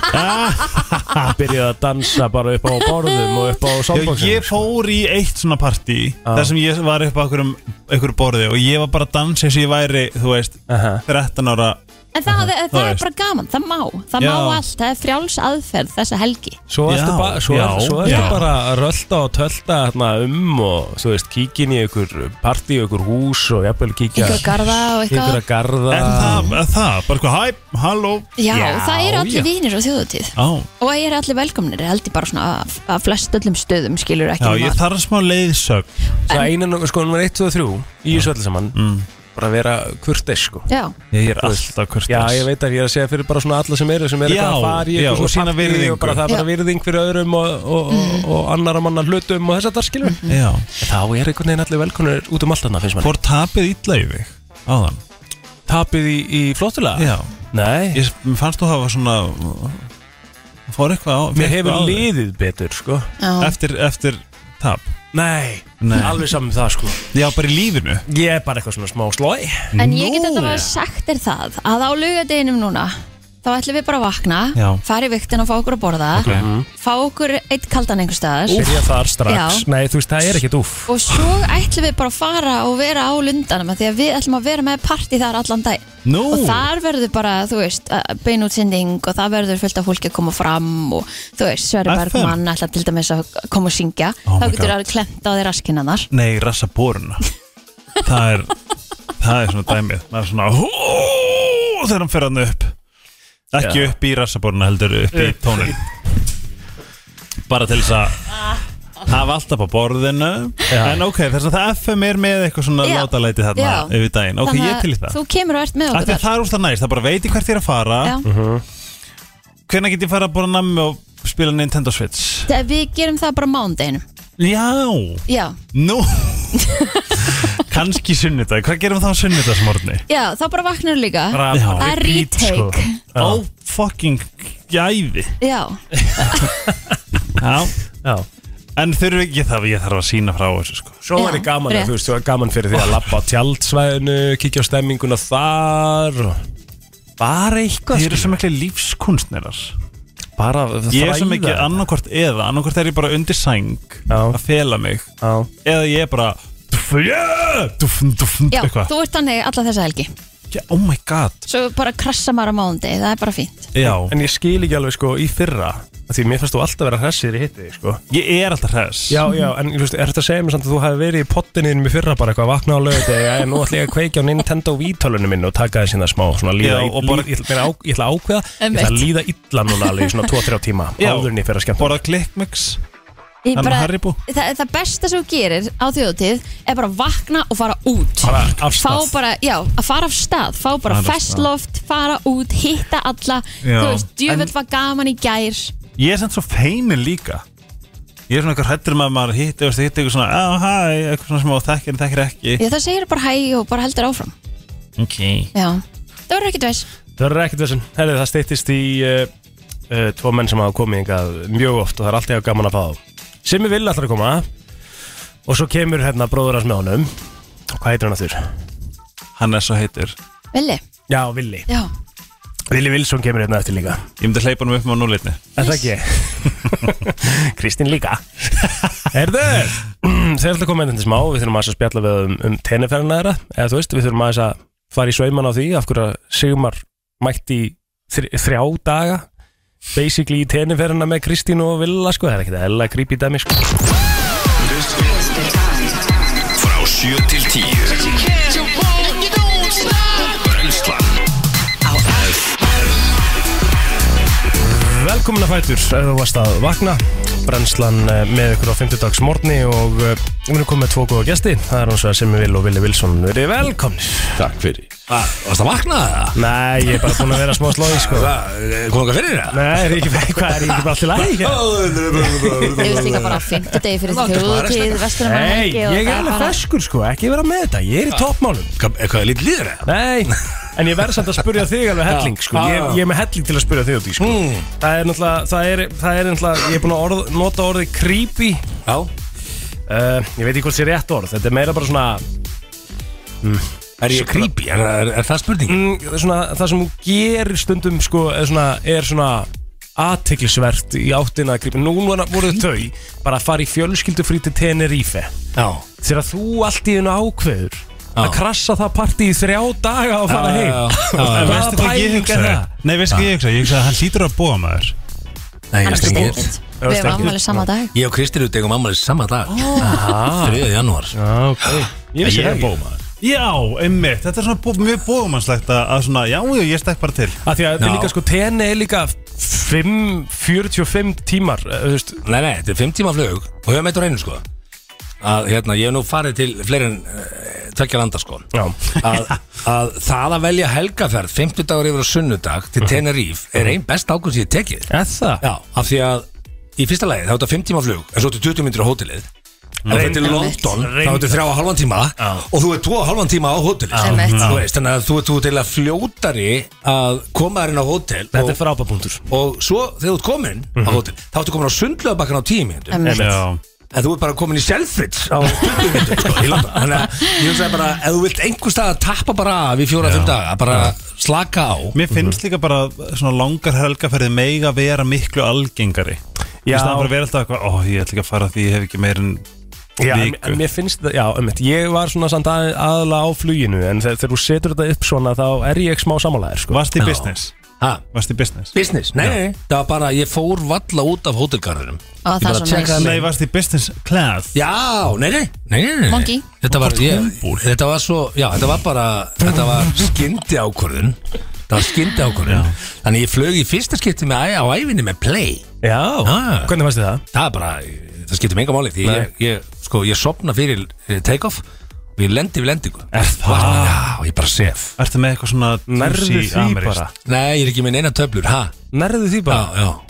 Speaker 2: Byrjaði að dansa bara upp á borðum og upp á
Speaker 8: Ah. Já,
Speaker 2: soundboxinu
Speaker 8: ég fór í eitt svona partí þar sem ég var upp á einhverjum, einhverjum borði og ég var bara að dansa eins og ég væri, þú veist, 13 ára
Speaker 3: En það, það,
Speaker 8: Það
Speaker 3: er
Speaker 8: veist.
Speaker 3: bara gaman, það má Það
Speaker 8: Já.
Speaker 3: má allt, það er frjáls aðferð þessa helgi
Speaker 2: Svo ertu,
Speaker 8: Já,
Speaker 2: ba svo
Speaker 8: já,
Speaker 2: ertu, svo ertu
Speaker 8: já.
Speaker 2: bara að rölda og tölda hérna, um og þú veist, kíkin í ykkur partí, ykkur hús og jafnvel kíkja
Speaker 3: Einhverja garða og eitthvað.
Speaker 2: Einhverja garða
Speaker 8: En það, en það, bara eitthvað, hæ, halló
Speaker 3: Já, það eru allir vinir á þjóðutíð
Speaker 8: Já,
Speaker 3: Og það eru allir velkomnir, held ég bara svona að, að flest öllum stöðum skilur ekki
Speaker 8: já
Speaker 3: um
Speaker 8: ég
Speaker 3: að-
Speaker 8: þarf smá leiðsög
Speaker 2: Það einan, sko, nummer 1, 2 og 3 í þessu öllu saman bara vera kurteis, sko
Speaker 3: Já,
Speaker 8: Ég er
Speaker 2: Þú veist,
Speaker 8: alltaf kurteis
Speaker 2: Já, ég veit að ég er að segja fyrir bara svona alla sem eru sem eru
Speaker 8: Já,
Speaker 2: eitthvað að fara í
Speaker 8: já,
Speaker 2: eitthvað
Speaker 8: og
Speaker 2: svona
Speaker 8: sýna
Speaker 2: partí
Speaker 8: virðingu.
Speaker 2: og bara það er bara
Speaker 8: Já.
Speaker 2: virðing fyrir öðrum og, og, og, og annara manna hlutum og þess að það skilur
Speaker 8: Já
Speaker 2: Þá er einhvern veginn allir velkonur út um allt annað finnst manni
Speaker 8: Fór tapið illa í þig, áðan
Speaker 2: Tapið í, í flottulega?
Speaker 8: Já
Speaker 2: Nei
Speaker 8: Ég mér fannst þú hafa svona Fór eitthvað á
Speaker 2: Mér
Speaker 8: fékk
Speaker 2: hefur
Speaker 8: eitthvað á þig.
Speaker 2: liðið betur, sko
Speaker 3: Já.
Speaker 8: Eftir, eftir tap
Speaker 2: Nei,
Speaker 8: Nei.
Speaker 2: alveg saman það, sko
Speaker 8: Já, bara í lífinu
Speaker 2: Ég er bara eitthvað svona smá slói
Speaker 3: En ég get þetta bara sagt er það að á laugadeginum núna þá ætlum við bara að vakna
Speaker 2: Já.
Speaker 3: fara í viktin og fá okkur að borða
Speaker 2: Ok.
Speaker 3: fá okkur eitt kaldan einhver staðar
Speaker 2: Byrja þar strax
Speaker 3: Já.
Speaker 2: Nei, þú veist, það er ekkert úf
Speaker 3: og svo ætlum við bara að fara og vera á lundanum af því að við ætlum að vera með partí þar allan dag
Speaker 2: Nú.
Speaker 3: og þar verður bara, þú veist, beinutsending og það verður fullt af fólki að koma fram og þú veist, Sverri
Speaker 8: FM.
Speaker 3: Bergmann ætlar til dæmis að koma og syngja
Speaker 8: Oh
Speaker 3: þá
Speaker 8: my
Speaker 3: getur
Speaker 8: God.
Speaker 3: það að klenta á þér raskina þar
Speaker 8: Nei, rassa boruna Það er Það er svona dæmið Það er svona hú, Þegar hann fer hann upp Ekki
Speaker 2: Já.
Speaker 8: upp í rassa boruna heldur upp í
Speaker 2: Upp.
Speaker 8: tónin Bara til þess að
Speaker 3: Ah.
Speaker 8: hafa alltaf á borðinu En ok, þess að það FM er með eitthvað svona
Speaker 3: Já.
Speaker 8: látalæti þarna
Speaker 3: Já.
Speaker 8: yfir daginn Ok,
Speaker 3: Þannig
Speaker 8: ég
Speaker 3: að
Speaker 8: til í það
Speaker 3: Þú kemur og ert með
Speaker 8: Af
Speaker 3: okkur
Speaker 8: því að Það er úrst að næst, það bara veit í hvert þér að fara
Speaker 3: Já.
Speaker 8: Hvenær get ég fara að bóra nammi og spila Nintendo Switch?
Speaker 3: Þegar Við gerum það bara mándeginu
Speaker 8: Já
Speaker 3: Já,
Speaker 8: Nú Kanski sunnudag, hvað gerum við þá sunnudagsmorni?
Speaker 3: já, þá bara vaknar þú líka
Speaker 8: Bara- sko.
Speaker 3: Það
Speaker 8: Já.
Speaker 3: er retake
Speaker 8: Ó, fucking gæði
Speaker 3: Já,
Speaker 8: Já, Já. En þurfi ekki það, ég þarf að sína frá þessu sko
Speaker 2: Svo væri gaman, að, þú veist, svo er gaman fyrir því að lappa á tjaldsvæðinu, kíkja á stemminguna þar og...
Speaker 8: Bara eitthvað Þið eru svo miklu lífskunstnerar
Speaker 2: Bara
Speaker 8: Ég er svo mikið
Speaker 2: þræða.
Speaker 8: annarkvort eða Annarkvort er ég bara undir sæng Já. Að fela mig
Speaker 2: Já.
Speaker 8: Eða ég er bara Duff, yeah, duff, duff,
Speaker 3: já
Speaker 8: eitthvað
Speaker 3: þú ert þannig alla þessa helgi
Speaker 8: Já, Oh my god
Speaker 3: Svo bara krassa maður á mándegi, það er bara fínt
Speaker 8: Já.
Speaker 2: En ég skil ekki alveg sko í fyrra af Því mér fannst þú alltaf vera hressir í hitti sko.
Speaker 8: Ég er alltaf hress
Speaker 2: Já, já, en þú veist, er þetta að segja mér samt að þú hafi verið í pottininum í fyrra bara eitthvað vakna á lögut eða nú ætla ég að kveikja á Nintendo vítölunum minn og taka þessi það smá svona líða,
Speaker 8: Já,
Speaker 2: já,
Speaker 8: og bara-
Speaker 2: ég, ætla, mér á, ég ætla að ákveða, ég ætla að
Speaker 8: Einmitt.
Speaker 2: líða illa núna alveg í svona 2-3 tíma
Speaker 8: Já.
Speaker 2: áður en ég fer að skemmta
Speaker 8: Bara klikkmix
Speaker 3: Ég
Speaker 2: Hann
Speaker 3: bara,
Speaker 2: Haribo.
Speaker 3: það, það besta sem þú gerir á þjóðutíð er bara að vakna og fara út
Speaker 2: Bara af stað.
Speaker 3: Fá bara, já, að fara af stað Fá bara
Speaker 8: Fara af stað.
Speaker 3: festloft, fara út, hitta alla
Speaker 8: Já.
Speaker 3: Þú veist, djöfell
Speaker 8: En-
Speaker 3: var gaman í gær
Speaker 8: Ég er sem svo feimin líka Ég er svona eitthvað hrættur með að maður hitti Þú veist, hitti eitthvað svona, ah, hæ, eitthvað svona smá þekkir en þekkir ekki
Speaker 3: Ég það segir bara hæ og bara heldur áfram
Speaker 8: Ok
Speaker 3: Já, það verður ekkert veist
Speaker 2: Það verður ekkert þessin, herrið það steyttist í uh, uh, tvo menn sem hafa komið hingað mjög oft og það er alltaf gaman að fá þá. Simmi vill alltaf að koma og svo kemur hérna bróður hans með honum Hvað heitir hann aftur?
Speaker 8: Hann er svo heitur
Speaker 3: Villi,
Speaker 2: Já, Villi
Speaker 3: já,
Speaker 2: Vili Vilsson kemur hérna eftir líka
Speaker 8: Ég myndi hleypa hann upp með núleitni
Speaker 2: Er það ekki? Kristín líka Herðu Þeir ætla að koma einhvern smá Við þurfum aðeins að spjalla við um, um tenniferðina þeirra Eða þú veist, við þurfum aðeins að fara í sveiman á því Af hverju að Sigmar mætti í þr þrjá daga Basically í tenniferðina með Kristín og Villa sko. Það er ekkert eðla creepy dæmi sko.
Speaker 1: Frá 7 til 10 Brennslan
Speaker 2: Velkomin að fætur Ef þú varst að vakna Brennslan eh, með ykkur á 50 dags morgni Og eh, við erum komið með tvo góða gesti Það er hans vegar Simmi Vil og Vili Vilsson Verið velkomni
Speaker 13: Takk fyrir Varst að vakna það?
Speaker 2: Nei, ég er bara búin að vera smá slóði sko
Speaker 13: Kom okkar fyrir það?
Speaker 2: Nei, er ekki, hvað er ég ekki bara allt í
Speaker 13: lægi?
Speaker 3: þú veist líka bara á fimmtudegi fyrir
Speaker 13: Látum bara
Speaker 3: þjóðutíð
Speaker 13: resta.
Speaker 3: Vestur um að
Speaker 2: Nei,
Speaker 3: helgi og
Speaker 2: ég er
Speaker 3: það
Speaker 2: alveg
Speaker 3: bara-
Speaker 2: feskur sko, ekki vera með þetta, ég er í toppmálum
Speaker 13: Eitthvað er lítið líður eða?
Speaker 2: Nei, en ég verð samt að spurja þig alveg helling sko Ég, ég er með helling til að spurja þig út í sko
Speaker 13: Hmm.
Speaker 2: Það er náttúrulega, það er, það er náttúrulega, ég er búin að orð, nota orðið creepy Eh,
Speaker 13: Já
Speaker 2: Ég veit ekki hvort sé rétt orð, þetta er meira bara svona
Speaker 13: Er ég creepy? Er, er, er það spurning?
Speaker 2: mm, það er svona, það sem hún gerir stundum sko, er svona, er svona aðteglisvert í áttina að grípa nú var- voru þau bara að fara í fjölskyldufrí til Tenerife
Speaker 13: Já.
Speaker 2: þegar þú allt í hennu ákveður að krassa það partí í þrjá daga og fara
Speaker 8: Já, já,
Speaker 2: heim
Speaker 8: já.
Speaker 2: Hvaða
Speaker 8: En veistu hvað ég
Speaker 2: pæling er
Speaker 8: hugsaði?
Speaker 2: það?
Speaker 8: Nei, veistu hvað ég hugsaði? Ég hugsaði að hann hlýtur að búa maður
Speaker 13: Nei,
Speaker 3: Hann
Speaker 13: ég
Speaker 3: er
Speaker 13: veist ekki
Speaker 3: stengið. Við hefum afmæli sama dag
Speaker 13: Ég og Kristín út eigum ammali sama dag
Speaker 8: Ah.
Speaker 13: 3. janúar
Speaker 2: Já, ok
Speaker 13: Ég vissi það
Speaker 8: er
Speaker 13: ekki.
Speaker 8: bómaður Já, einmitt, þetta er svona bó, mjög bóðumannslegt að að svona, já, já, ég stekk bara til
Speaker 2: Af því að þetta er líka sko, tenni er líka 5, 45 tímar eh, þú veist,
Speaker 13: Nei, nei, þetta er 5 tíma flug og höfum eitt á reynu sko að hérna, ég hef nú farið til fleiri en uh, tvekja landa sko að, að það að velja helgaferð 50 dagur yfir á sunnudag
Speaker 2: Mhm.
Speaker 13: til Tenerife er einn best ákvörð sem ég hef tekið
Speaker 2: Er það?
Speaker 13: Já, af því að í fyrsta lagi þá er þetta 5 tíma flug en svo þetta 20 minnir á hótelið en þetta er til
Speaker 2: Einmitt.
Speaker 13: London, þá
Speaker 2: Einmitt.
Speaker 13: ertu þrjá og halvan tíma og þú ert tvo og halvan tíma á hótel
Speaker 2: Já. Einmitt.
Speaker 13: þú veist, þannig að þú ert þú ert til að fljótari að koma þér inn á hótel
Speaker 2: Þetta
Speaker 13: og-
Speaker 2: er frábapunktur Mhm.
Speaker 13: og svo þegar þú ert komin á hótel þá ertu komin á sundlöðabakkan á tíu mínútur
Speaker 3: Einmitt. Já.
Speaker 13: en þú ert bara komin í Selfridge á 20 minnum sko, í London þannig að ég hugsaði bara, ef þú vilt einhver stað að tappa bara af í fjóra-fimm daga, bara slaka á
Speaker 8: Mér finnst líka bara svona langar helgaferði mega vera miklu algengari Í
Speaker 2: Já.
Speaker 8: staðan bara að vera alltaf eitthvað, ó ég ætla ekki að fara því ég hef ekki meir en
Speaker 2: Já,
Speaker 8: viku
Speaker 2: en mér finnst það, já, einmitt, ég var svona samt að, aðalega á fluginu en þegar, þegar þú setur þetta upp svona þá er ég smá samanlegaður sko.
Speaker 8: Varst í business?
Speaker 13: Ha?
Speaker 8: Varst í business?
Speaker 13: Business? Nei, nei, nei, það var bara, ég fór valla út af hótelgarðinum
Speaker 3: Ó, það er svo næs.
Speaker 8: Nei, varst í business class?
Speaker 13: Já, nei, nei, nei, nei, nei.
Speaker 3: Monkey.
Speaker 13: Þetta var,
Speaker 8: Hvort
Speaker 13: ég, þetta var svo, já, þetta var bara Þetta var skyndi ákvörðun Þetta var skyndi ákvörðun Þannig ég flög í fyrsta skipti með, á æfinni með Play
Speaker 2: Já,
Speaker 13: ah.
Speaker 2: hvernig fannst þið það?
Speaker 13: Það er bara, það skiptir mig enga máli Því ég, ég, sko, ég sopna fyrir eh, take-off Og ég lendi við lendingu Er það? Já, ég bara sef
Speaker 8: Ertu með eitthvað svona
Speaker 13: Nærðu
Speaker 8: juicy
Speaker 13: því
Speaker 8: amerískt?
Speaker 13: bara? Nei, ég er ekki með neina töflur, ha?
Speaker 2: Nærðu því
Speaker 13: bara? Já, já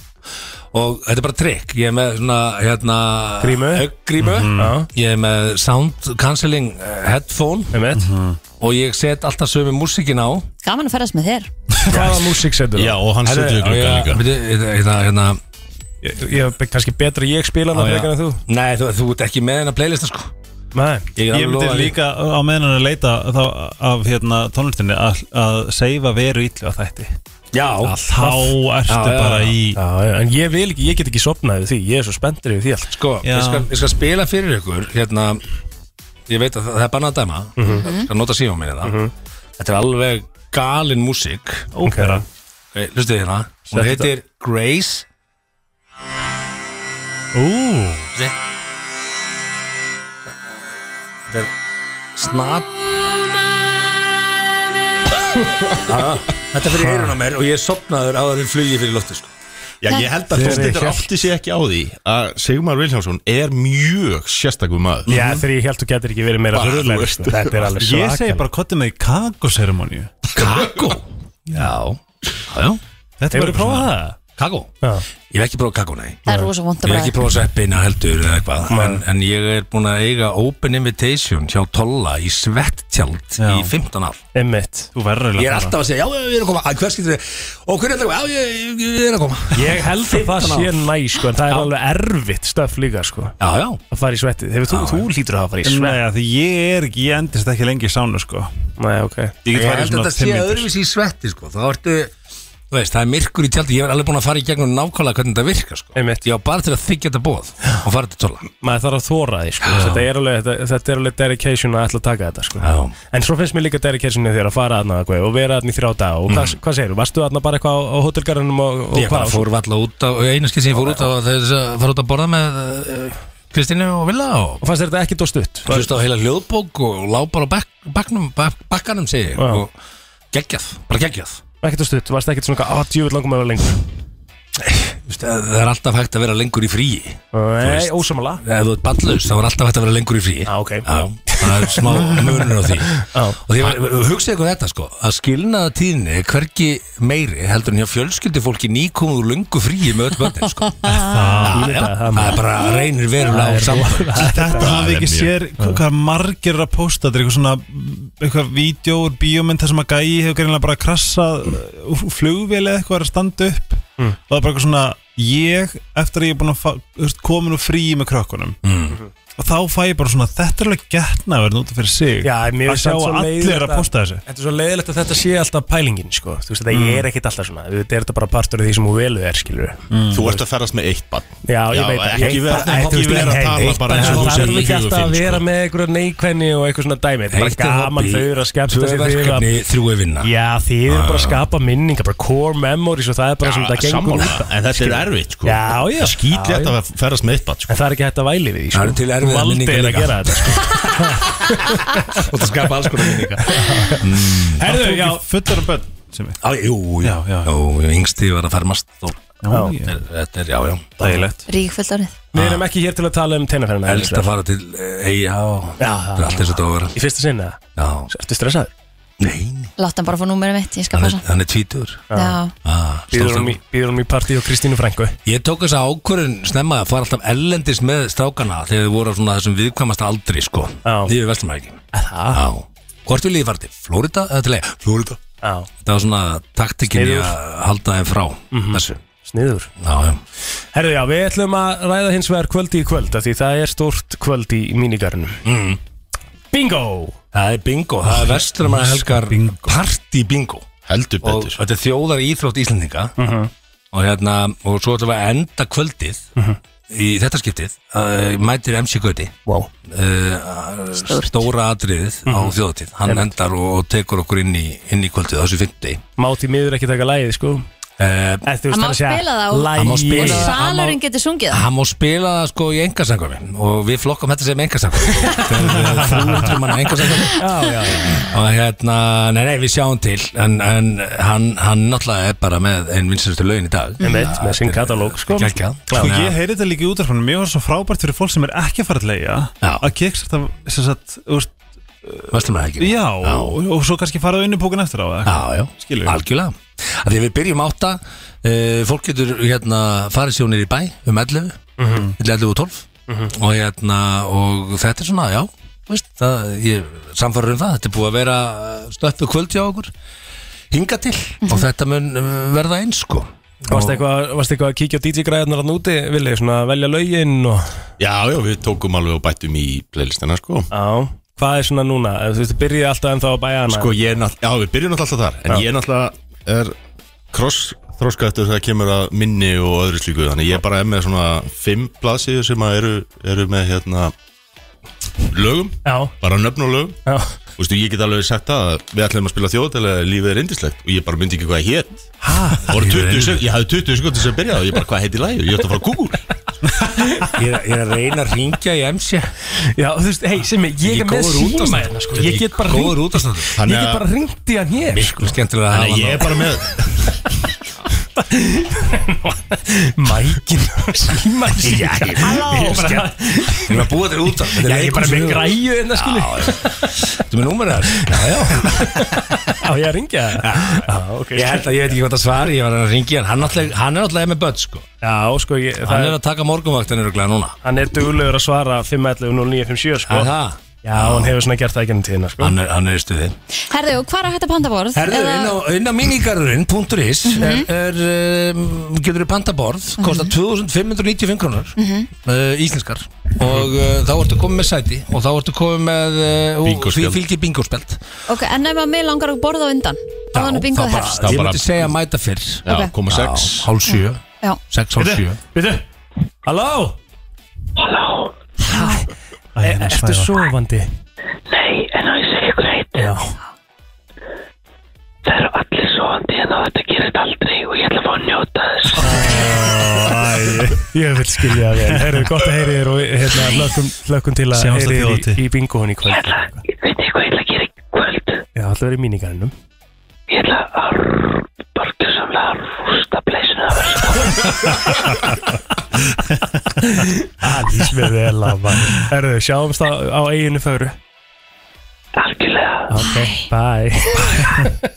Speaker 13: Og þetta er bara trikk, ég er með svona, hérna
Speaker 2: Grímu?
Speaker 13: auk- Grímu,
Speaker 8: Mm.
Speaker 2: Mhm.
Speaker 13: ég er með sound cancelling eh, headphone
Speaker 2: mm
Speaker 13: -hmm. Og ég set alltaf sömu músikin á
Speaker 3: Gaman að ferðast með þér
Speaker 2: Hvaða músík setur það?
Speaker 13: Já, og hann Herri, setur í gluggann já, líka. veitu, Hérna, hérna
Speaker 2: Ég, ég kannski betra ég spila hana
Speaker 13: Á, já.
Speaker 2: frekar en þú
Speaker 13: Nei, þú, þú ert ekki með hennar playlista, sko
Speaker 2: Nei,
Speaker 13: Ég,
Speaker 8: Ég myndi líka á meðan að leita þá af hérna, tónlistinni að, að seifa veru illu á þætti
Speaker 13: Já
Speaker 8: að Þá ertu
Speaker 2: já,
Speaker 8: bara
Speaker 2: já,
Speaker 8: í
Speaker 2: já, já, En ég vil ekki, ég get ekki sopnað við því Ég er svo spenntur yfir því allt
Speaker 13: Sko, ég skal, ég skal spila fyrir ykkur hérna, ég veit að það, það er bannað að dæma
Speaker 2: Mhm.
Speaker 13: ég skal nota síma minni það þetta er alveg galin músík
Speaker 2: Ópera.
Speaker 13: okay, hlustu þið hérna hún
Speaker 2: Settu
Speaker 13: heitir Grace
Speaker 2: Ú
Speaker 13: þetta er snart þetta er fyrir eyrun á mér og ég er sopnaður á þeirri flugi fyrir lofti sko.
Speaker 14: Já, ég held að hlustendur átti sig ekki á því að Sigmar Viljánsson er mjög sérstakum maður
Speaker 2: Já, þegar ég held þú getur ekki verið meira
Speaker 14: Bara, þú
Speaker 2: þurrlega
Speaker 14: veist.
Speaker 2: sko. Þetta er alveg
Speaker 8: Ég segi
Speaker 2: svakar
Speaker 8: bara kottum með kakoseremoníu
Speaker 13: Kakó? Já, já Hefurðu
Speaker 8: Þetta er bara
Speaker 13: prófað
Speaker 8: svona-
Speaker 13: það? Kakó? Ég hef ekki prófað kakó, nei
Speaker 3: Það er rosa vont
Speaker 13: Ég
Speaker 3: að
Speaker 13: hef ekki
Speaker 3: bræða
Speaker 13: prófað sveppina heldur eða eitthvað en, en ég er búin að eiga open invitation hjá Tolla í svett-tjald í 15 ár
Speaker 2: Einmitt
Speaker 8: Þú verður
Speaker 13: Ég er alltaf að segja, já, já, ég er að koma Æ, Hver skiptir þið? Og hver er þetta? Já, ég, ég, ég er að koma
Speaker 2: Ég held að það
Speaker 13: 15 ár.
Speaker 2: sé næ sko, En það er alveg erfitt stöf líka sko.
Speaker 13: Já, já
Speaker 2: Að fara í svettið Hefur þú, þú lítur að hafa farið í
Speaker 8: Nei,
Speaker 2: svettið
Speaker 8: af því ég er ekki, ég endist ekki lengi í sánu sko
Speaker 2: Nei, ok
Speaker 8: Ég
Speaker 13: Ég
Speaker 8: get
Speaker 13: held
Speaker 8: farið
Speaker 13: að
Speaker 8: svona
Speaker 13: þetta sé
Speaker 8: 5 mínútur
Speaker 13: öðruvísi í svetti, sko Þá ertu, þú veist, það er myrkur í tjaldi Ég er alveg búin að fara í gegnum nákvæmlega hvernig þetta virkar, sko Einmitt. Ég á bara til að þykja þetta bóð og fara til Tolla
Speaker 2: Maður þarf að þóra því sko.
Speaker 13: Já.
Speaker 2: þetta, er alveg, þetta, þetta er alveg dedication að ætla að taka þetta sko.
Speaker 13: Já.
Speaker 2: En svo finnst mér líka dedication þér að fara aðna og vera aðna í þrjá dag og hvað, hvað segirðu? Varstu aðna bara eitthvað á, á hótelgarunum og, og
Speaker 13: Mm. Ég bara
Speaker 2: hvað?
Speaker 13: fór valla út á, einu skil sem ég fór út á þess að fara út að borða með uh, Kristínu og Villa og
Speaker 2: fannst þér þetta ekki dóst stutt?
Speaker 13: Hlusta á heila hljóðbók og lá bara á bak, baknum, bak, bakkanum segi ég og geggjað, bara geggjað
Speaker 2: Ekkert og stutt, varst ekkert svona eitthvað, að djúvill langum að vera lengur
Speaker 13: Þú veist, Það það er alltaf hægt að vera lengur í fríi
Speaker 2: Nei, ósamala
Speaker 13: Ef þú ert ballust, þá er alltaf hægt að vera lengur í fríi
Speaker 2: ah, okay.
Speaker 13: Það er smá munur á því Og því var, hugsaði ykkur þetta sko Að skilnaða tíðinni er hvergi meiri heldur en hjá fjölskyldi fólki nýkomið úr lungu fríi með öll bönnir sko Það já, það er bara reynir
Speaker 8: Það
Speaker 13: verulega á
Speaker 8: er-
Speaker 13: samband
Speaker 8: Þetta hafi ekki sér
Speaker 13: Já.
Speaker 8: hvað margir eru að posta þetta er eitthvað svona eitthvað vídjóur, bíómynd þar sem að gæi hefur greinlega bara krassað uh, úr flugvél eða eitthvað er að standa upp
Speaker 2: Mm.
Speaker 8: og það er bara eitthvað svona ég eftir að ég er búin að fa- þú veist, komin úr frí með krökkunum
Speaker 13: Mm.
Speaker 8: og þá fæ ég bara svona þetta er alveg getnaverð út af fyrir sig
Speaker 2: Já, en mér
Speaker 8: að
Speaker 2: finnst
Speaker 8: sjá
Speaker 2: samt svo
Speaker 8: að allir
Speaker 2: leiðilegt
Speaker 8: er að posta þessu
Speaker 2: Þetta er svo leiðilegt að þetta sé alltaf pælingin sko. Þú veist, þetta
Speaker 8: Mm.
Speaker 2: er ekkert alltaf svona Þetta er þetta bara partur af því sem hún veluð er, skilur
Speaker 14: Mm. Þú ert að ferðast með eitt bann
Speaker 2: Já, ég veit það.
Speaker 14: Ekki
Speaker 2: Ég-
Speaker 14: vera
Speaker 2: Nei, þú
Speaker 14: ekki
Speaker 2: veist,
Speaker 14: vera
Speaker 2: nei,
Speaker 14: að tala
Speaker 2: nei,
Speaker 14: bara eins og
Speaker 2: Það
Speaker 14: þú
Speaker 2: þarf
Speaker 14: sér í sko.
Speaker 2: ekki alltaf að
Speaker 14: 45
Speaker 2: vera með einhverja neikvenni og eitthvað svona dæmi Þetta er
Speaker 13: Eitt er
Speaker 2: bara gaman
Speaker 13: hobby,
Speaker 2: þau eru að skemmta
Speaker 13: tvö
Speaker 2: sér
Speaker 13: verkefni, þrjú er vinna.
Speaker 2: Já, þið
Speaker 13: Já,
Speaker 2: eru bara að
Speaker 13: já.
Speaker 2: skapa minningar, bara core memories og það er bara svona það gengur
Speaker 14: Ah. sammála,
Speaker 2: út af.
Speaker 14: en þetta er
Speaker 2: Skilur.
Speaker 14: erfitt, sko.
Speaker 2: Já, já
Speaker 14: Það er
Speaker 2: Já,
Speaker 14: skítlegt
Speaker 2: já.
Speaker 14: að ferðast með eitt barn, sko.
Speaker 2: En það er ekki hægt að væli við því sko.
Speaker 14: Það eru til erfiðar minningar
Speaker 2: Valdi er að
Speaker 14: líka.
Speaker 2: gera þetta sko.
Speaker 13: Og það skapa alls konar minningar
Speaker 14: Mm.
Speaker 8: Herðu, já Fullar af börn sem er
Speaker 13: Já, jú, já, já, já Yngsti var að fermast og,
Speaker 2: Já.
Speaker 13: Þetta er- Þetta er, já, já
Speaker 8: Dægilegt
Speaker 3: Ríkfullt árið
Speaker 2: Við
Speaker 14: Ah.
Speaker 2: erum ekki hér til að tala um tennaferðina
Speaker 13: Elst að fara til EIH Það er allt eins og þetta á að vera
Speaker 2: Í fyrsta sinna
Speaker 13: Já
Speaker 2: Ertu stressaður?
Speaker 3: Látt hann bara að fá númerum mitt, ég skal passa
Speaker 13: Hann er tvítur
Speaker 3: Já,
Speaker 2: Býður hún í- býður hún í partí og Kristínu Frængu
Speaker 13: Ég tók þess að ákvörðun snemma að fara alltaf ellendis með strákana þegar þið voru á svona þessum viðkvæmasta aldri sko Já. Því við vestum ekki Já Hvort viljið þið fara til? Flórida eða til eiga? Flórida
Speaker 2: Já
Speaker 13: Það var svona taktikin í
Speaker 2: Sniðugur. Mhm.
Speaker 13: að halda þeim frá þessu
Speaker 2: Sniður
Speaker 13: Já, já
Speaker 2: Herðu já, við ætlum að ræða hins vegar kvöldi í kvöld af Því það er stórt kvöldi í mínigarnum
Speaker 13: mm.
Speaker 2: Bingo
Speaker 13: Það er bingo, það er vestlum að helgar party bingo
Speaker 14: Heldur
Speaker 13: betur Og þetta er þjóðar íþrótt Íslendinga
Speaker 2: Mhm.
Speaker 13: og, hérna, og svo ætlum við að enda kvöldið í þetta skiptið uh, mætir MC Gauti Eh,
Speaker 2: wow.
Speaker 13: stóra atriðið á
Speaker 2: Mhm.
Speaker 13: þjóðatíð hann
Speaker 2: Einmitt.
Speaker 13: endar og, og tekur okkur inn í, inn í kvöldið á þessu fymti
Speaker 2: Mátti miður ekki taka lægið sko
Speaker 13: uh,
Speaker 2: Þú
Speaker 3: Það má spila það og-
Speaker 13: Hann má spila
Speaker 3: og
Speaker 13: það.
Speaker 3: salurinn getur sungið það
Speaker 13: Hann má spila það sko í engasangurmi og við flokkum þetta sem engasangurmi þrjúhundrum manna engasangurmi og hérna, nei nei við sjáum til en, en hann, hann náttúrulega er bara með einn vinsalustu laun í dag
Speaker 2: Einmitt, með sinn katalóg sko
Speaker 8: Sko ég heyri þetta líka í útarfanum Mér var svo frábært fyrir fólk sem er ekki að fara að leia Að keksa þetta sem sagt þú veist,
Speaker 13: Verslunarhelgina.
Speaker 8: Já, Og, og svo kannski faraðu inn í bókin eftir á það
Speaker 13: Já, já, algjörlega Af Því að við byrjum átta uh, Fólk getur hérna farið sér nýr í bæ um 11, mm 11 og 12 og hérna, og þetta er svona, já þú veist, það, ég samfæður um það, þetta er búið að vera eh, stöppu kvöld hjá okkur hinga til og þetta mun eh, verða eins sko
Speaker 2: Varst eitthvað, varst eitthvað að kíkja á DJ-græðarnar hann úti, Vili, svona að velja lögin og...
Speaker 14: Já, já, við tókum alveg og bættum í playlistina, sko
Speaker 2: Já, hvað er svona núna? Ef Þú veist, þú byrjið alltaf ennþá að bæja hana
Speaker 14: Sko, ég er náttúrulega, já, við byrjum náttúrulega alltaf þar En ég er náttúrulega, er cross þróskættur þegar kemur að minni og öðru slíku Þannig ég bara er með svona fimm blaðsíður sem að eru, eru með, hérna, lögum
Speaker 2: Já
Speaker 14: Bara nöfn og lögum
Speaker 2: Já
Speaker 14: Þú veistu, ég get alveg sagt það að við ætlum að spila þjóðatilega lífið er indislegt og ég bara myndi ekki hvað það hét Það voru 20 sekund, ég hafði 20 sekund til þess að byrja og ég bara hvað heiti lægið, ég ætti að fara að kúkúl
Speaker 13: ég, er- ég er að reyna að ringja í MC
Speaker 2: Já, þú veist, hei, sem ég, ég er með síma hérna, sko Ég get bara
Speaker 13: Góður
Speaker 2: hringt-
Speaker 13: útastandur
Speaker 2: Ég get bara ringt í hann hér
Speaker 13: Miklu skemmtilega
Speaker 14: Þannig að ég er bara með
Speaker 2: Mækin og síma
Speaker 13: Já, ég- ég er bara Við erum að búa þér út af
Speaker 2: Já, ég er bara með græju hérna, skilur.
Speaker 13: Þú með númerið þar Já, já
Speaker 2: Já, ég að ringja það
Speaker 13: Ég held að ég veit ekki hvað það svari Ég var að ringja hann Hann náttúrulega- Hann er alltaf með börn, sko
Speaker 2: Já, sko ég,
Speaker 13: Hann er að taka morgunvaktin öruglega núna
Speaker 2: Hann er duglegur að svara 511-0957, sko
Speaker 13: Er það?
Speaker 2: Já, hann hefur svona gert það ekki enn tíðina, sko
Speaker 13: Hann er, hann er í stuði
Speaker 3: Herðu, og hvað er hægt að panta borð?
Speaker 13: Herðu, inn á, inn á minigarurinn.is er, er um, getur við pantaborð kostar 2595 krónur uh, íslenskar og uh, þá ertu komið með sæti og þá ertu komið með uh, og því
Speaker 14: Bingospjald.
Speaker 13: fylgir bingospelt
Speaker 3: Ok, en ef að mig langar að borða á undan þá þannig bingo
Speaker 13: bara,
Speaker 3: hefst
Speaker 13: ég myndi segja að mæta fyrr
Speaker 14: Já, Ok. koma sex.
Speaker 13: Já, hálf sjö,
Speaker 3: Já.
Speaker 13: sex hálf sjö
Speaker 2: Býtu, halló Hæ, er, ertu sofandi?
Speaker 11: Nei, en á ég segja ykkur eitt
Speaker 2: Já
Speaker 11: Það eru allir svoandi en þetta gerist aldrei og ég ætla að fá að njóta þess
Speaker 2: Æ, ég vil skilja það vel Herðu, gott að heyri þér og hérna, hlökkum, hlökkum til að
Speaker 8: Sjáumst á
Speaker 2: heyri þér
Speaker 8: þjóðhátíð.
Speaker 2: í, í bingohun í kvöld Ég ætla, veit ég hvað ég ætla að gera í kvöld Já, það verið mínigarnum Það lýst mér vel að maður Herðu, sjáumst á, á eiginu föru Algjörlega Ok, bye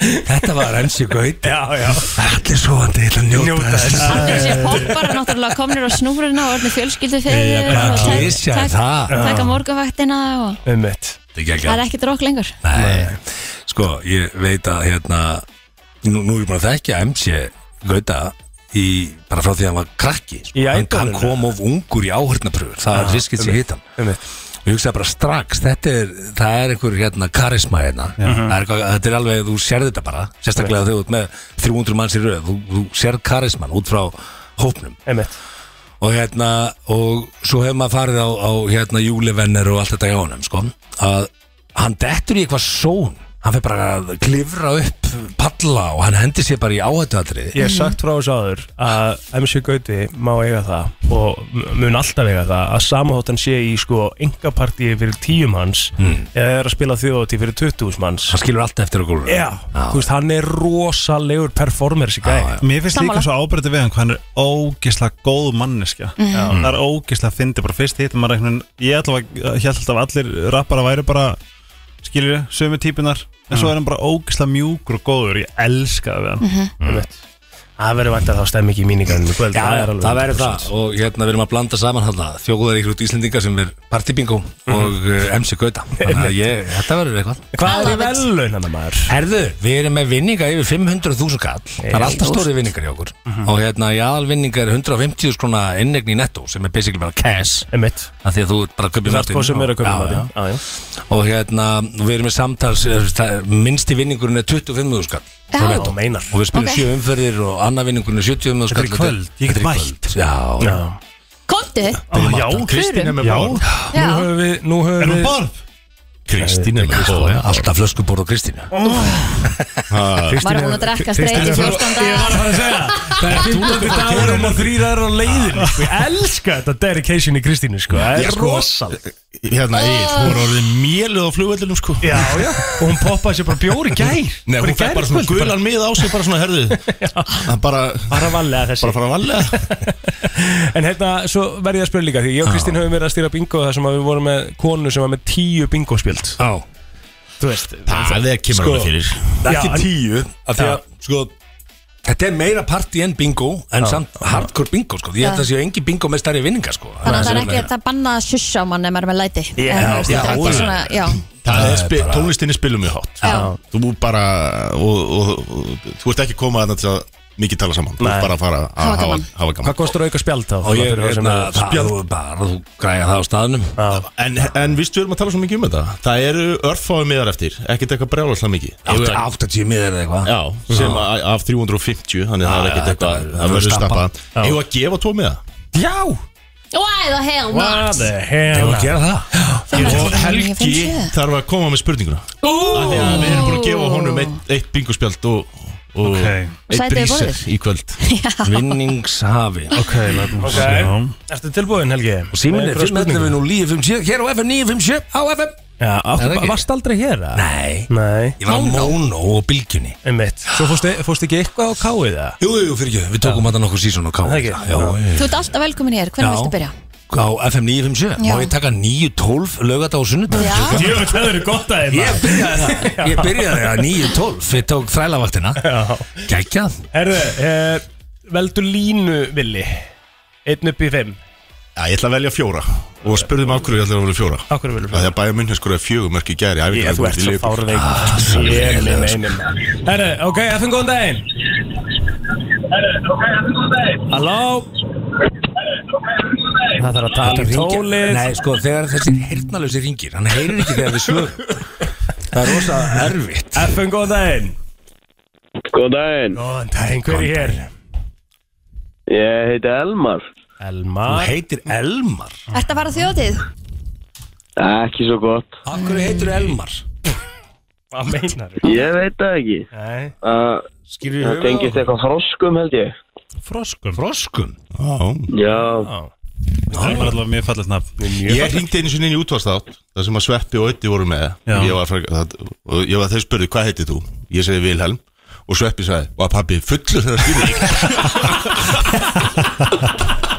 Speaker 13: Þetta var ensi gauti
Speaker 2: Já, já
Speaker 13: Allir svoandi, ég ætla að njóta þess
Speaker 3: Þessi poppar er náttúrulega komnir á snúruna og orðin fjölskyldu fyrir
Speaker 13: Jæja, hvað klisja er það?
Speaker 3: Taka morgunvaktina og
Speaker 2: Um mitt
Speaker 3: það er ekki drók lengur
Speaker 13: Nei, sko, ég veit að hérna, nú, nú er ég búin að þekkja MC Gauta í, bara frá því að hann var krakki sko.
Speaker 2: Í
Speaker 13: hann, hann
Speaker 2: ædolinu.
Speaker 13: kom of ungur í áhörnapröfur það
Speaker 2: Ah,
Speaker 13: er riskið sem
Speaker 2: einmitt,
Speaker 13: hitt hann og ég hugsaði bara strax, þetta er það er einhver hérna karisma hérna það er, eitthvað- þetta er alveg, þú sérð þetta bara sérstaklega þegar þú ert með 300 manns í röð þú, þú sérð karisman út frá hópnum
Speaker 2: Einmitt.
Speaker 13: og hérna og svo hefur maður farið á, á hérna júlivenner og allt þetta hjá honum sko að hann dettur í eitthvað són hann fyrir bara að klifra upp palla og hann hendir sér bara í áhættuatrið
Speaker 2: Ég hef sagt frá þessu áður að MC Gauti má eiga það og m- mun alltaf eiga það að samátt hann sé í sko engapartíi fyrir tíum hans eða er að spila þjóðatíi fyrir 20.000 manns
Speaker 13: Hmm. hann skilur alltaf eftir okkur
Speaker 2: Já, þú veist, hann er rosalegur performer sér gæði
Speaker 8: Mér finnst líka svo ábyrðið við hann hvað hann er ógislega góð manneskja
Speaker 2: Mhm. Já.
Speaker 8: Það er ógislega fyndi bara fyrst hittum maður einhvern veginn Ég ætla að held alltaf að allir rappara væri bara skilur ég, sömu típunar en svo er hann bara ógislega mjúkur og góður ég elska það við hann
Speaker 2: Mhm. Einmitt. Það verður vantar þá stemming í mínigarðinu í kvöld
Speaker 13: Já,
Speaker 2: það er alveg
Speaker 13: það verður
Speaker 2: 100%.
Speaker 13: það og hérna við erum að blanda saman hérna þjóðaríkur út Íslendinga sem er partybingo og uh, MC Gauta þannig að ég, þetta verður eitthvað
Speaker 2: Mhm. Hvað er velun hann maður?
Speaker 13: Herðu, við erum með vinninga yfir 500.000 kall Það er alltaf stóri vinningar hjá okkur
Speaker 2: Mhm.
Speaker 13: Og hérna, jáðalvinninga er 150 skrona innegni í netto sem er basically bara cash
Speaker 2: Emitt
Speaker 13: Af því að þú ert bara að kaupa
Speaker 2: Þú þarft hvað sem er að kaupa í matinn. Já,
Speaker 13: já Og hérna, og við erum með samtals eh, það- minnsti vinningurinn er 25.000 kall frá
Speaker 2: Já.
Speaker 13: Netto.
Speaker 2: Meinar.
Speaker 13: Og við spilum
Speaker 3: Ok.
Speaker 13: okay. sjö umferðir og annar vinningurinn er 70.000
Speaker 2: Þetta
Speaker 13: kall
Speaker 2: er í kvöld, ég get
Speaker 13: Þetta er í
Speaker 2: mætt.
Speaker 13: kvöld. Já,
Speaker 2: Já.
Speaker 3: Komdu
Speaker 2: Já,
Speaker 13: Kristín er með
Speaker 2: Já.
Speaker 13: borð.
Speaker 2: Nú
Speaker 3: Já.
Speaker 2: höfum við Nú höfum við
Speaker 13: Erum við
Speaker 2: borð?
Speaker 13: Kristín er með borð Alltaf flöskuborð á Kristínu
Speaker 3: Var hún að drekka streit í 14 daga?
Speaker 2: Ég var að fara að segja Það er 15 dagur um að þrýra er á leiðin Ég elska þetta dedication í Kristínu sko Það
Speaker 14: Ég
Speaker 2: er
Speaker 14: sko-
Speaker 2: rosal
Speaker 14: Hérna, Egil, hún er orðið mjöluð á flugvellinum sko
Speaker 2: Já, já Og hún poppaði sér bara bjór í gær
Speaker 14: Nei, hún fær bara svona gulan mið á sig bara svona herðu Það bara
Speaker 2: Bara valega þessi
Speaker 14: Bara fara að valega
Speaker 2: En hérna, svo verð ég að spyrja líka Því ég og Kristín höfum verið að stýra bingo þar sem að við vorum með konu sem var með tíu bingospjöld
Speaker 13: Já
Speaker 2: Þú veist
Speaker 14: Það er kemur
Speaker 13: Sko,
Speaker 14: alveg fyrir
Speaker 13: Ekki tíu af því
Speaker 2: Já.
Speaker 13: að, sko, Þetta er meira party en bingo En
Speaker 2: Já.
Speaker 13: samt hardcore bingo sko. Ég
Speaker 3: Já.
Speaker 13: held að það séu engi bingo með stærri vinninga sko.
Speaker 3: Þannig að það er ekki hægt að banna að sussa á mann ef maður er með læti
Speaker 13: Já,
Speaker 3: En þú veist,
Speaker 13: já,
Speaker 3: það er
Speaker 13: já.
Speaker 3: ekki svona, já,
Speaker 14: Það
Speaker 13: Það
Speaker 14: er
Speaker 13: er
Speaker 14: spi,
Speaker 13: bara-
Speaker 14: tónlistinni spilum mjög hátt
Speaker 3: Já.
Speaker 14: Þú bara og, og, og, Þú ert ekki komað þarna til að mikið tala saman Þú ert bara að fara
Speaker 3: Hafa
Speaker 14: að hafa,
Speaker 3: gaman.
Speaker 14: hafa gaman
Speaker 2: Hvað kostur auka spjald þá?
Speaker 13: Og ég
Speaker 2: Fyrir þá sem
Speaker 13: hérna,
Speaker 2: eru-
Speaker 13: það þú bara Þú græja það á staðnum
Speaker 14: En, en vístu við erum að tala svo mikið um þetta Það eru örfáið miðar eftir Ekkert eitthvað brjálaslega mikið
Speaker 13: Átta- 80 miður eða eitthvað
Speaker 14: Já, sem að- af 350 Þannig það
Speaker 13: Já,
Speaker 14: er ekkert
Speaker 13: já,
Speaker 14: eitthvað
Speaker 13: þetta-
Speaker 14: Það verður
Speaker 13: þetta verður
Speaker 14: stappað
Speaker 13: stappað.
Speaker 14: Ég var að gefa tvo miða
Speaker 2: Já
Speaker 3: Why the hell not?
Speaker 2: hell
Speaker 13: Ég var að gera það
Speaker 14: Og Helgi þarf að koma með spurninguna Af því að Við erum búin að gefa honum eitt, eitt bingospjald og, og
Speaker 8: Ókei.
Speaker 14: eitt
Speaker 3: Sætið við
Speaker 14: brísir
Speaker 3: borðið.
Speaker 14: í kvöld
Speaker 13: Vinningshafi
Speaker 8: Ok, látum við
Speaker 2: Ok. Ertu tilbúin Helgi?
Speaker 13: Og síminn er
Speaker 2: Einhverja spurningu?
Speaker 13: 511 og 957 Hér á FM 957 á FM
Speaker 2: Já, áttu-
Speaker 13: Er það ekki?
Speaker 2: varstu aldrei hér? eða?
Speaker 13: Nei
Speaker 2: Nei
Speaker 13: Ég var á Mono og Bilgjunni
Speaker 2: Einmitt Svo fórstu, fórstu ekki eitthvað á káið það?
Speaker 13: Jú, jú, fyrir ekki Við tókum þetta nokkur sísón og ká
Speaker 2: Það ekki?
Speaker 13: Já, já.
Speaker 3: Þú ert alltaf velkomin
Speaker 13: Já.
Speaker 3: hér, hvernig viltu byrja?
Speaker 13: Á FM 957
Speaker 3: Já.
Speaker 13: Má ég taka 912 lögata og sunnudag
Speaker 3: Já.
Speaker 2: Jöfn, það eru gott að
Speaker 13: Ég byrjaði það Ég byrjaði það 912 Ég tók þrælavaktina Gækjað
Speaker 2: Herðu, eh, veldu línu villi Einn upp í fimm
Speaker 14: Já, ég ætla að velja fjóra Og spurðum af hverju ég ætla að velja fjóra Af
Speaker 2: hverju velja
Speaker 14: fjóra? Það er bæja munni skoraði fjögumörk í gæri
Speaker 2: Ég, þú ert svo fárveikur Ég minn einum Herru, ok, FN góðan daginn Halló Það þarf að tala í tólið
Speaker 13: Nei, sko, þegar þessi heyrnalösi ringir Hann heyrir ekki þegar við svörum Það er rosa erfitt
Speaker 2: FN góðan daginn
Speaker 12: Góðan daginn,
Speaker 2: Góðan daginn, hver er hér?
Speaker 12: ég heiti Elmar
Speaker 13: Þú
Speaker 2: Elmar
Speaker 13: heitir Elmar
Speaker 3: Ertu að fara á þjóðatíð?
Speaker 12: Ekki svo gott
Speaker 13: Af hverju heitir Elmar?
Speaker 2: Hvað meinar
Speaker 12: Ég veit það ekki
Speaker 2: Nei
Speaker 12: Það-
Speaker 13: Skilur
Speaker 12: Það tengist eitthvað froskum held ég
Speaker 2: Froskum
Speaker 13: Froskum
Speaker 12: Já,
Speaker 8: Það var allavega mjög fallið nafn
Speaker 14: Ég ringdi einu sinni inn í útvarstátt Það sem að Sveppi og Ötti voru með
Speaker 8: Já.
Speaker 14: ég var, fræk- það, Og ég var þau spurði hvað heitir þú Ég segi Vilhelm Og Sveppi sagði, var pabbi fullur þegar skilur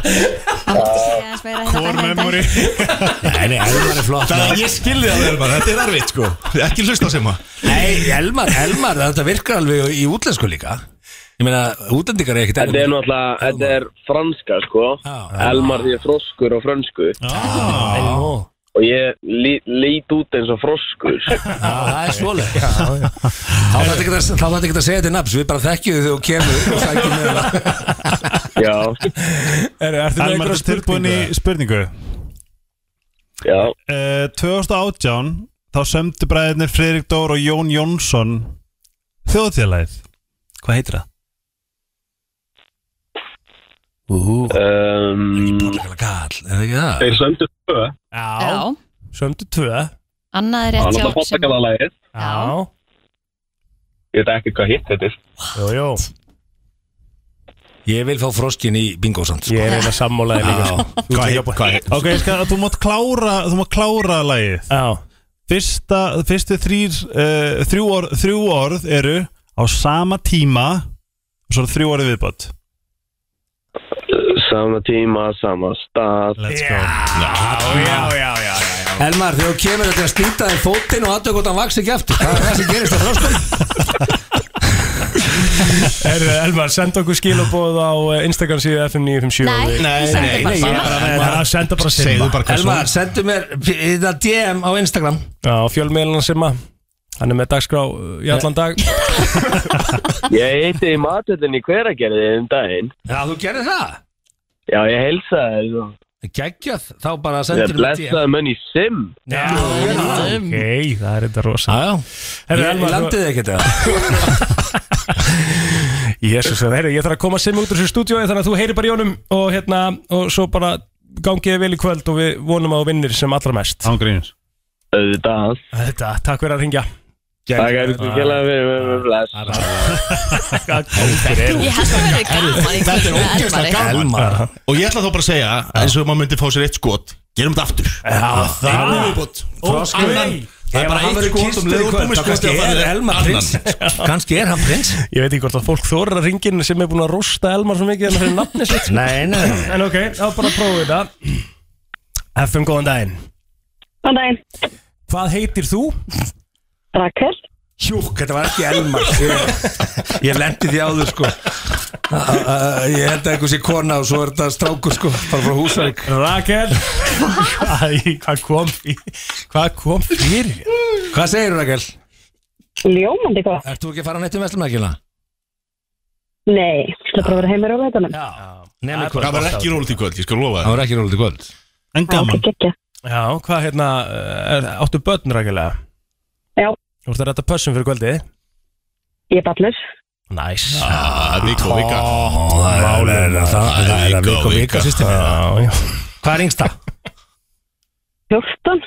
Speaker 3: Það mátti segja aðeins meira þetta
Speaker 8: Core
Speaker 3: fær hægt
Speaker 8: memory
Speaker 13: Nei, nei, Elmar er flott
Speaker 14: Það ég skilði það Elmar, þetta er erfitt sko Ekki hlusta sem að
Speaker 13: Nei, Elmar, Elmar, þetta virkar alveg í útlensku líka Ég meina, útlendingar er ekkert
Speaker 12: þetta er náttúrulega, þetta er franska sko
Speaker 13: Já.
Speaker 12: Elmar því er froskur og frönsku
Speaker 13: Ah. náttúrulega
Speaker 12: Og ég lí, lít út eins og froskur
Speaker 13: Það er svoleið Þá þarf ekki að- þá þarf ekki að segja þetta nafn Við bara þekkjum þið og kemur og um sækjum með það
Speaker 12: Já,
Speaker 2: Er, ertu með
Speaker 8: Elmar
Speaker 2: einhverja
Speaker 8: er tilbúin í
Speaker 2: spurningu?
Speaker 8: spurningu
Speaker 12: já,
Speaker 8: Eh, 2018 þá sömdu bræðinir Friðrik Dór og Jón Jónsson þjóðfélagið hvað heitir það?
Speaker 12: um,
Speaker 13: Bóðlega kall, er það ekki það?
Speaker 5: Þeir söndu tvö
Speaker 3: Já,
Speaker 2: Sömdu tvö
Speaker 3: annað er rétt
Speaker 5: Þannig að
Speaker 3: hjá
Speaker 5: fatta ekki að lagið
Speaker 3: Já,
Speaker 2: Já
Speaker 5: Ég veit ekki hvað hitt þetta er
Speaker 2: Jú, jú
Speaker 13: Ég vil fá froskin í bingosand sko.
Speaker 2: Ég er eina sammálaði líka sko. Þú ert líka búin-
Speaker 8: ok, ég skal, þú mátt klára þú mátt klára lagið
Speaker 2: Já
Speaker 8: Fyrsta, fyrstu þrýr, uh, þrjú, orð, þrjú orð eru á sama tíma og svo eru þrjú orðið viðbátt
Speaker 12: sama tíma, sama stað
Speaker 8: let's go
Speaker 2: Já, já, já, já
Speaker 13: Elmar, þegar þú kemur þetta að slíta þér fótinn og aðtöku hvort hann vaks ekki aftur Það er það sem gerist á froskin
Speaker 2: Er, Elmar, senda okkur skilabóð á eh, Instagram síðu FM 957
Speaker 13: Nei, Nei, þú sendir nei, bara nei, Simma. bara-
Speaker 2: bara Senda bara Simma
Speaker 13: Segðu bara hvað Elmar, svo- sendu mér þetta DM á Instagram
Speaker 2: Já, fjölmiðlana Simma Hann er með dagskrá uh, í allan dag
Speaker 12: Ég heiti í matöldin í hveragerði um daginn.
Speaker 13: Já, þú gerir það?
Speaker 12: Já, ég heilsa þér. og-
Speaker 13: Gægjað, þá bara
Speaker 12: Ég
Speaker 13: sendur
Speaker 12: blessaði menn í sim.
Speaker 13: Já, já,
Speaker 2: Ok, það er þetta rosa
Speaker 13: Já,
Speaker 2: Herru,
Speaker 13: Ég
Speaker 2: Elmar,
Speaker 13: landið ekkert eða
Speaker 2: Jésus, herri, ég þarf að koma sem út úr þessu stúdíói þannig að þú heyri bara í honum og hérna, og svo bara gangið vel í kvöld og við vonum að þú vinnir sem allra mest
Speaker 8: Ángríns
Speaker 12: Auðvitað
Speaker 2: Þetta, takk fyrir að ringja
Speaker 12: Takk er þú kjælega fyrir með með
Speaker 14: Ég
Speaker 3: held að verði
Speaker 14: gaman
Speaker 3: í
Speaker 14: Þetta er
Speaker 3: kvöld með
Speaker 14: ógeðslega
Speaker 3: Elmari.
Speaker 14: gaman Og ég ætla þá bara að segja, eins og maður myndi fá sér eitt skot Gerum þetta aftur Já, það er viðbót
Speaker 13: Froskur.
Speaker 14: Annan. Það
Speaker 13: Ef
Speaker 14: er bara
Speaker 13: hann
Speaker 14: eitt
Speaker 13: verður
Speaker 14: skot um
Speaker 13: kynntur í
Speaker 14: leið og
Speaker 13: kvöld,
Speaker 14: búmið
Speaker 13: þá
Speaker 14: skot
Speaker 13: kannski er Elmar sko. prins. Kannski er hann prins
Speaker 2: Ég veit ekki hvort að fólk þorir að ringin sem er búin að rosta Elmar svo mikið en það er nafni sitt sko.
Speaker 13: Nei, nei, nei.
Speaker 2: En ok, þá bara prófum við þetta FM, góðan daginn
Speaker 6: Góðan daginn
Speaker 2: Hvað heitir þú?
Speaker 6: Rakel
Speaker 13: Hjúk, þetta var ekki Elmar Ég- Ég lendi því áður sko Æ, æ, æ, Ég held að einhversi kona og svo er þetta strákur sko bara frá Húsavík
Speaker 2: Rakel Æ, hvað kom í Hvað kom fyrir
Speaker 13: Hvað segir Rakel?
Speaker 6: Ljómandi gott
Speaker 13: Ert þú ekki að fara neitt um vestlumækina?
Speaker 6: Nei, þetta bara að vera heimir á veitunum
Speaker 13: Nei,
Speaker 14: Það var ekki rólið í kvöld, ég skal lofa
Speaker 13: Það var ekki rólið í kvöld
Speaker 8: En
Speaker 6: gaman
Speaker 2: Já, hvað hérna, er, áttu börn rækilega?
Speaker 6: Já
Speaker 2: Þú ert að rætta pössum fyrir kvöldið?
Speaker 6: Ég er ballur
Speaker 2: Næs
Speaker 14: Vika, vika
Speaker 13: Það er það- það er að vika og vika systir mín.
Speaker 2: Já, já
Speaker 13: Hvað er yngsta?
Speaker 6: 14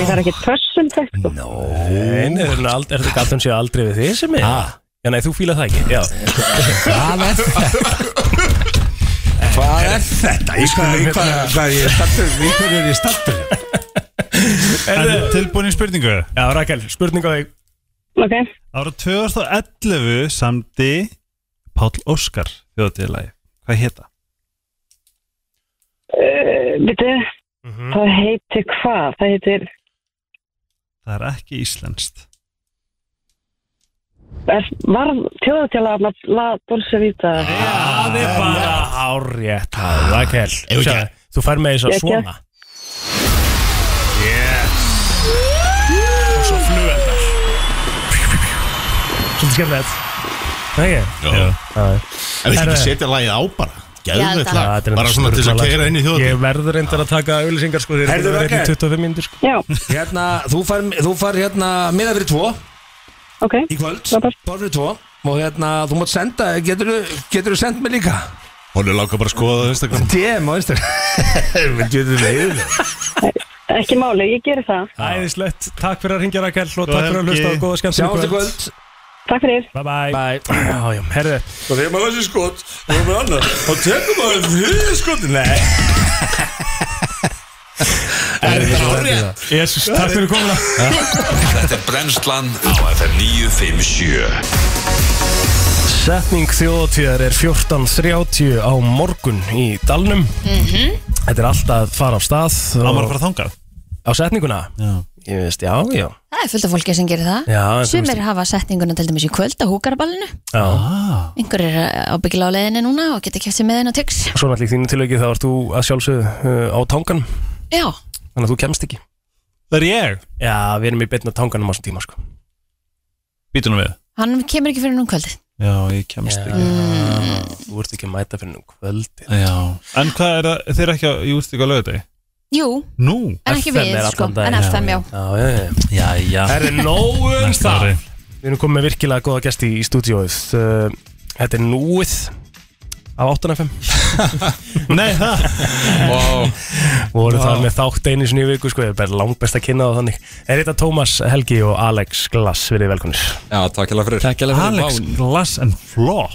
Speaker 6: Ég þarf ekki pössum þekkt
Speaker 2: Nei, er þetta aldrei, er þetta galt hún sé aldrei við þig sem er? Já, nei, þú fíla það ekki, já
Speaker 13: Hvað er þetta? Hvað er þetta? Ég skal veit hvað hvað ég er stattur Í hverju er ég stattur?
Speaker 8: Er þið tilbúin í spurningu?
Speaker 2: Já, Rakel, spurningu á þig
Speaker 6: Ok
Speaker 8: Ára 2011 samdi Páll Óskar þjóðtíðlagi Hvað heita?
Speaker 6: Vitið, Eh, það heitir hvað? Það heitir,
Speaker 8: Það er ekki íslenskt
Speaker 6: er, var þjóðatjála La Dorsa Vita
Speaker 2: Það er bara árétt Rakel,
Speaker 14: Ef Ah, ekki.
Speaker 2: sjá, þú fær með þess að
Speaker 6: Ég ekki.
Speaker 2: svona Yes Og svo flugveldar Svolítið skemmtilegt Það ekki?
Speaker 14: Já. En við
Speaker 2: Herra.
Speaker 14: getum setja lagið á bara Gæðvegt
Speaker 2: Já,
Speaker 14: lag
Speaker 2: þetta er
Speaker 14: Bara svona til að
Speaker 2: stórkala,
Speaker 14: keira inn í
Speaker 2: sko.
Speaker 14: þjóðtíð
Speaker 2: Ég verður reyndar að taka auðlýsingar sko þegar
Speaker 13: Heyrðu,
Speaker 2: við verðum í
Speaker 13: Rakel.
Speaker 2: 25 minnir sko
Speaker 6: Já
Speaker 13: Hérna, þú far, þú far hérna miða fyrir tvo
Speaker 6: Ok
Speaker 13: Í kvöld, borðið tvo Og hérna, þú mátt senda, getur þú sendt mig líka?
Speaker 14: Hún er láka bara að skoða það á Instagram
Speaker 13: DM á Instagram Við getum leiðið
Speaker 6: Ekki máli, ég geri það
Speaker 2: Æðislegt, takk fyrir að ringja Rakel og
Speaker 13: Góða
Speaker 2: takk fyrir að
Speaker 13: helgi.
Speaker 2: hlusta og góða skemmt
Speaker 13: Sjáumst í kvöld.
Speaker 6: Takk fyrir
Speaker 2: Bye bye Bye Já, já, herðu
Speaker 13: Og þegar maður þessi skot og maður annar og tekur maður þriðið skot Nei
Speaker 2: Er
Speaker 13: þetta
Speaker 2: hárrétt? Jésus, takk fyrir komuna
Speaker 15: Þetta er brennslan á FM 957
Speaker 2: Setning þjóðtíðar er 14.30 á morgun í Dalnum
Speaker 15: Mhm.
Speaker 2: Þetta er alltaf að fara af stað
Speaker 8: Á
Speaker 2: og-
Speaker 8: maður að fara þangað?
Speaker 2: Á setninguna? Já Ég veist, já, já
Speaker 3: Það er fullt af fólki sem gerir það
Speaker 2: Já, en þú
Speaker 3: Sumir hafa setninguna til dæmis í kvöld á húkaraballinu
Speaker 2: Já ah.
Speaker 3: Einhver er eh, ábyggilega á leiðinni núna og geta kæft sér með henn á tix
Speaker 2: Svo náttúrulega í þínu tilöki þá ert þú að sjálfsögðu uh, á tangan
Speaker 3: Já,
Speaker 2: Þannig að þú kemst ekki
Speaker 8: Það er ég?
Speaker 2: Já, við erum í beinna tanganum á þessum tíma sko
Speaker 8: Býtunum við
Speaker 3: hann kemur ekki fyrir núna um kvöldi
Speaker 8: Já, ég kemst
Speaker 2: Já,
Speaker 8: ekki
Speaker 2: Þú ert ekki að mæta fyrir um kvöldi
Speaker 8: Já En hvað er það, þeir eru ekki að júst ykkur að lögðu þig?
Speaker 3: Jú,
Speaker 8: Nú
Speaker 3: En ekki við, sko, en FM, já.
Speaker 2: Já, já, já
Speaker 8: já.
Speaker 2: Það er nóg um
Speaker 8: Næsta
Speaker 2: það
Speaker 8: ári.
Speaker 2: Við erum komið með virkilega góða gesti í stúdíóið Uh, Þetta er núið af 8.5
Speaker 8: Nei, það
Speaker 2: Wow Voru
Speaker 8: Vá.
Speaker 2: það með þátt einu sinni í viku sko, ég er bara langbest að kynna það þannig Er þetta Tómas Helgi og Alex Glass, verið velkonir
Speaker 16: Já, takk hella fyrir
Speaker 2: Takk hérlega fyrir. Vá.
Speaker 8: Alex Glass and Flaw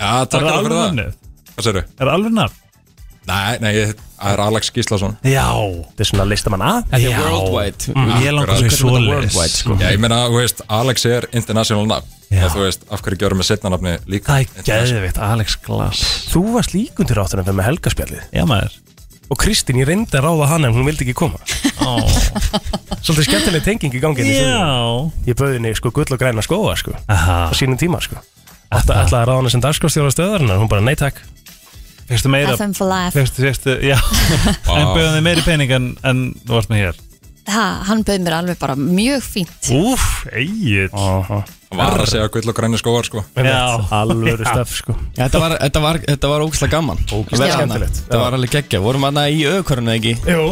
Speaker 16: Já, takk
Speaker 8: Er
Speaker 16: hella
Speaker 8: það
Speaker 16: fyrir
Speaker 8: alveg
Speaker 16: það
Speaker 8: nafnið?
Speaker 16: Hvað segir
Speaker 8: Er það alveg nafn?
Speaker 16: Nei, nei, ég- það er Alex Gíslason
Speaker 2: Já Þetta er svona listamann Mm. að
Speaker 16: Þetta er worldwide
Speaker 8: Mm, Ég langar svo
Speaker 16: Akkurat.
Speaker 8: í svoleiðis sko.
Speaker 16: Já, ég meina, þú veist, Alex er international nafn og þú veist, af hverju gjörum við setna nafni líka
Speaker 8: Það er geðvitt, Alex Glass
Speaker 2: Þú varst líkundur 8.5 um með helgaspjallið
Speaker 8: Já maður
Speaker 2: Og Kristín, ég reyndi að ráða hana en hún vildi ekki koma Svolítið skemmtileg tenging í ganginni
Speaker 8: Já.
Speaker 2: Ég bauði henni sko gull og græna skóa sko Aha. Á sínum tíma sko Þetta ætlaði að ráða henni sem dagskostjóra stöðarinnar Hún bara nei takk
Speaker 8: Fyrstu meira
Speaker 3: FM for life.
Speaker 8: Fyrstu, fyrstu, já En bauðum þið meiri pening en, en þú varst með hér
Speaker 3: ha, hann bauð mér alveg bara mjög fínt
Speaker 8: Úf, eigið
Speaker 16: Var að segja gull og græni skóar sko
Speaker 2: Já. Alvöru stöf, sko.
Speaker 17: Já, þetta var, þetta var, þetta var ógæslega gaman Að vera þarna.
Speaker 2: skemmtilegt.
Speaker 17: Þetta var alveg geggja, vorum aðna í auðkvarunni ekki
Speaker 2: Jú,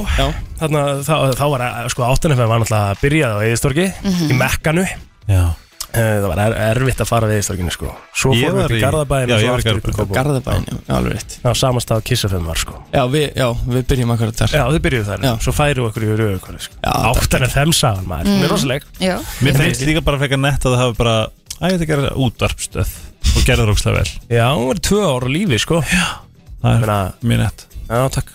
Speaker 2: þarna, þá, þá var að, sko áttunum var náttúrulega að byrjað á Eðistorgi
Speaker 17: Mhm.
Speaker 2: í Mekkanu
Speaker 8: Já
Speaker 2: Eh, Það var er, erfitt að fara við Eðistorginu sko Svo
Speaker 17: Ég
Speaker 2: fórum við
Speaker 17: var
Speaker 2: upp í
Speaker 17: í-
Speaker 2: Garðabæðin
Speaker 17: Já,
Speaker 2: og
Speaker 17: ég
Speaker 2: svo
Speaker 17: var í
Speaker 2: aftur upp í Kópavog.
Speaker 17: Garðabæinn, já, alveg rétt
Speaker 2: Já, samastað Kissafem var sko
Speaker 17: Já, við, já, við byrjum akkurat þar
Speaker 2: Já, þið byrjuðu þar, svo færu okkur í rauðu sko. Áttan er þeim sagan maður, hún
Speaker 17: Mm.
Speaker 2: er rosaleg
Speaker 3: Já.
Speaker 8: Mér finnst líka bara frekar nett að það hafi bara Æ, þetta gerir útvarpstöð Og gerður ógæslega vel
Speaker 2: Já, hún var tvö ára lífi sko Já,
Speaker 8: það er mjög nett
Speaker 2: Já, takk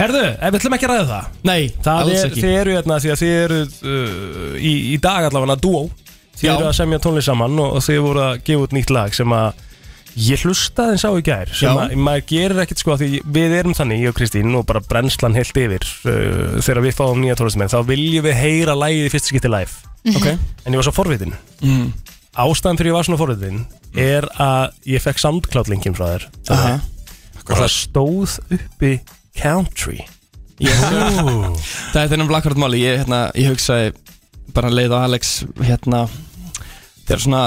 Speaker 2: Herðu, eh, við ætlum ekki að ræða það
Speaker 17: Nei,
Speaker 2: það
Speaker 17: alls
Speaker 2: er,
Speaker 17: ekki.
Speaker 2: Þið eru hérna því að þið eru uh, í, í dag allavega duo Þið
Speaker 17: Já.
Speaker 2: eru að semja tónlist saman og, og þið voru að gefa út nýtt lag sem að ég hlustaði eins á í gær sem
Speaker 17: Já.
Speaker 2: að maður gerir ekkert sko af því við erum þannig, ég og Kristín og bara brennslan heilt yfir uh, þegar við fáum nýja tónlistamenn þá viljum við heyra lagið í fyrst skipti live
Speaker 17: Mhm. Ok.
Speaker 2: en ég var svo forvitin
Speaker 17: Mm.
Speaker 2: ástæðan fyrir ég var svona forvitin er að ég fekk soundcloud linkin frá þér
Speaker 17: Aha.
Speaker 2: og það stóð uppi country
Speaker 17: Jú. Það er þennum blakkvært máli Ég, hérna, ég hugsaði bara leið á Alex hérna, Þegar svona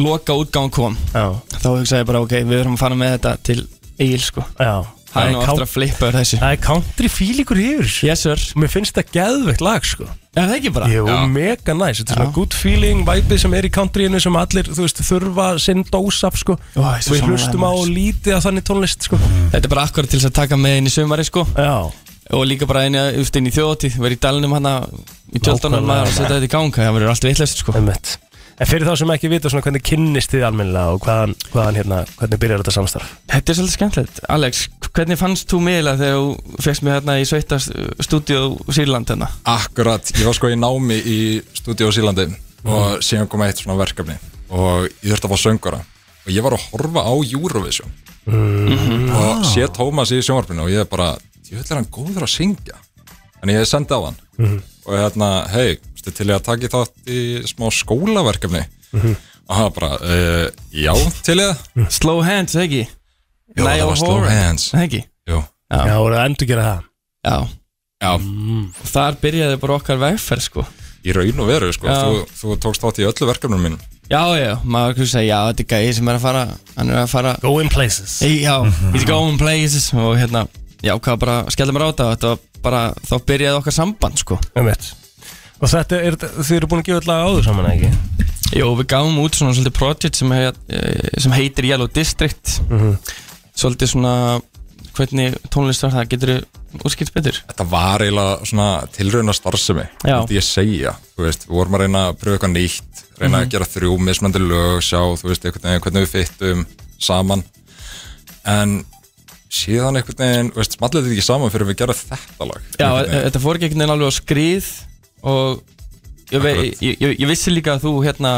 Speaker 17: loka útgáðan kom
Speaker 2: Já.
Speaker 17: Þá hugsaði ég bara ok, við erum að fara með þetta til Egil sko
Speaker 2: Já.
Speaker 17: Það er nú
Speaker 2: count-
Speaker 17: aftur að flippa yfir þessu
Speaker 2: Það er country fílingur yfir þessu
Speaker 17: Yes sir
Speaker 2: Mér finnst það geðveikt lag sko
Speaker 17: Já, það ekki bara
Speaker 2: Jú, mega næs, þetta er svona good feeling væpið sem er í countryinu sem allir, þú veist, þurfa sinn dós af sko
Speaker 17: Ó, ég er svo
Speaker 2: Við
Speaker 17: sammála
Speaker 2: hlustum á
Speaker 17: þér,
Speaker 2: lítið af þannig tónlist sko
Speaker 17: Þetta er bara akkurat til þess að taka með inn í sumari sko
Speaker 2: Já
Speaker 17: Og líka bara inn, í- út inn í þjóðatíð Verið í dalinum hana í tjöldunum
Speaker 2: Nákvæmlega.
Speaker 17: maður að setja þetta í ganga Það verður allt vitleist sko
Speaker 2: Einmitt. En fyrir þá sem ekki vita svona hvernig kynnist þið almennilega og hvaðan, hvaðan hérna, hvernig byrjar þetta samstarf?
Speaker 17: Þetta er svolítið skemmtilegt Alex, hvernig fannst þú mig eiginlega þegar þú fegst mig hérna í sveita stúdíu Sýrland hérna?
Speaker 16: Akkurat, ég var sko í námi í stúdíu á Sílandi og
Speaker 17: Mm.
Speaker 16: síðan kom eitt svona verkefni og ég þurfti að fá söngara og ég var að horfa á Eurovision og sé Tómas í sjónvarpinu og ég er bara, ég vil er hann góður að syngja en ég sendi á hann
Speaker 10: Mhm.
Speaker 16: og hérna, hei, stu til ég að taka í þátt í smá skólaverkefni
Speaker 10: Mhm.
Speaker 16: og hann bara, uh, já, til ég það
Speaker 17: Slow hands, ekki?
Speaker 16: Jó,
Speaker 17: Niall
Speaker 16: það var slow
Speaker 17: Horan,
Speaker 16: hands
Speaker 17: Ekki?
Speaker 16: Jú.
Speaker 2: Já, voru það endur gera það
Speaker 17: Já,
Speaker 16: Já.
Speaker 17: og þar byrjaði bara okkar vegferð sko
Speaker 16: í raun og veru, sko,
Speaker 17: Já.
Speaker 16: þú, þú tókst þátt í öllu verkefnum mínum
Speaker 17: Já, já, maður kannski segja, já, þetta er gæði sem er að fara Hann er að fara
Speaker 2: Going places
Speaker 17: Í, Já, he's going places Og hérna, já, hvað bara, skellum mér á þetta og Þetta var bara, þá byrjaði okkar samband sko
Speaker 2: Einmitt. Og þetta er, þið eru búin að gefa öll lag áður saman ekki?
Speaker 17: Jó, við gáum út svona svolítið project sem, hef, sem heitir Yellow District
Speaker 2: Mhm.
Speaker 17: Svolítið svona, hvernig tónlist var það, getur þú útskipt betur?
Speaker 16: þetta var eiginlega svona tilrauna starfsemi
Speaker 17: Já.
Speaker 16: þetta ég segja, þú veist, við vorum að reyna að pröfa eitthvað nýtt, reyna
Speaker 17: Mhm.
Speaker 16: að gera þrjú mismandi lög, sjá, þú veist, einhvern veginn hvernig við fyttum saman en síðan einhvern veginn, þú veist, smallið þetta ekki saman fyrir við gera þetta lag
Speaker 17: Já,
Speaker 16: Einhvern
Speaker 17: e-
Speaker 16: veginn.
Speaker 17: þetta fór ekki einhvern veginn alveg á skrið og ég, ve ég, ég, ég vissi líka að þú hérna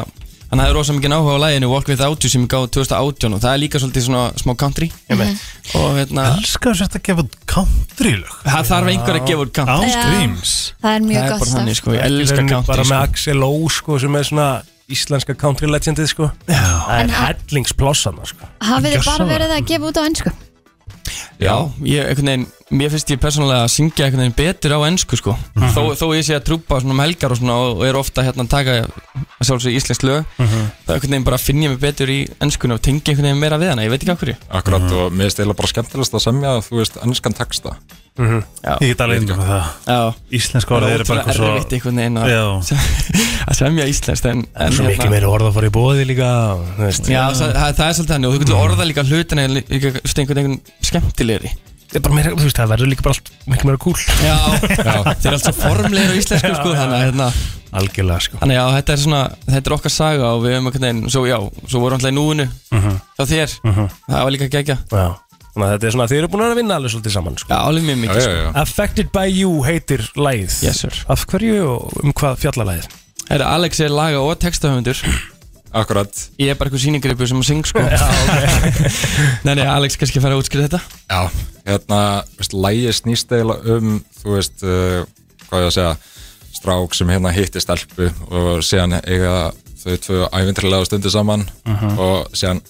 Speaker 17: hann hafði rosa mikið áhuga á læginu Walk Without You sem ég gáði 2018 og það er líka svolítið svona smá country
Speaker 2: Mhm.
Speaker 17: og hérna
Speaker 8: Elskar þetta að gefa út country lög
Speaker 17: það þarf einhver að gefa út country
Speaker 3: Já. Ángríms. Það er mjög
Speaker 17: Það er
Speaker 3: gott
Speaker 17: bara
Speaker 3: stöf.
Speaker 17: þannig sko, ég
Speaker 2: Í
Speaker 17: elska
Speaker 2: rauninni
Speaker 17: country
Speaker 2: Bara
Speaker 17: sko.
Speaker 2: með Axel Ó sko sem er svona íslenska country legendið sko Já. Það
Speaker 3: En
Speaker 2: er
Speaker 3: ha-
Speaker 2: hellingsplossana sko
Speaker 3: hafið þið bara
Speaker 17: Gjörsamlega.
Speaker 3: verið að gefa út á ennsku
Speaker 17: Já, ég, einhvern veginn, mér finnst ég persónulega að syngja einhvern veginn betur á ennsku sko þó, þó ég sé að trúpa svona um helgar og svona og og er ofta hérna að taka að sjálfsög íslensk lög
Speaker 16: Mhm.
Speaker 17: þá einhvern veginn bara finn ég mig betur í ennskuna og tengi einhvern veginn meira við hana, ég veit ekki af hverju
Speaker 16: Akkurat og mér finnst eiginlega bara skemmtilegast að semja, þú veist, ennskan texta
Speaker 2: Mhm.
Speaker 17: Já.
Speaker 8: Ég get alveg inn með það
Speaker 17: Já.
Speaker 8: Íslensk orðið eru bara
Speaker 17: eitthvað svo erfitt einhvern veginn
Speaker 8: Já.
Speaker 17: að, að semja íslenskt en, en
Speaker 2: Svo mikið meira orða að fara í bóði líka og, þú veist.
Speaker 17: Já, það, það, það er svolítið hann og þú getur orða líka hlutina en líka þú veist, einhvern veginn skemmtilegri
Speaker 2: Það er bara meira, þú veist, það verður líka bara allt mikið meira cool
Speaker 17: Já, þeir eru allt svo formlegir á íslensku sko, þannig að hérna
Speaker 2: Algjörlega sko
Speaker 17: Þannig já, þetta er svona, þetta er okkar saga og við höfum einhvern veginn, svo já, svo vorum alltaf í núinu
Speaker 2: Mhm.
Speaker 17: hjá þér,
Speaker 2: Mhm.
Speaker 17: það var líka gegja
Speaker 2: Já Þannig að þetta er svona, þið eru búin að vera að vinna alveg svolítið saman sko
Speaker 17: Já, alveg mjög mikið, Já, já, sko. já.
Speaker 2: Affected by you heitir lægið
Speaker 17: Yes, sir.
Speaker 2: Af hverju og um hvað fjallalægið?
Speaker 17: Herra, Alex er laga og textahöfundur
Speaker 16: Akkurat
Speaker 17: Ég er bara eitthvað sýningripu sem að syng sko Já, ok Nei, nei, Alex kannski fara að útskriða þetta
Speaker 16: Já, hérna, veist, lægi snýst eiginlega um, þú veist, uh, hvað ég að segja strák sem hérna hitti stelpu og síðan eiga þau tvö æfintrilega stundir saman
Speaker 13: Mhm.
Speaker 16: og síðan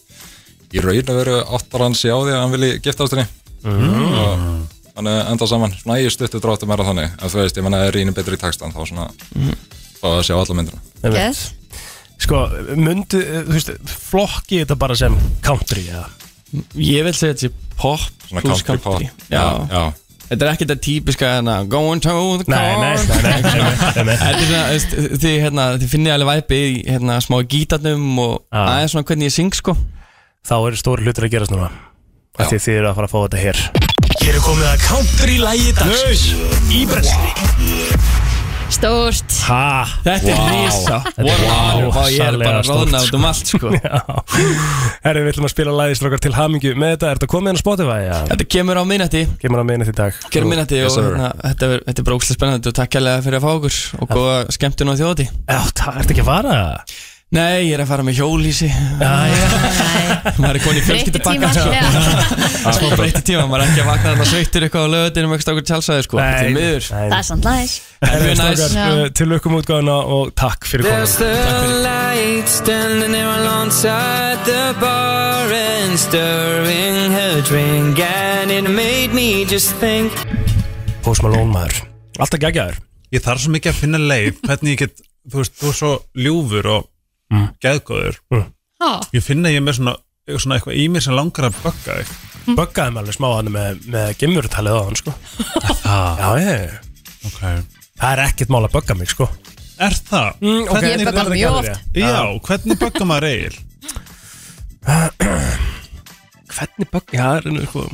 Speaker 16: í raun og veru áttar hann sig á því að hann vilji gifta ástinni
Speaker 13: Mhm.
Speaker 16: og hann enda saman svona ég stuttu dráttum er að þannig en þú veist, ég menna er rínum betri í takstan þá svona fá að sjá alla myndina
Speaker 2: Yes. Sko, myndi, þú veist, flokki þetta bara sem country eða?
Speaker 17: Ég vil segja þetta sé pop
Speaker 2: Svona
Speaker 17: plus
Speaker 2: country pop.
Speaker 17: Já.
Speaker 16: Já.
Speaker 17: Þetta er ekki þetta típiska hérna, Going to the car
Speaker 2: Nei, nei, nei, nei, nei, nei.
Speaker 17: Þetta er svona, veist, þið, hérna, þið finnir alveg væpi í hérna, smá gítarnum og aðeins svona hvernig ég syng sko
Speaker 2: Þá eru stóri hlutir að gerast núna Af Því að þið eru að fara að fá þetta hér
Speaker 1: Hér er komið að country lægi dagsins Í brensli
Speaker 3: Stórt
Speaker 2: Ha,
Speaker 17: Þetta er risa Vá, ég er bara ráðna út um allt sko
Speaker 2: Herri, við ætlum að spila lagið strókar til hamingju með þetta, er þetta komið inn á Spotify? Ja?
Speaker 17: Þetta kemur á minnati
Speaker 2: Kemur á minnati í dag
Speaker 17: Gerum minnati og
Speaker 2: Yes, sir.
Speaker 17: hérna, þetta er- þetta er brókslega spennandi og takk kærlega fyrir að fá okkur og góða skemmtun á þjóti
Speaker 2: Já, það ertu ekki að fara?
Speaker 17: Nei, ég er að fara með hjólísi maður er konið í fjölskyldu bakka
Speaker 3: Breytti tíma,
Speaker 17: smá breytti tíma, maður er ekki að vakna þarna sveittur eitthvað á löðinu með eitthvað tjálsæði sko,
Speaker 2: Nei,
Speaker 17: þetta er miður
Speaker 3: Það er samt læs
Speaker 2: Herri, strókar,
Speaker 3: Já.
Speaker 2: uh, til lukkum útgáðuna og takk fyrir
Speaker 10: There's
Speaker 2: komuna
Speaker 10: the light standing there alongside the bar and stirring her drink, and it made me just think.
Speaker 2: Post Malone maður Alltaf geggjaður
Speaker 8: Ég þarf svo mikið að finna leið Hvernig ég get, þú veist, þú er svo ljúfur og mm. geðgóður
Speaker 3: Ha.
Speaker 8: Ég finna ég er með svona, svona eitthvað í mér sem langar að bögga þig
Speaker 2: Böggaði mig alveg smá hann með, með gemurtalið á hann sko
Speaker 8: Það
Speaker 2: Já, ég
Speaker 8: okay.
Speaker 2: Það er ekkert mál að bögga mig sko
Speaker 8: Er það?
Speaker 2: Mm, ok.
Speaker 8: Hvernig-
Speaker 2: Ég bögga hann mjög oft.
Speaker 8: Já, hvernig bögga maður eigil?
Speaker 2: Hvernig bögga, já, er einu sko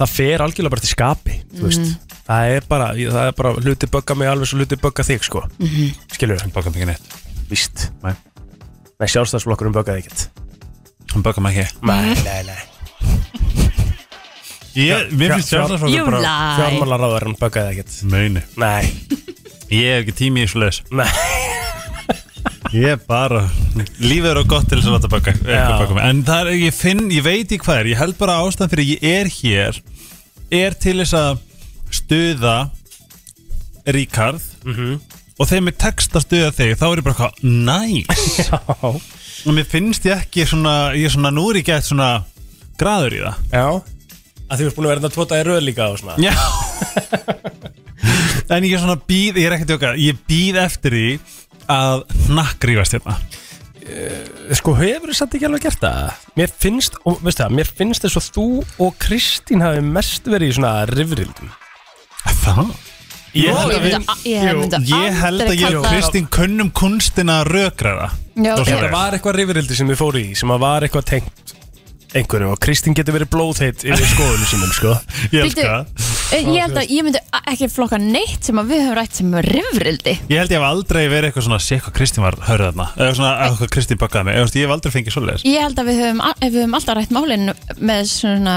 Speaker 2: Það fer algjörlega bara til skapi Þú veist
Speaker 8: Mhm.
Speaker 2: Það er bara, ég- það er bara hluti bögga mig alveg svo hluti bögga þig sko
Speaker 8: Mhm.
Speaker 2: Skilur
Speaker 8: Hann bögga mig ekki neitt
Speaker 2: Víst
Speaker 8: Nei
Speaker 2: Nei, sjálfstæðsflokkurinn böggaði ekkert
Speaker 8: Hann bögga mig ekki
Speaker 2: Nei, nei, nei
Speaker 8: Ég, mér finnst sjálfstæðisflokkurinn bara- You lie.
Speaker 2: Fjármálaráðurinn böggaði ekkert
Speaker 8: Meini
Speaker 2: Nei
Speaker 8: Ég hef ekki tími í þessu leis
Speaker 2: Nei
Speaker 8: Ég er bara Lífið er á gott til þess að láta baka,
Speaker 2: Já.
Speaker 8: baka mig. En það er, ég finn, ég veit í hvað er Ég held bara að ástæðan fyrir ég er hér Er til þess að stuða Ríkarð
Speaker 2: Mhm.
Speaker 8: Og þegar mér tekst að stuða þig Þá er ég bara eitthvað næs Og mér finnst ég ekki svona Ég er svona, nú er ég gett svona Graður í það
Speaker 2: Já Að því við erum búin að vera þetta tvo dagi í röð líka og svona
Speaker 8: Já En ég er svona býð, ég er ekkert okkar Ég býð eftir því að Nakkrífast hérna
Speaker 2: Sko, hefur þið satt ekki alveg gert það? Mér finnst, og veistu það, mér finnst þess að þú og Kristín hafi mest verið í svona rifrildum
Speaker 8: Það?
Speaker 2: Ég
Speaker 3: Jú,
Speaker 2: held
Speaker 3: ég
Speaker 2: að
Speaker 3: myndi a- ég
Speaker 2: Jú,
Speaker 3: myndi
Speaker 8: Ég held að
Speaker 3: aldrei
Speaker 8: ég
Speaker 3: kalla
Speaker 8: og
Speaker 3: það-
Speaker 8: Kristín kunnum kunstina að rökræða
Speaker 3: Já,
Speaker 2: Og
Speaker 3: ég-
Speaker 2: þetta var eitthvað rifrildi sem þið fóru í sem að var eitthvað tengt einhverju og Kristín getur verið blóðheit yfir skoðunum sínum, sko
Speaker 8: Ég
Speaker 3: Bíddu, eh, Ég held að ég myndi a- ekki flokka neitt sem að við höfum rætt sem rifrildi
Speaker 8: Ég held ég hef aldrei verið eitthvað svona Sér hvað Kristín var hörðaðna Eða svona eða hvað Kristín bakkaði mig Eða, þú veist, Ég hef aldrei fengið svoleiðis
Speaker 3: Ég held að við höfum, a- við höfum alltaf rætt málin með svona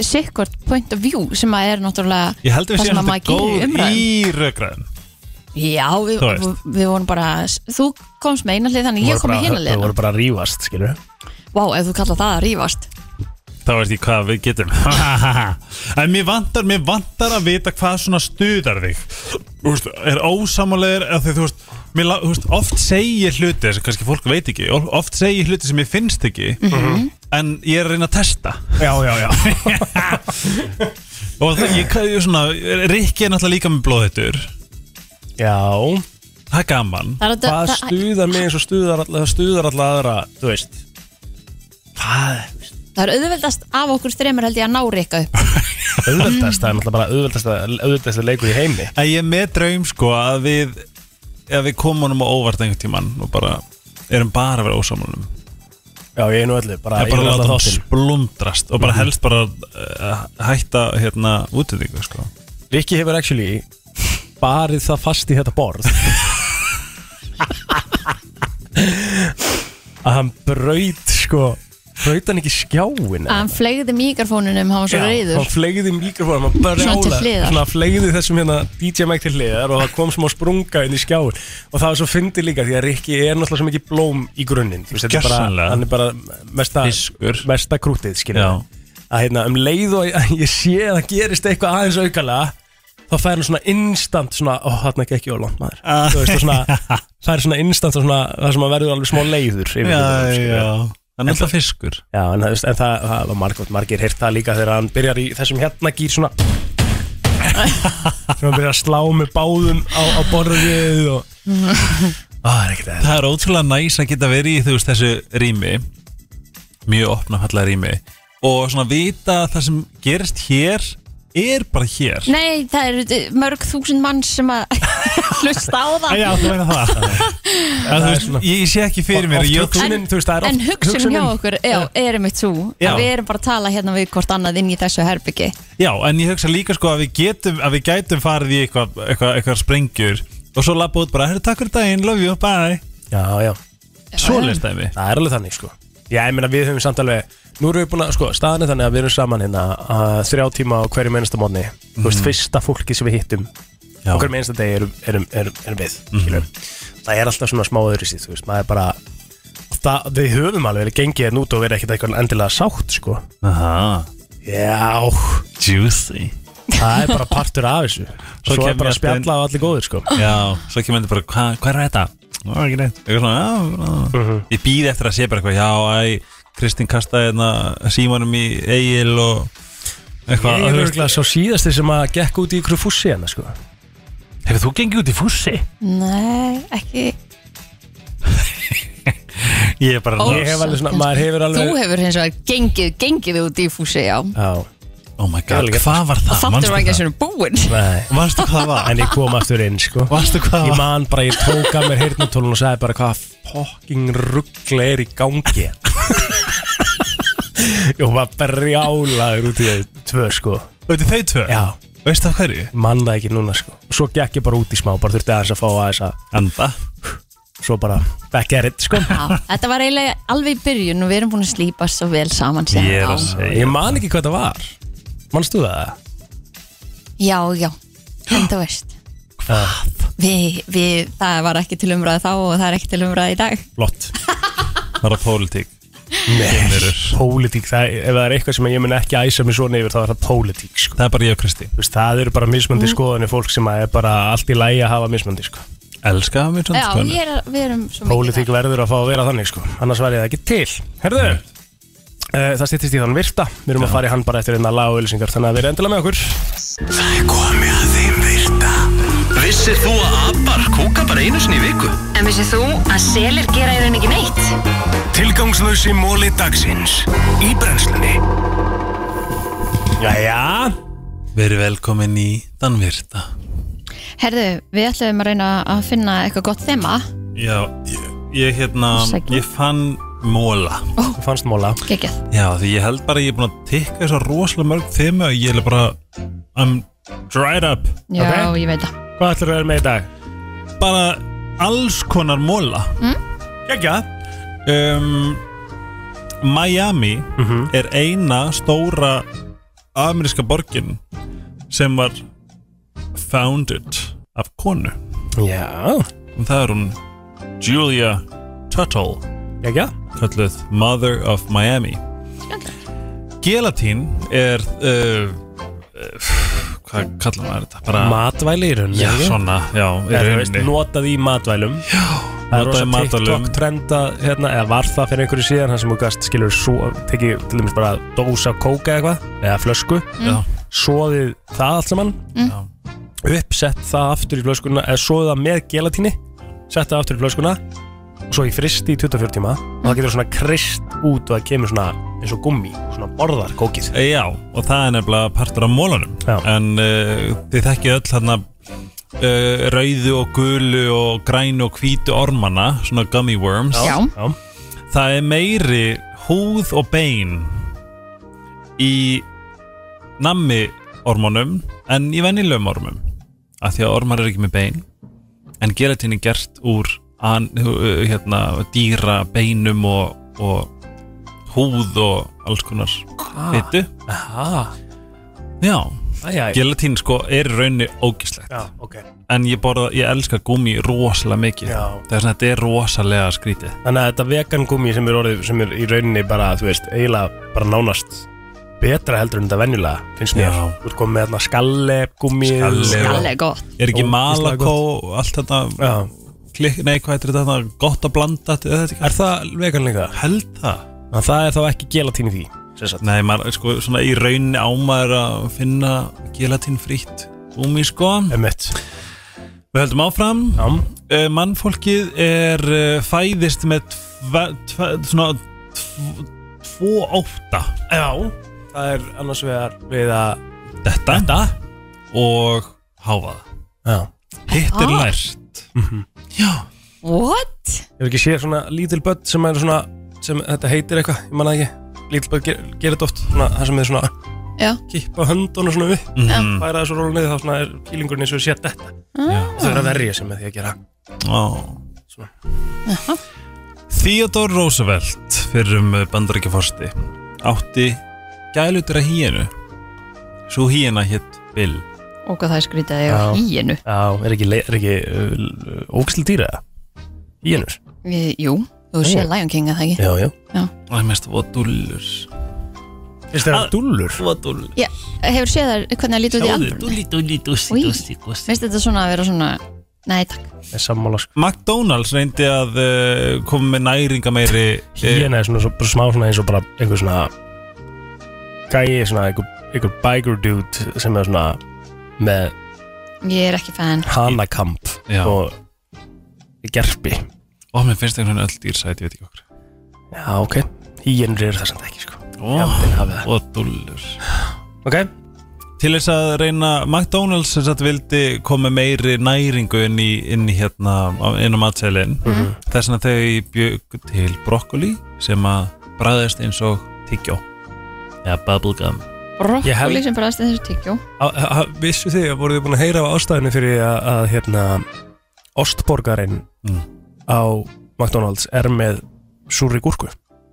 Speaker 3: sikkort point of view sem að er náttúrulega
Speaker 8: Ég held að
Speaker 3: það
Speaker 8: við
Speaker 3: sem
Speaker 8: séum
Speaker 3: að maður
Speaker 8: þetta
Speaker 3: gerir í
Speaker 8: góð
Speaker 3: umræðum
Speaker 8: í rökræðum
Speaker 3: Já, við,
Speaker 2: Þú veist.
Speaker 3: við vorum bara þú komst með eina hlið þannig ég kom með hina
Speaker 2: Þú
Speaker 3: hlið
Speaker 2: voru bara að rífast, skilur
Speaker 3: Vá, ef þú kallar það að rífast
Speaker 8: Þá veist ég hvað við getum En mér vantar, mér vantar að vita hvað svona stuðar þig Þú veist, Er ósamulegur eða því þú veist, mér, la- þú veist Oft segi ég hluti sem kannski fólk veit ekki of- Oft segi ég hluti sem ég finnst ekki
Speaker 2: Mhm.
Speaker 8: En ég er að reyna að testa
Speaker 2: Já, já, já
Speaker 8: Og það, ég, ég svona Rikki er náttúrulega líka með blóðhættur
Speaker 2: Já
Speaker 8: Það er gaman
Speaker 3: Það er þetta-
Speaker 2: Hvað
Speaker 3: það-
Speaker 2: stuðar mig eins og stuðar alla, það stuðar alla aðra, þú veist Hvað,
Speaker 3: Það er auðveldast af okkur þremur held ég að ná rikka upp
Speaker 2: auðveldast, það er náttúrulega bara auðveldast auðveldast leikur í heimi
Speaker 8: En ég er með draum sko að við að við komum honum á óvart einhvern tíman og bara erum bara að vera ósámanum
Speaker 2: Já, ég er nú öllu, bara
Speaker 8: Ég bara
Speaker 2: ég er
Speaker 8: láta
Speaker 2: allan
Speaker 8: hann
Speaker 2: þáttinn.
Speaker 8: splundrast og bara
Speaker 2: Mhm.
Speaker 8: helst bara uh, hætta hérna útvitingu sko
Speaker 2: Rikki hefur actually barið það fast í þetta borð að hann braut sko braut hann ekki skjáin
Speaker 3: að hann fleigði mikrofónunum, hann var svo reyður
Speaker 2: hann fleigði mikrofónum hann brjála,
Speaker 3: Svona til hliðar.
Speaker 2: svona fleigði þessum hérna DJ Mike til hliðar og það kom smá sprunga inn í skjáin og það var svo fyndi líka því að Rikki er náttúrulega svo mikið blóm í grunninn Þú veist, þetta er bara,
Speaker 8: Gjörsamlega.
Speaker 2: hann er bara mesta, mesta krútið skilja að hérna um leið og ég- ég sé að það gerist eitthvað aðeins aukala þá fær hann svona instant svona, ó, hann ekki ekki ólant maður
Speaker 8: Ah.
Speaker 2: Þú veist, og svona, fær svona instant og svona, það sem að verður alveg smá leiður yfir
Speaker 8: Já,
Speaker 2: þetta, sko.
Speaker 8: já. Hann
Speaker 2: En
Speaker 8: er alltaf
Speaker 2: það-
Speaker 8: fiskur.
Speaker 2: Já, en, það- en það, það var margótt margir heyrt það líka þegar hann byrjar í þessum hérna gýr svona sem hann byrjar að slá með báðum á, á borðið og Ah,
Speaker 8: Það er ekkert eða Það er ótrúlega næs að geta verið í þú veist þessu rými Mjög opnafalla rými Og svona vita að það sem gerist hér Er bara hér
Speaker 3: Nei, það eru eh, mörg þúsund mann sem að hlusta á það
Speaker 8: Já, þú meina það
Speaker 2: það
Speaker 8: Það, þú
Speaker 2: er
Speaker 8: veist,
Speaker 2: svona-
Speaker 8: Ég ég sé ekki fyrir
Speaker 2: Oft-
Speaker 8: mér
Speaker 2: oft
Speaker 8: ég-
Speaker 2: hugsunin, þú veist, það er
Speaker 3: En hugsun hjá okkur, já, er einmitt svo
Speaker 8: Já.
Speaker 3: að við erum bara að tala hérna við hvort annað inn í þessu herbyggi
Speaker 8: Já, en ég hugsa líka sko að við getum Að við gætum farið í eitthvað eitthva, eitthva sprengjur Og svo labba út bara, herru takk fyrir daginn, love you, bye
Speaker 2: Já, já
Speaker 8: Svo leist það við
Speaker 2: Það er alveg þannig sko Já, ég meina við höfum samt alveg Nú erum við búin að, sko, staðan er þannig að við erum saman hérna að þrjá tíma á hverjum einasta mótni Þú veist,
Speaker 8: Mhm.
Speaker 2: fyrsta fólki sem við hittum
Speaker 8: Já.
Speaker 2: á hverjum einasta degi erum, erum, erum, erum við mm. Það er alltaf svona smá öðru síð, þú veist, maður er bara það, Við höfum alveg verið gengið hérna út og verið ekkert eitthvað endilega sátt, sko
Speaker 8: Aha.
Speaker 2: Já
Speaker 8: Juicy
Speaker 2: Það er bara partur af þessu Svo,
Speaker 8: Svo
Speaker 2: er
Speaker 8: kem
Speaker 2: bara
Speaker 8: ég
Speaker 2: að spjalla á allir góðir, sko
Speaker 8: Já, svo kemur þetta bara, hvað hva er þetta? Ná, ekki neitt Eitthvað svona, já, já Ég býði eftir að sé bara eitthvað, já, æ Kristín kastaði hérna símanum í Egil og eitthvað
Speaker 2: Ég er örgulega sá síðasti sem að gekk út í ykkur fússi hérna, sko
Speaker 8: Hefur þú gengið út í fússi?
Speaker 3: Nei, ekki
Speaker 8: Ég er bara
Speaker 3: Ó,
Speaker 2: Ég hef alveg svona,
Speaker 3: samt.
Speaker 2: maður hefur alveg
Speaker 3: Þú hefur hins vegar gengið, gengið út í fúsi, já
Speaker 2: Já
Speaker 8: Oh my
Speaker 2: god,
Speaker 8: hvað var
Speaker 2: Ah,
Speaker 3: Og þáttur var ekki að svona búinn
Speaker 2: Nei
Speaker 8: Varstu hvað var?
Speaker 2: En ég kom aftur inn sko
Speaker 8: Varstu hvað
Speaker 2: Ég man bara, ég tók af mér heyrnutólun og sagði bara hvað fucking ruggla er í gangi Ég var berjálaður út í þau tvö sko
Speaker 8: Út í þau tvö?
Speaker 2: Já
Speaker 8: Veistu af hverju?
Speaker 2: Man það ekki núna sko Svo gekk ég bara út í smá, bara þurfti aðeins að fá aðeins að
Speaker 8: Anda
Speaker 2: Svo bara back at it sko
Speaker 3: Já, þetta var eiginlega alveg í byrjun og við erum búin að slípa svo vel saman síðan
Speaker 2: Ég er
Speaker 3: þá.
Speaker 2: að segja Ég man ekki hvað það var Manstu það?
Speaker 3: Já, já, en þú veist
Speaker 2: Hvað?
Speaker 3: við, við, Það var ekki til umræði þá og það er ekki til umræði í dag
Speaker 2: Flott
Speaker 8: Það var pólitík
Speaker 2: Nei, pólitík, það, ef það er eitthvað sem ég mun ekki æsa mig svona yfir, þá er það pólitík sko.
Speaker 8: Það er bara ég og Kristi
Speaker 2: Þú veist, það eru bara mismöndi
Speaker 3: Mm.
Speaker 2: skoðanir fólk sem að er bara allt í lægi að hafa mismöndi sko.
Speaker 8: Elska sko. það
Speaker 3: Já, ég er, að- við erum svo mikið
Speaker 2: Pólitík verður að fá að vera þannig sko. annars væri það ekki til Herðu, uh, það stýttist í þann virta Við erum að fara í hann bara eftir einna lagauðlýsingar Þannig að við erum endilega með okkur
Speaker 1: Það er komið að þeim virta Vissir þú að abar kúka bara einu sinni í viku?
Speaker 9: En vissið þú að selir gera í raun ekki neitt?
Speaker 1: Tilgangslösi móli dagsins Í brennslunni
Speaker 2: Jæja
Speaker 8: Verið velkomin í Danvirta
Speaker 3: Herðu, við ætlum að reyna að finna eitthvað gott þema
Speaker 8: Já, ég, ég hérna
Speaker 3: Sækjum.
Speaker 8: Ég fann móla
Speaker 2: Þú fannst móla
Speaker 3: Gekkið
Speaker 8: Já, því ég held bara að ég er búin að tikka þessar rosalega mörg þeimu og ég er bara I'm dried up
Speaker 3: Já, ég veit það
Speaker 2: Hvað ætlar þú að vera með í dag?
Speaker 8: Bara alls konar móla
Speaker 3: Mm.
Speaker 2: Gekja
Speaker 8: um, Miami er eina stóra ameríska borgin sem var founded af konu
Speaker 2: Já
Speaker 8: og það er hún Julia Tuttle
Speaker 2: Gekja
Speaker 8: kalluð Mother of Miami Gelatín er uh, uh, hvað kallar maður þetta? Bara,
Speaker 2: Matvæli í rauninni
Speaker 8: Já,
Speaker 2: ekki?
Speaker 8: svona, já, í
Speaker 2: Eða, þú
Speaker 8: rauninni.
Speaker 2: veist, Notað í matvælum Já Það er
Speaker 8: Notað í
Speaker 2: rosa
Speaker 8: matvælum.
Speaker 2: TikTok trenda hérna, eða var það fyrir einhverju síðan þar sem þú gast skilur svo, tekið til dæmis bara dósa kóka eða eitthvað eða flösku
Speaker 8: Já.
Speaker 2: soðið það allt saman
Speaker 8: Mm.
Speaker 2: uppsett það aftur í flöskuna eða soðið það með gelatíni sett það aftur í flöskuna og svo í fristi í 24 tíma og það getur svona krist út og það kemur svona eins og gummi svona borðar kókið
Speaker 8: Já, og það er nefnilega partur af mólanum Já. En uh, þið þekkið öll hérna uh, rauðu og gulu og grænu og hvítu ormana Svona gummy worms
Speaker 3: Já. Já.
Speaker 8: Það er meiri húð og bein í nammi ormunum en í venjulegum ormum af því að ormar eru ekki með bein en gelatín er gert úr an, uh, hérna, dýra beinum og, og húð og alls konar
Speaker 2: Ah.
Speaker 8: fytu
Speaker 2: Aha.
Speaker 8: Já,
Speaker 2: Æ, æ.
Speaker 8: gelatín sko er í rauninni ógislegt
Speaker 2: Já, ok.
Speaker 8: en ég, borða, ég elska gumi rosalega mikið
Speaker 2: Já.
Speaker 8: þess að þetta er rosalega skrítið
Speaker 2: Þannig að þetta vegan gummi sem er orðið sem er í rauninni bara, þú veist, eiginlega bara nánast betra heldur en þetta venjulega, finnst mér
Speaker 8: Já.
Speaker 2: Þú ert komið með þarna skallep, gummi
Speaker 3: Skalle er gott.
Speaker 8: Er ekki
Speaker 2: Og ógeðslega
Speaker 8: Malakó
Speaker 2: gott.
Speaker 8: og allt þetta klik, Nei, hvað heitir þetta þarna? Gott að blanda Er, þetta ekki-
Speaker 2: Er það veganleika?
Speaker 8: Held það
Speaker 2: En það er þá ekki gelatín í því
Speaker 8: Nei, maður, sko, svona í rauninni ámaður að finna gelatín frýtt Gúmi, sko
Speaker 2: Emmett
Speaker 8: Við höldum áfram Eh,
Speaker 2: Já
Speaker 8: Mannfólkið er uh, fæðist með tve, tve, svona tv, tvo ótta
Speaker 2: Já, það er annars vegar við að
Speaker 8: Þetta, þetta. og háfaða
Speaker 2: Já
Speaker 8: Hitt er
Speaker 2: Ah.
Speaker 8: lært
Speaker 3: What?
Speaker 2: Hefur ekki séð svona lítil börn sem er svona sem þetta heitir eitthvað, ég manna ekki Lítil börn ger, gerir þetta oft, svona það sem er svona
Speaker 3: Já.
Speaker 2: kippa höndunum svona upp
Speaker 8: Mhm.
Speaker 2: færa þessu róla niður þá svona er kýlingurinn eins og sétt þetta
Speaker 3: Ah.
Speaker 2: það er að verja sem með því að gera
Speaker 8: Ó. Theodore Roosevelt fyrir um bandarækjaforsti átti gælutur að híinu svo híina hétt Bill
Speaker 3: Og hvað það er skrítið að ég var híinu
Speaker 2: Já, er ekki, le- er ekki uh, ógæslega dýra eða? Híenur
Speaker 3: Jú, þú sé
Speaker 2: Ó.
Speaker 3: Lion King að það ekki
Speaker 2: Já, já
Speaker 3: Já.
Speaker 8: Það er mest voða dúllur
Speaker 2: Finnst þér það dúllur?
Speaker 8: Voða dúllur
Speaker 3: Já, hefur séð þær hvernig það lítur út í
Speaker 8: Sjáðu,
Speaker 3: andrunni?
Speaker 8: dúlli, dúlli, dússi,
Speaker 3: Új,
Speaker 8: dússi, dússi
Speaker 3: Finnst þetta svona að vera svona Nei, takk
Speaker 2: er sammála sko
Speaker 8: McDonalds reyndi að uh, koma með eh, næringa meiri
Speaker 2: Híena er svona svo, bara smá svona eins og bara einhver svona gæi, svona einhver, einhver biker dude sem er svona með
Speaker 3: Ég er ekki fan
Speaker 2: hanakamp
Speaker 8: Já.
Speaker 2: og gerpi
Speaker 8: Ó, mér finnst einhvern veginn öll dýrsæti, ég veit ekki okkur
Speaker 2: Já, ok Híenur eru það samt ekki sko
Speaker 8: Ó,
Speaker 2: Jafnvel hafi það.
Speaker 8: og dúllur
Speaker 2: Ok
Speaker 8: Til þess að reyna McDonalds sem sagt vildi koma meiri næringu inn í, inn í hérna á- inn á matsælin
Speaker 2: Mhm.
Speaker 8: þess að þau bjögu til brokkoli sem að bræðist eins og tyggjó eða bubblegum
Speaker 2: Ég held-
Speaker 3: Brokkoli sem bræðast þessu tyggjó
Speaker 2: Á- á- á- Vissu þið, voruð þið búin að heyra af ástæðinu fyrir því að, að hérna, ostborgarinn á McDonalds er með súri gúrku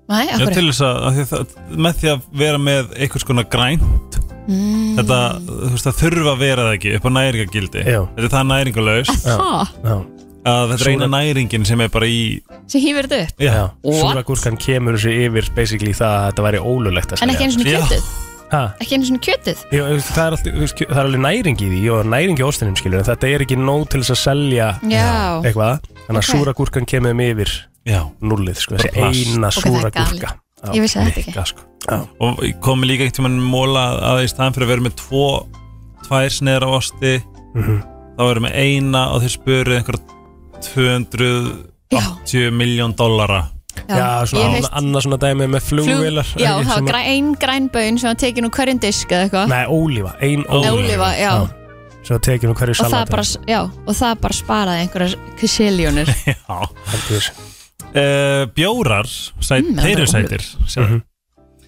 Speaker 3: Nei,
Speaker 8: Já,
Speaker 3: akkur
Speaker 8: til þess að, að, því það, með því að vera með einhvers konar grænt
Speaker 3: Mm.
Speaker 8: þetta, þú veist, það þurfa að vera það ekki upp á næringagildi
Speaker 2: Já.
Speaker 8: þetta er það næringalaus
Speaker 3: Að það?
Speaker 2: Já.
Speaker 8: að þetta er eina næringin sem er bara í
Speaker 3: Sem hýfir þetta upp
Speaker 8: Já.
Speaker 3: What?
Speaker 2: Súra gúrkan kemur þessu yfir basically það að þetta væri ólulegt að
Speaker 3: En ekki einu svona kjötið
Speaker 2: Ha?
Speaker 3: Ekki einu svona kjötið
Speaker 2: Jó, þú veist, það, er alltaf, þú veist, það er alveg næring í því og næring í ostinum skilur en þetta er ekki nóg til þess að selja
Speaker 3: Já.
Speaker 2: eitthvað þannig að
Speaker 3: Ok.
Speaker 2: súra gúrkan kemur um yfir
Speaker 8: Já.
Speaker 2: nullið sko, þessi
Speaker 8: Bara plast.
Speaker 2: eina
Speaker 3: Ok, það er
Speaker 2: súra
Speaker 3: galið.
Speaker 2: gúrka
Speaker 3: Ég vissi þetta ekki.
Speaker 2: mikka, sko.
Speaker 8: og komi líka eitt tímann móla að í staðan fyrir að vera með tvo tvær sneðar af osti
Speaker 2: Mhm.
Speaker 8: þá erum við eina og þeir spuru einhverja 280 miljón dollara
Speaker 3: Já, Já, svona ég annað- veist-
Speaker 2: annað svona dæmi með
Speaker 3: Flug- Já, það var græn, ein grænböin sem var tekin úr hverjum disk eða eitthvað
Speaker 2: Nei, ólífa, ein
Speaker 3: Nei,
Speaker 2: ólífa
Speaker 3: ólífa, já.
Speaker 2: Svo það tekið um hverju
Speaker 3: og það,
Speaker 2: salat
Speaker 3: bara, já, og það bara sparaði einhverjar kisiljónir
Speaker 8: Já uh, Bjórar sæt,
Speaker 3: Mm,
Speaker 8: þeir
Speaker 3: alveg
Speaker 8: eru sætir sem,
Speaker 2: Mhm.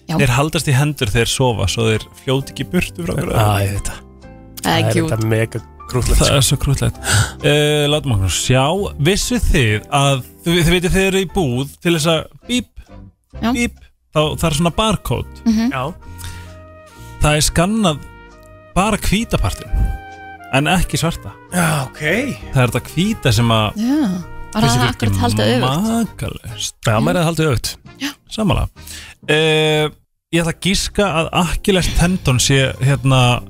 Speaker 3: Já.
Speaker 8: þeir haldast í hendur þeir sofa svo þeir fljóti ekki burtu frá okkur
Speaker 2: Æ, þetta
Speaker 3: Það er
Speaker 2: Það er
Speaker 3: cute.
Speaker 2: þetta mega sko. krútlegt
Speaker 8: Það er svo krútlegt uh, Látum okkur sjá Vissu þið að þið, þið veitir þið eru í búð til þess að bíp,
Speaker 3: Já.
Speaker 8: bíp þá, það er svona barcode
Speaker 3: Mhm.
Speaker 2: Já
Speaker 8: Það er skannað bara hvítapartin en ekki svarta
Speaker 2: Já, Ah, ok
Speaker 8: Það er þetta hvíta sem að
Speaker 3: Já, var það akkurat haldið öfugt
Speaker 8: Makalust
Speaker 2: Já, maður er að halda öfugt
Speaker 8: Samanlega uh, Ég ætla að gíska að Achilles tendon sé hérna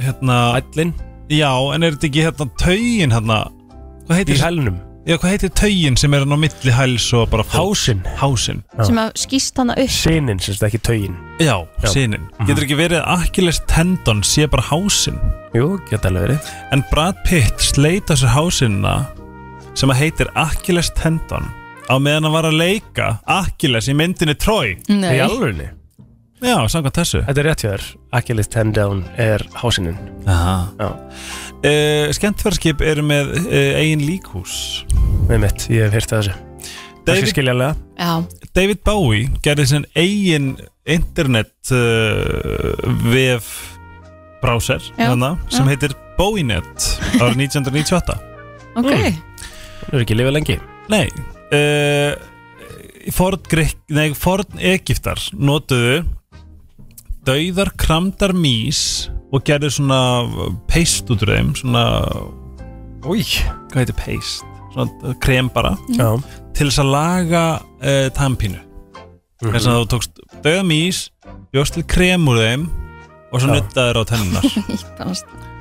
Speaker 8: hérna
Speaker 2: Ællin
Speaker 8: Já, en er þetta ekki hérna taugin hérna Hvað heitir
Speaker 2: Í hælnum
Speaker 8: Já, hvað heitir taugin sem er hann á milli hæls og bara Hásin Hásin
Speaker 3: sem að skýst hana upp
Speaker 2: Sinin, sem þetta ekki taugin
Speaker 8: Já,
Speaker 2: Já. Mhm.
Speaker 8: sínin Getur ekki verið að Achilles tendon sé bara hásin
Speaker 2: Jú, geta alveg verið
Speaker 8: En Brad Pitt sleita sér hásinna sem að heitir Achilles tendon á meðan hann var að leika Achilles í myndinni Troy
Speaker 2: Nei. Í alvörunni?
Speaker 8: Já, samkvæmt þessu
Speaker 2: Þetta er rétt hjá þér Achilles tendon er hásinin
Speaker 8: Aha. Uh, Skemmtverðskip eru með uh, eigin líkhús
Speaker 2: Með mitt, ég hef hýrt þessu David,
Speaker 8: David,
Speaker 2: skiljanlega
Speaker 3: Já,
Speaker 8: David Bowie gerði sinn eigin internet uh, vef browser
Speaker 3: Já,
Speaker 8: hana, sem
Speaker 3: já.
Speaker 8: heitir BowieNet árið 1998
Speaker 3: ok
Speaker 2: Það er ekki lifið lengi
Speaker 8: Nei uh, Forn, Grek, nei, Forn Egiptar notuðu dauðar kramdar mís og gerðu svona peist út úr þeim svona Új. hvað heitir peist svona krem bara
Speaker 2: Já.
Speaker 8: eh, til þess að laga uh, tampínu þess að þú tókst dauða mís bjóst til krem úr þeim og
Speaker 3: Já.
Speaker 8: svo nuttaður á tennunar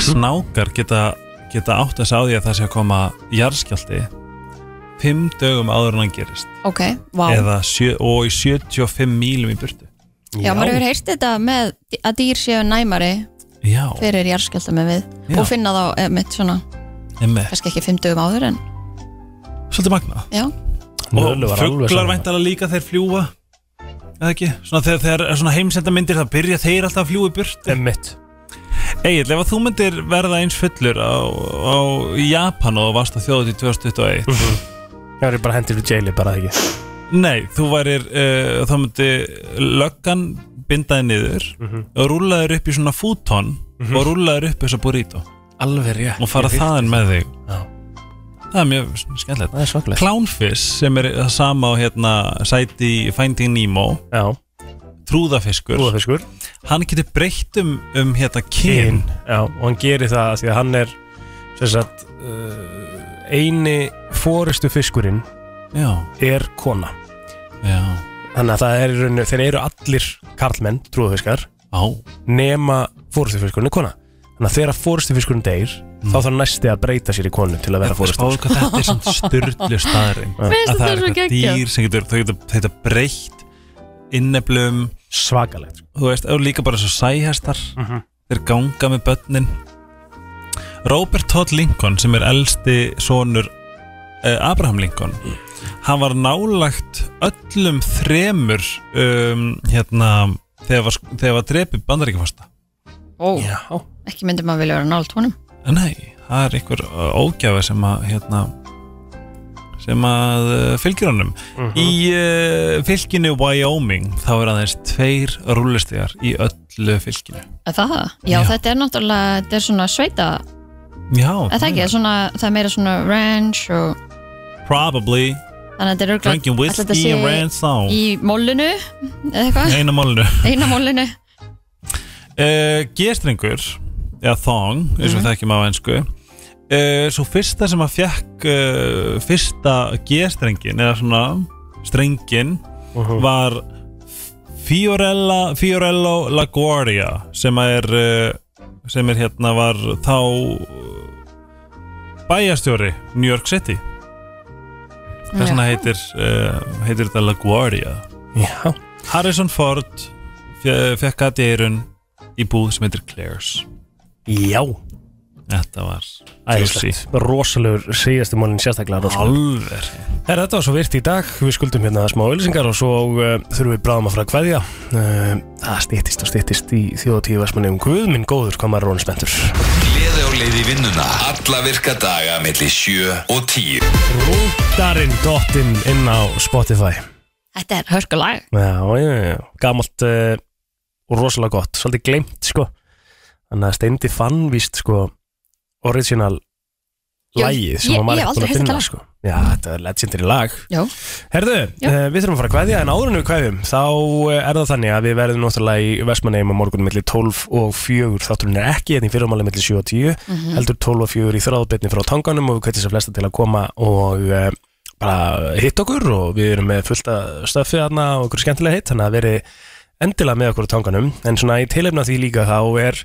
Speaker 8: snákar geta, geta átt að sá því að það sé að koma jarðskjaldi fimm dögum áður en hann gerist
Speaker 3: Ok, vá
Speaker 8: Eða sjö, og í 75 mílum í burtu
Speaker 3: Já, maður hefur heyrt þetta með að dýr séu næmari
Speaker 8: Já.
Speaker 3: fyrir jarðskjálta með við
Speaker 8: Já.
Speaker 3: og finna þá eh, mitt svona,
Speaker 8: Einmitt.
Speaker 3: kannski ekki fimm dögum áður en
Speaker 8: Svolítið magna
Speaker 3: Já,
Speaker 2: Nölu
Speaker 8: og
Speaker 2: var alveg
Speaker 8: fugglar
Speaker 2: saman.
Speaker 8: væntalega líka þeir fljúa eða ekki, svona þegar, þegar er svona heimsendamindir það byrja þeir alltaf að fljúa í burt
Speaker 2: Emmitt
Speaker 8: Egil, ef að þú myndir verða eins fullur á, á Japan og varst á þjóðut í 2021
Speaker 2: Það er bara hendur við jaili bara ekki
Speaker 8: Nei, þú værir, uh, þá myndi löggan bindaði niður
Speaker 2: Mhm.
Speaker 8: og rúlaðir upp í svona fúton og rúlaðir upp þessa burrito
Speaker 2: Alveg rétt
Speaker 8: og fara
Speaker 2: Ég fylgdi
Speaker 8: þaðan með
Speaker 2: því.
Speaker 8: þig
Speaker 2: Já.
Speaker 8: Það er mjög skemmtilegt
Speaker 2: Það er svakalegt.
Speaker 8: Clownfish sem er það sama á hérna, sæti í Finding Nemo
Speaker 2: Já.
Speaker 8: Trúðafiskur
Speaker 2: Trúðafiskur
Speaker 8: Hann getur breytt um, um hérna
Speaker 2: Kyn
Speaker 8: kyn
Speaker 2: Já, og hann gerir það af því að hann er sem sagt uh, eini fórestu fiskurinn
Speaker 8: Já.
Speaker 2: er kona
Speaker 8: Já.
Speaker 2: Þannig að það er í rauninu, þeir eru allir karlmenn, trúðafiskar
Speaker 8: Já.
Speaker 2: nema fórustufiskurinn er kona Þannig að þegar fórustufiskurinn deyr þá þarf næsti að breyta sér í konu til að vera
Speaker 8: Spáðu
Speaker 2: fórustufiskur
Speaker 8: hvað sko, þetta er svona styrlu staðurinn
Speaker 2: Mér finnst
Speaker 8: Að
Speaker 2: þetta
Speaker 8: það er
Speaker 2: svo
Speaker 8: eitthvað
Speaker 2: geggjað.
Speaker 8: dýr sem getur, þau getur þetta breytt inneflum
Speaker 2: Svakalegt
Speaker 8: Þú veist, og líka bara svo sæhestar Þeir ganga með börnin Robert Todd Lincoln sem er elsti sonur uh, Abraham Lincoln Hann var nálagt öllum þremur um, hérna, þegar var, þegar var drepið bandaríkjafasta
Speaker 3: ó, ekki myndi maður vilja vera nált honum
Speaker 8: Nei, það er einhver uh, ógjafi sem að hérna, sem að uh, fylgir honum Í uh, fylginu Wyoming þá er aðeins tveir rúlistegar í öllu fylginu
Speaker 3: Er Það, já, þetta er náttúrulega þetta er svona sveita,
Speaker 8: Já,
Speaker 3: er það
Speaker 8: Mm.
Speaker 3: ekki, er svona, það er meira svona ranch og
Speaker 8: Probably
Speaker 3: þannig að þetta er örugglega-
Speaker 8: Drinking
Speaker 3: ætli þetta
Speaker 8: whiskey
Speaker 3: sé
Speaker 8: and ranch song.
Speaker 3: í mólinu, eða eitthvað
Speaker 8: Eina málinu
Speaker 3: eina mólinu,
Speaker 8: uh, G-strengur eða thong, eins
Speaker 3: Mhm.
Speaker 8: og við þekkjum á ennsku uh, Svo fyrsta sem að fekk uh, fyrsta G-strengin eða svona strengin var Fiorella, Fiorello LaGuardia sem að er uh, sem er hérna var þá bæjastjóri New York City þess vegna heitir uh, heitir þetta LaGuardia
Speaker 2: Já.
Speaker 8: Harrison Ford fekk að dýrun í búð sem heitir Claire's
Speaker 2: Já
Speaker 8: Þetta var
Speaker 2: Æðislegt, rosalegur síðastu málinn sérstaklega sko. rosalegur.
Speaker 8: Alveg
Speaker 2: Herra, þetta var svo virt í dag, við skuldum hérna smá ölsingar og svo uh, þurfum við bráðum að fara að kveðja uh, Það stýttist og stýttist í þjóðatíu versmanni um Guð minn góður, hvað maður er rónum spenntur
Speaker 15: Gleði á leið í vinnuna Alla virka daga melli 7 og 10
Speaker 2: Rúndarinn dottinn inn á Spotify
Speaker 3: þetta er hörkulag
Speaker 2: Já, já, já, gamalt uh, og rosalega gott, svolítið gleymt sko Þannig að Steindi fann víst sko original
Speaker 3: Já,
Speaker 2: lagið sem
Speaker 3: ég-
Speaker 2: hann var
Speaker 3: ég hef
Speaker 2: ekki búin
Speaker 3: aldrei
Speaker 2: að
Speaker 3: heyrt þetta
Speaker 2: finna
Speaker 3: lag.
Speaker 2: sko Já, þetta er legendary lag
Speaker 3: já,
Speaker 2: Herðu, uh, við þurfum að fara að kveðja en áður en við kveðjum þá eh, er það þannig að við verðum náttúrulega í Vestmanneim á morgunum millir 12 og 4 þátturinn er ekki hérna í fyrramáli millir 7 og 10
Speaker 1: Mhm.
Speaker 2: heldur 12 og 4 í þráðbyrni frá tanganum og við kveðjum sér flesta til að koma og uh, bara hitt okkur og við erum með fullta stöfið þarna og okkur skemmtilega hitt þannig að verið endilega með okkur á tanganum en svona í tilefna því líka þá er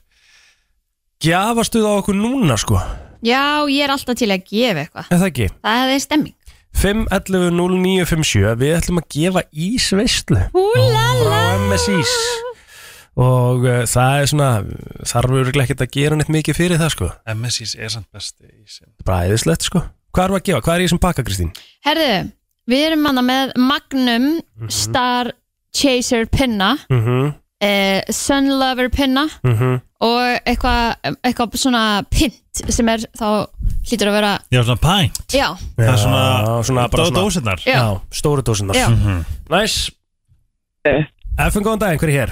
Speaker 2: gjafastuð á okkur núna sko,
Speaker 3: já, ég er alltaf til að gefa eitthvað
Speaker 2: er það ekki?
Speaker 3: það er stemming
Speaker 2: 5.11.09.57 Við ætlum að gefa ísveistlu Frá
Speaker 8: Ah,
Speaker 2: MSIs Og uh, það er svona Þarf örgulega ekkert að gera neitt mikið fyrir það sko
Speaker 8: MSI's er samt besti í sem
Speaker 2: Bræðislegt sko Hvað erum við að gefa? Hvað er ég sem pakka Kristín?
Speaker 3: herðu, við erum manna með Magnum Star Chaser pinna
Speaker 2: Mm -hmm.
Speaker 3: eh, Sun Lover pinna
Speaker 2: Mm -hmm.
Speaker 3: og eitthvað eitthvað svona pint sem er þá hlýtur að vera
Speaker 8: Já, svona pæn
Speaker 3: já,
Speaker 8: Það er svona-
Speaker 2: bara
Speaker 8: dó-
Speaker 2: svona
Speaker 8: dósirnar.
Speaker 3: Já.
Speaker 2: Já, stóru dósinnar
Speaker 3: Já. Mhm.
Speaker 2: Næs FN, góðan daginn, hver er hér?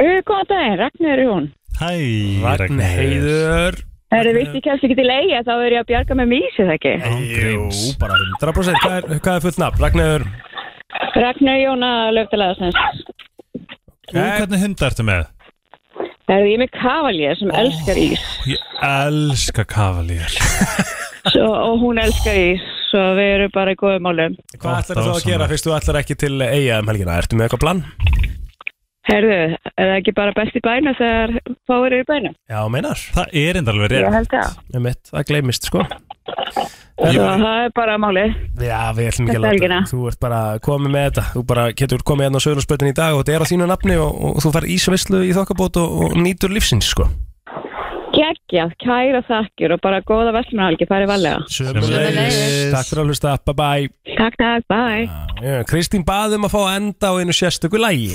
Speaker 18: Uh, Góðan daginn, Ragnar Jón.
Speaker 8: Hæ,
Speaker 2: Ragnheiður
Speaker 18: Herðu, vilt ég kemst ekki til eiga, þá er ég að bjarga með mísi, það ekki?
Speaker 2: Jú, bara 100% Hvað er, hvað er fullt nafn? Ragnheiður
Speaker 18: Ragnar Jón að löftalæðasnæs.
Speaker 8: Hvernig hunda ertu með?
Speaker 18: Herðu, ég er með kavaljer sem elskar ís.
Speaker 8: Ég elska kavalýr
Speaker 18: Svo, og hún elskar ís, svo við erum bara í góðum málum.
Speaker 2: Hvað ætlar þú að gera fyrst þú ætlar ekki til eiga um helgina? Ertu með eitthvað plan?
Speaker 18: Herðu, er það ekki bara best í bænum þegar fáir eru í bænum?
Speaker 13: Já, meinar Það er enda alveg
Speaker 18: Ég held það.
Speaker 13: Einmitt, Það gleymist sko
Speaker 18: Svo það er bara málið.
Speaker 13: Já, við ætlum ekki að
Speaker 18: Þetta er
Speaker 13: láta
Speaker 18: helgina.
Speaker 13: Þú ert bara komið með þetta Þú bara getur komið hérna á sögurnarspötin í dag og þetta er á þínu nafni og, og þú fær ísveislu í þokkabót og, og nýtur lífsins sko
Speaker 18: Gekkjað, kæra þakkir og bara góða vestlunarhalgi, farið valega.
Speaker 13: Sömuleiðis. Takk fyrir að hlusta, bye bye
Speaker 18: Takk, takk, bye.
Speaker 13: Já, Kristín
Speaker 2: um
Speaker 13: baðum að fá að enda á einu sérstöku lægi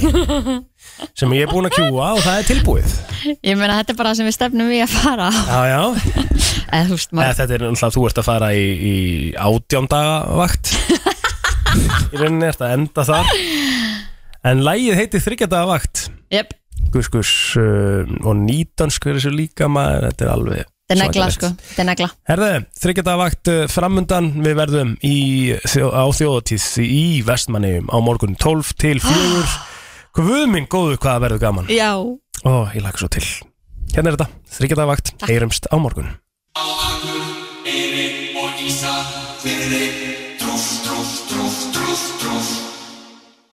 Speaker 13: sem ég er búin að kjúa og það er tilbúið
Speaker 3: Ég meina þetta er bara það sem við stefnum í að fara á.
Speaker 13: Já, já
Speaker 3: Eða þú veist
Speaker 13: Eða,
Speaker 3: maður
Speaker 13: Þetta er náttúrulega, þú ert að fara í, í átjóndagavakt Í rauninni ert að enda þar En lægið heitir þryggjadagavakt
Speaker 3: Jep,
Speaker 13: Gus Gus uh, og nýtansk er þessu líka maður Þetta er alveg
Speaker 3: þetta er negla
Speaker 13: svakalegt.
Speaker 3: sko, þetta er negla
Speaker 13: Herðu, þryggjadagavakt eh, framundan við verðum í, þjó- á þjóðatíð í vestmanniðum á morgun 12 til 4 Guð minn góðu hvað það verður gaman
Speaker 3: Já,
Speaker 13: Ó, ég laka svo til Hérna er þetta, þryggjadagavakt, heyrumst á morgun
Speaker 19: Evi og Ísa fyrir þig Trúf, trúf, trúf, trúf, trúf